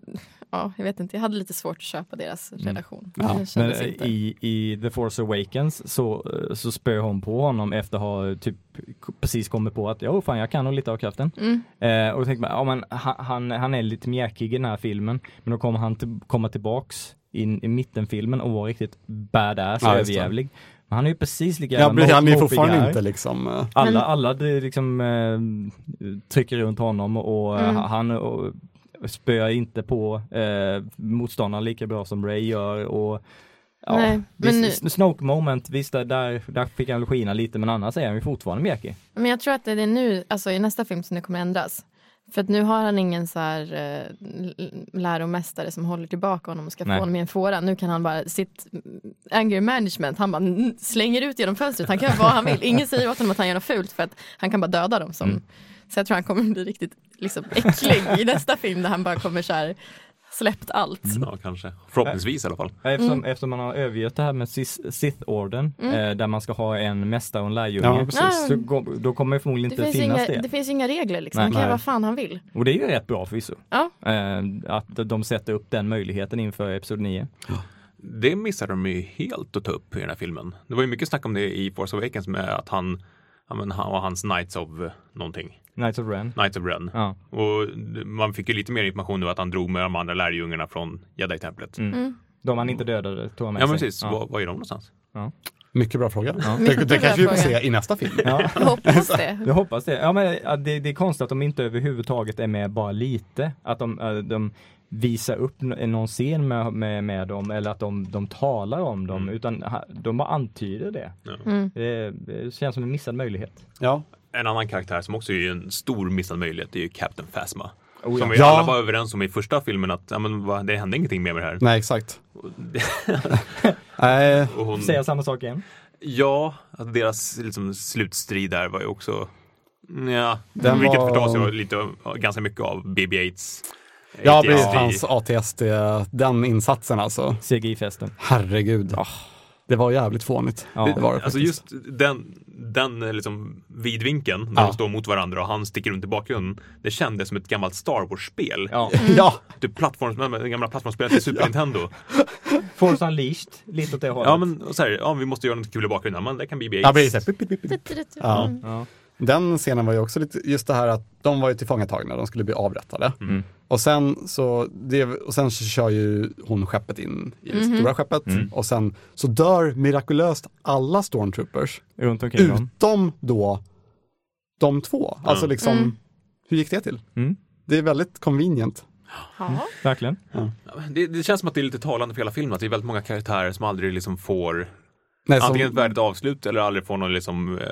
ja, jag vet inte, jag hade lite svårt att köpa deras relation.
Mm. Ja,
Det
Men
kändes
eh,
inte.
i, i The Force Awakens så, eh, så spöar hon på honom efter att ha eh, typ k- precis kommit på att jo fan jag kan nog lite av kraften.
Mm.
Eh, och då tänker man, ja men ha- han, han är lite mjäkig i den här filmen. Men då kommer han till, komma tillbaks in i mittenfilmen och vara riktigt badass och
Ja, just det.
överjävlig. Men han är ju precis lika
Ja, precis.
mop-
han är ju
mopig
fortfarande
där.
inte liksom... eh,
Alla,
Men-
alla det liksom eh, trycker runt honom och
Mm.
eh, han och, spöar inte på eh, motståndaren lika bra som Ray gör och ja,
Nej, men
visst, Snoke moment, visst där- där, där fick han skina lite men annars är han ju fortfarande mjäkig.
Men jag tror att det är nu, alltså i nästa film som det kommer ändras. För att nu har han ingen så här eh, l- läromästare som håller tillbaka honom och ska
Nej.
få honom i en fåra. Nu kan han bara sitt anger management, han bara n- slänger ut genom fönstret. Han kan göra vad han vill. Ingen säger åt honom att han gör något fult för att han kan bara döda dem. Som.
Mm.
Så jag tror han kommer bli riktigt liksom, äcklig i nästa film där han bara kommer så här släppt allt.
Mm.
Mm.
ja, kanske. Förhoppningsvis i alla fall.
Eftersom,
Mm.
eftersom man har övergett det här med Sis- Sith-orden eh, där man ska ha en mästare och en lärjunge.
Ja, precis.
så go- då kommer det förmodligen
Det
inte
finns,
finnas
inga, det
det.
finns inga regler liksom.
Nej.
han kan göra
Nej.
vad fan han vill.
Och det är ju rätt bra förvisso.
Ja.
Eh, att de sätter upp den möjligheten inför Episod 9.
Det missade de ju helt att ta upp i den här filmen. Det var ju mycket snack om det i Force Awakens med att han, ja, men han och hans Knights of någonting.
Knights of Ren.
Knights of Ren.
Ja.
Och man fick ju lite mer information nu att han drog med de andra lärjungarna från Jedi-templet.
De han inte dödade tog han med
Mm. Ja, men
sig.
precis.
Mm. Ja.
Var, var är de någonstans?
Mycket bra fråga. Det,
Mycket bra
det kanske vi får
fråga.
se i nästa film.
Jag hoppas det. (laughs)
Jag hoppas det. Ja, men ja, det, det är konstigt att de inte överhuvudtaget är med bara lite. Att de, eh, de visar upp n- någon scen med, med, med dem eller att de, de talar om dem
Mm.
utan ha- de bara antyder det. Det, det känns som en missad möjlighet.
Ja.
En annan karaktär som också är en stor missad möjlighet det är ju Captain Phasma.
Oh, ja.
Som vi
Ja.
alla var överens om i första filmen att ja, men, va, det hände ingenting mer med det här.
Nej, exakt. Nej,
Och hon,
Säga samma sak igen.
ja, att deras liksom, slutstrid där var ju också... Ja,
Den
vilket
var-
förstås jag lite, ganska mycket av BB-8s.
ja,
ATSD.
precis. Hans ATSD, den insatsen alltså.
CGI-festen.
Herregud. Ah, Det var jävligt fånigt.
Ja.
Det var det
Alltså
faktiskt.
just den, den eh, liksom vidvinkeln när
Ja.
de står mot varandra och han sticker runt i bakgrunden. Det kändes som ett gammalt Star Wars-spel.
Ja.
Ja,
Typ plattforms, det gamla plattformsspelet till
(laughs)
Super Nintendo.
Force Unleashed, lite åt det hållet.
Ja men och så här, ja, vi måste göra något kul i bakgrunden. Men det kan BB-8.
ja precis. Pip, pip, pip, pip. Ja.
Ja.
Den scenen var ju också lite, just det här att de var ju tillfångatagna, de skulle bli avrättade.
Mm.
Och, sen så, det, och sen så kör ju hon skeppet in i det stora skeppet
Mm.
och sen så dör mirakulöst alla stormtroopers
Runt omkring dem.
utom då de två. Alltså liksom, hur gick det till?
Mm.
Det är väldigt convenient.
Ja.
Verkligen.
Det, det känns som att det är lite talande för hela filmen. Att det är väldigt många karaktärer som aldrig liksom får
Nej, som,
antingen ett värdigt avslut eller aldrig får någon liksom, eh,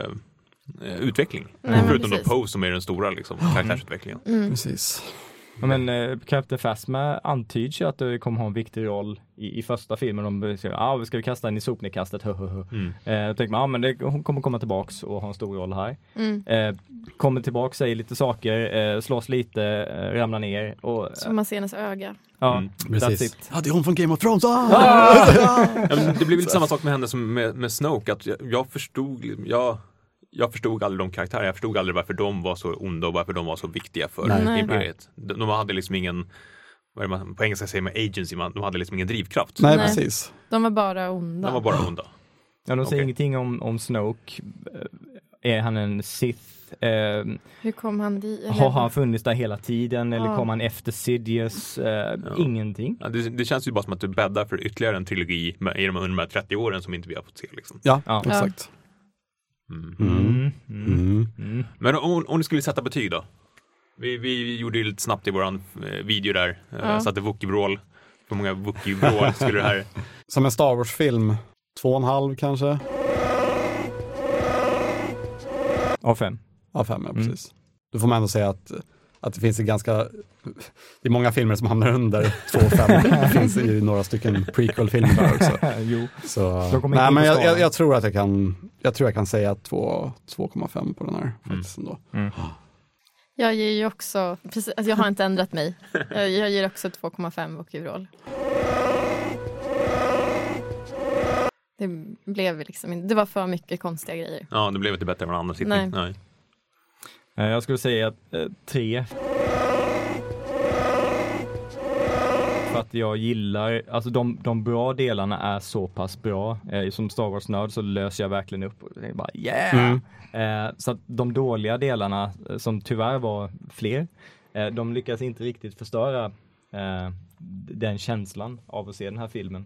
eh, utveckling.
men
Förutom då
precis.
Poe som är den stora liksom, karaktärsutvecklingen.
Mm. precis.
Ja, men eh, Captain Phasma antyds ju att det kommer ha en viktig roll i, i första filmen. De säger ah, vi ska vi kasta den i sopnedkastet, höhöhö. Mm. Eh, då tänker man, ah, men det, hon kommer komma tillbaks och ha en stor roll här. Eh, kommer tillbaks, säger lite saker, eh, slåss lite, eh, ramlar ner och eh,
Som man ser hennes öga.
ja, that's
Precis.
it.
Ja, det är hon från Game of Thrones! Ah!
Ja, men det blev lite samma sak med henne som med, med Snoke. Att jag, jag förstod liksom- jag, jag förstod aldrig de karaktärerna. Jag förstod aldrig varför de var så onda och varför de var så viktiga för
Nej.
imperiet. De, de hade liksom ingen, vad är det man på engelska säger man agency, man, de hade liksom ingen drivkraft.
Nej,
Nej.
precis.
De var bara onda.
De var bara onda.
Ja, de säger
Okej.
ingenting om, om Snoke. Eh, Är han en Sith? Sith. Eh,
Hur kom han dit?
har han funnits där hela tiden eller
Ja.
kom han efter Sidious? Eh, Ingenting.
Ja, det, det känns ju bara som att du bäddar för ytterligare en trilogi med, i de, under de här 30 åren som inte vi har fått se. Liksom.
Ja,
Ja.
exakt.
Mm.
Mm. Mm.
Mm.
Mm.
Men om, om du skulle sätta betyg då? Vi, vi gjorde ju lite snabbt i våran eh, video där, eh,
Ja.
satte Wookie-vrål. Hur många Wookie-vrål skulle det här...
Som en Star Wars-film, två och en halv kanske?
Av fem. (laughs)
Ja, fem,
Mm.
ja precis. Då får man ändå säga att, att det finns en ganska, det är många filmer som hamnar under två och
(laughs)
fem. Det finns ju några stycken prequel-filmer där också.
jo.
Så,
De kommer inte
nej,
in
men
på
jag,
skalan.
jag, jag tror att jag kan, jag tror jag kan säga två- 2,5 på den här faktiskt ändå.
Jag ger ju också, precis, alltså jag har inte ändrat (laughs) mig. Jag, jag ger också 2,5 Wookiee-vrål. Det blev liksom inte, det var för mycket konstiga grejer.
Ja, det blev inte bättre än en annan sittning.
Nej.
Nej.
Eh, Jag skulle säga att eh, tre. För att jag gillar, alltså de, de bra delarna är så pass bra. Eh, som Star Wars-nörd så löser jag verkligen upp och tänker bara yeah! Eh, så att de dåliga delarna, eh, som tyvärr var fler, eh, de lyckas inte riktigt förstöra eh, d- den känslan av att se den här filmen.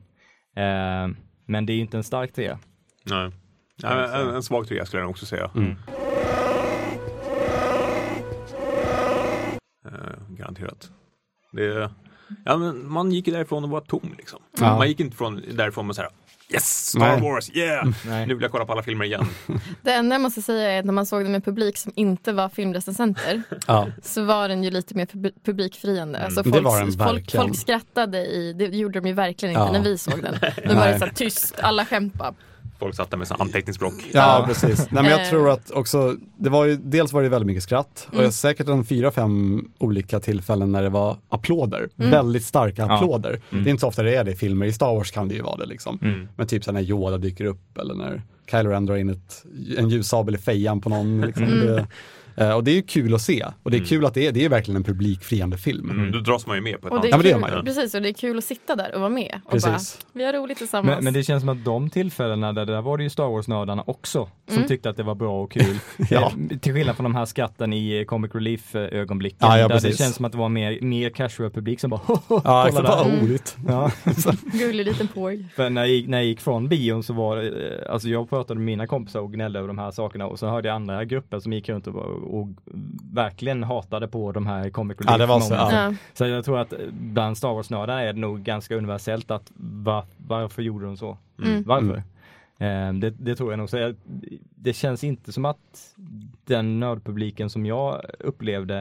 Eh, men det är inte en stark trea.
Nej. Ja, en, en svag trea skulle jag nog också säga.
Mm.
Eh, garanterat. Det, ja, men man gick ju därifrån och var tom liksom.
Ja.
Man gick inte från, därifrån och så här Yes! Star
Nej.
Wars! Yeah!
Nej.
Nu vill jag kolla på alla filmer igen.
Det enda jag måste säga är att när man såg den med publik som inte var (laughs) filmrecensenter
Ja.
så var den ju lite mer pub- publikfriande. Alltså
Det
folk,
var den
folk,
verkligen.
folk skrattade i, det gjorde de ju verkligen inte
Ja.
när
(laughs)
vi såg den. Då var det
Nej.
så här tyst, alla skämpade.
Folk satt där med sån anteckningsblock.
Ja, precis. Nej, men
Eh.
jag tror att också, det var ju, dels var det väldigt mycket skratt och jag har säkert en fyra, fem olika tillfällen när det var applåder. Väldigt starka applåder. Det är inte så ofta det är det i filmer, i Star Wars kan det ju vara det liksom. Men typ så här när Yoda dyker upp eller när Kylo Ren drar in ett, en ljussabel i fejan på någon. Liksom. Det, eh, och det är ju kul att se. Och det är kul att det är, det är verkligen en publikfriande film.
Mm, då dras man ju med på ett
Och det
annat
är
Ja, men det gör
kul,
man ju.
precis, och det är kul att sitta där och vara med. Och
Precis.
bara, vi har roligt tillsammans.
Men, men det känns som att de tillfällena, där, där var det ju Star Wars-nördarna också, som tyckte att det var bra och
(laughs)
kul.
Ja.
Eh, Till skillnad från de här skratten i eh, Comic Relief-ögonblicken,
Ja, ja,
där
precis.
det känns som att det var mer, mer casual publik som bara (laughs) "Hoho,
Ja,
kolla
exakt.
där.
Vad roligt.
Ja.
Gullig liten porg.
För när jag, gick- när jag gick från bion så var det, eh, alltså jag pratade med mina kompisar och gnällde över de här sakerna och så hörde jag andra grupper som gick runt och, och, och verkligen hatade på de här Comic Relief
Ja, det var så,
momenten.
Ja.
Så jag tror att bland Star Wars-nördarna är det nog ganska universellt att va, varför gjorde de så?
Mm.
Varför? Eh, det, det tror jag nog. Så jag, det känns inte som att den nördpubliken som jag upplevde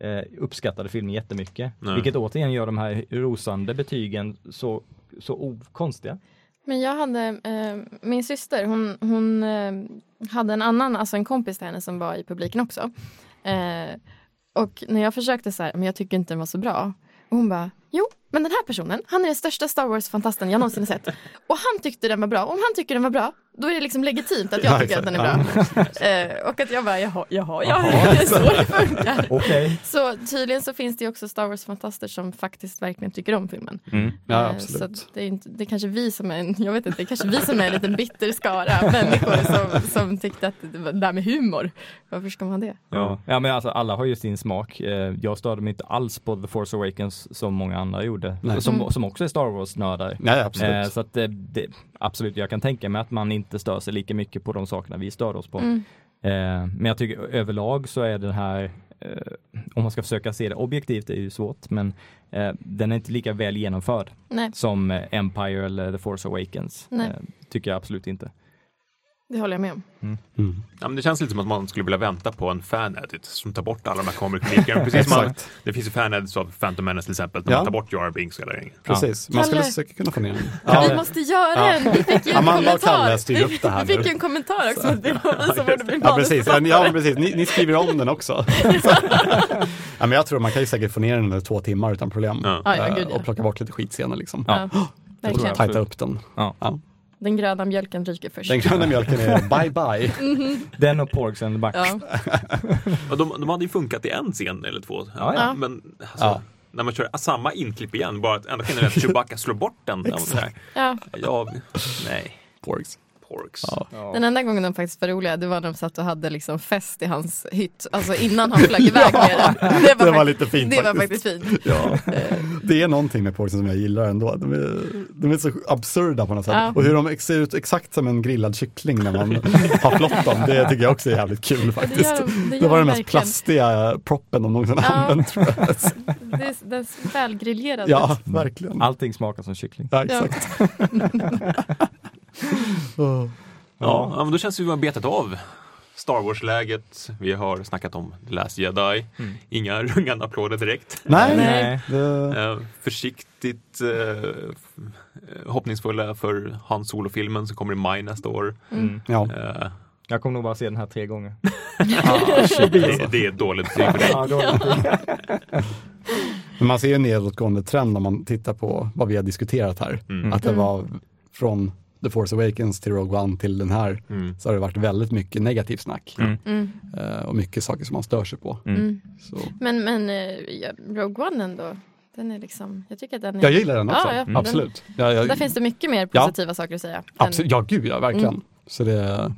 eh, uppskattade filmen jättemycket.
Nej.
Vilket återigen gör de här rosande betygen så, så okonstiga.
Men jag hade, eh, min syster, hon, hon eh, hade en annan, alltså en kompis till henne som var i publiken också. Eh, och när jag försökte så här, men jag tycker inte den var så bra. Och hon bara, jo, men den här personen, han är den största Star Wars-fantasten jag
(laughs)
någonsin har sett. Och han tyckte den var bra, om han tycker den var bra, då är det liksom legitimt att jag tycker att den är bra. Eh, och att jag bara, jaha, jaha, ja, det är så det
(laughs)
funkar.
Okej.
Så tydligen så finns det ju också Star Wars-fantaster som faktiskt verkligen tycker om filmen.
Mm. Ja,
Eh, Så
absolut.
att det, är inte, det är kanske vi som är, en- jag vet inte, det är kanske vi som är en liten bitter skara människor som, som tyckte att det var- det där med humor, varför ska man ha det?
Ja. ja men alltså alla har ju sin smak. Eh, Jag störde mig inte alls på The Force Awakens som många andra gjorde.
Nej.
Som, som också är Star Wars-nördar.
Nej,
Eh,
absolut.
så att det, det, absolut, jag kan tänka mig att man inte stör sig lika mycket på de sakerna vi stör oss på.
Mm.
Eh, men jag tycker överlag så är den här, eh, om man ska försöka se det objektivt, det är ju svårt, men eh, den är inte lika väl genomförd
Nej,
som eh, Empire eller The Force Awakens. Eh,
Nej.
tycker jag absolut inte.
det håller jag med om.
Mm.
Ja, men det känns lite som att man skulle vilja vänta på en fanedit som tar bort alla de här
(laughs)
comic-klinikerna. Precis som man,
Exakt.
det finns ju fanedits av Phantom Menace till exempel, när man
Ja.
tar bort Jar Binks eller inget.
Precis. Man skulle
Kalle.
säkert kunna få ner den.
Vi måste göra en, vi fick ju en
Amanda och
kommentar.
Kalle styr upp det här
vi fick
nu.
ju en kommentar också, att det var vi som borde bli
Ja, precis.
manusförfattare.
Ja, men precis. Ni, ni skriver om den
(laughs)
också. ja, men jag tror man kan ju säkert få ner den under två timmar utan problem.
Ja.
Ja, ja,
Eh,
gud, ja.
Och plocka bort lite skitscener liksom.
Ja.
Ja,
Jag tror
verkligen.
jag tajta upp den.
Ja.
Ja.
Den gröna mjölken ryker först.
Den gröna mjölken
(laughs)
är bye
Mm.
bye.
Den och Porgs and the Buck.
Ja.
Och de, de hade ju funkat i en scen eller två.
Ja, ja.
Men alltså,
Ja.
när man kör samma inklipp
(laughs)
igen, bara att enda skillnaden är att Chewbacca slår bort den. Ja, men så här.
Ja.
Ja, nej.
Porgs.
porks.
Ja.
Ja.
Den enda gången de faktiskt var roliga det var när de satt och hade liksom fest i hans hytt, alltså innan han
(laughs)
flög iväg med den. Det
Det var
fakt-
lite fint
det var
faktiskt.
faktiskt fint.
Ja. Det är någonting med porrsen som jag gillar ändå. De är, de är så absurda på något sätt.
Ja.
Och hur de ser ut exakt som en grillad kyckling när man har flott dem, det tycker jag också är jävligt kul
Det,
faktiskt.
gör, det,
Det
gör
var den
verkligen.
mest plastiga proppen de någonsin
Ja.
använt tror
(laughs)
jag.
Det är, det är välgriljerad.
Ja, verkligen.
Allting smakar som kyckling.
Ja, exakt. (laughs)
Oh.
Åh.
Ja, ja, men då känns det som vi har betat av Star Wars-läget. Vi har snackat om The Last Jedi. Inga rungande applåder direkt.
Nej,
Nej.
Det,
Eh, försiktigt eh, f- eh, hoppningsfulla för Han Solo-filmen som kommer i maj nästa år.
Mm.
ja.
Eh,
Jag kommer nog bara se den här tre
(laughs)
gånger.
det, det är ett dåligt betyg för dig.
Ja, då är det-
Men man ser ju en nedåtgående trend om man tittar på vad vi har diskuterat här.
Mm.
Att det
Mm.
var från The Force Awakens till Rogue One till den här
Mm.
så har det varit väldigt mycket negativt snack
Mm.
Mm.
eh, och mycket saker som man stör sig på.
Mm.
Mm.
Så.
Men, men eh, ja, Rogue One ändå, den är liksom, jag tycker att den är...
Jag gillar den också,
Ja, ja,
Mm.
den-
absolut. Ja, jag,
Där finns det mycket mer
Ja.
positiva saker att säga. Den-
absolut. ja gud ja, verkligen.
Mm.
Så det,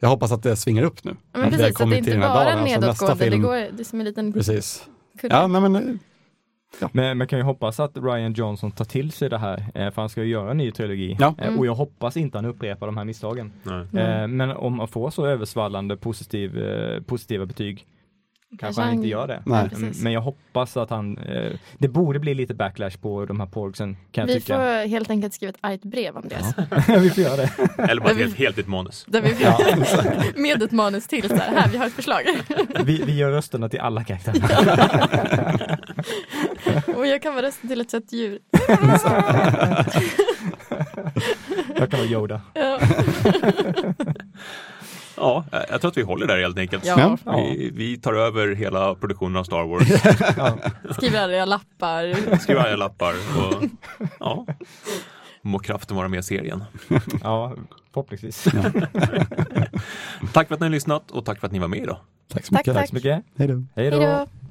jag hoppas att det svingar upp nu.
Ja,
att vi
men
har
precis, att det
kommit till
inte
den här
bara är
dagen, alltså nästa
nedåtgående, det,
film.
går, det är som en liten
Precis.
kudde.
Ja, nej, men, eh,
Men man kan ju hoppas att Ryan Johnson tar till sig det här, eh, för han ska ju göra en ny trilogi.
Ja.
Eh,
Mm.
Och jag hoppas inte han upprepar de här misstagen.
Nej.
Eh, Men om man får så översvallande positiv, eh, positiva betyg kanske
Kanske
han
han-
inte gör det. Mm,
nej.
precis.
Men jag hoppas att han, eh, det borde bli lite backlash på de här porgsen kan jag
Vi
tycka.
får helt enkelt skriva ett argt brev, Andreas.
vi får göra det. (laughs)
Eller bara ett
Men vi-
helt, helt nytt manus.
Där vi med ett manus till, så här, här, vi har ett förslag.
Vi, vi gör rösterna till alla
(laughs)
karaktärer.
Och jag kan vara rösten till ett sött djur.
Jag kan vara Yoda.
Ja.
Ja, eh, jag tror att vi håller där helt enkelt.
Ja,
Vi, vi tar över hela produktionen av Star Wars,
skriver arga lappar.
skriver alla lappar och ja, må kraften vara med i serien.
Ja, förhoppningsvis.
Tack för att ni har lyssnat och tack för att ni var med idag.
Tack så
Tack,
mycket.
tack.
Tack så mycket.
Hej då.
Hej
Hej
då.
då.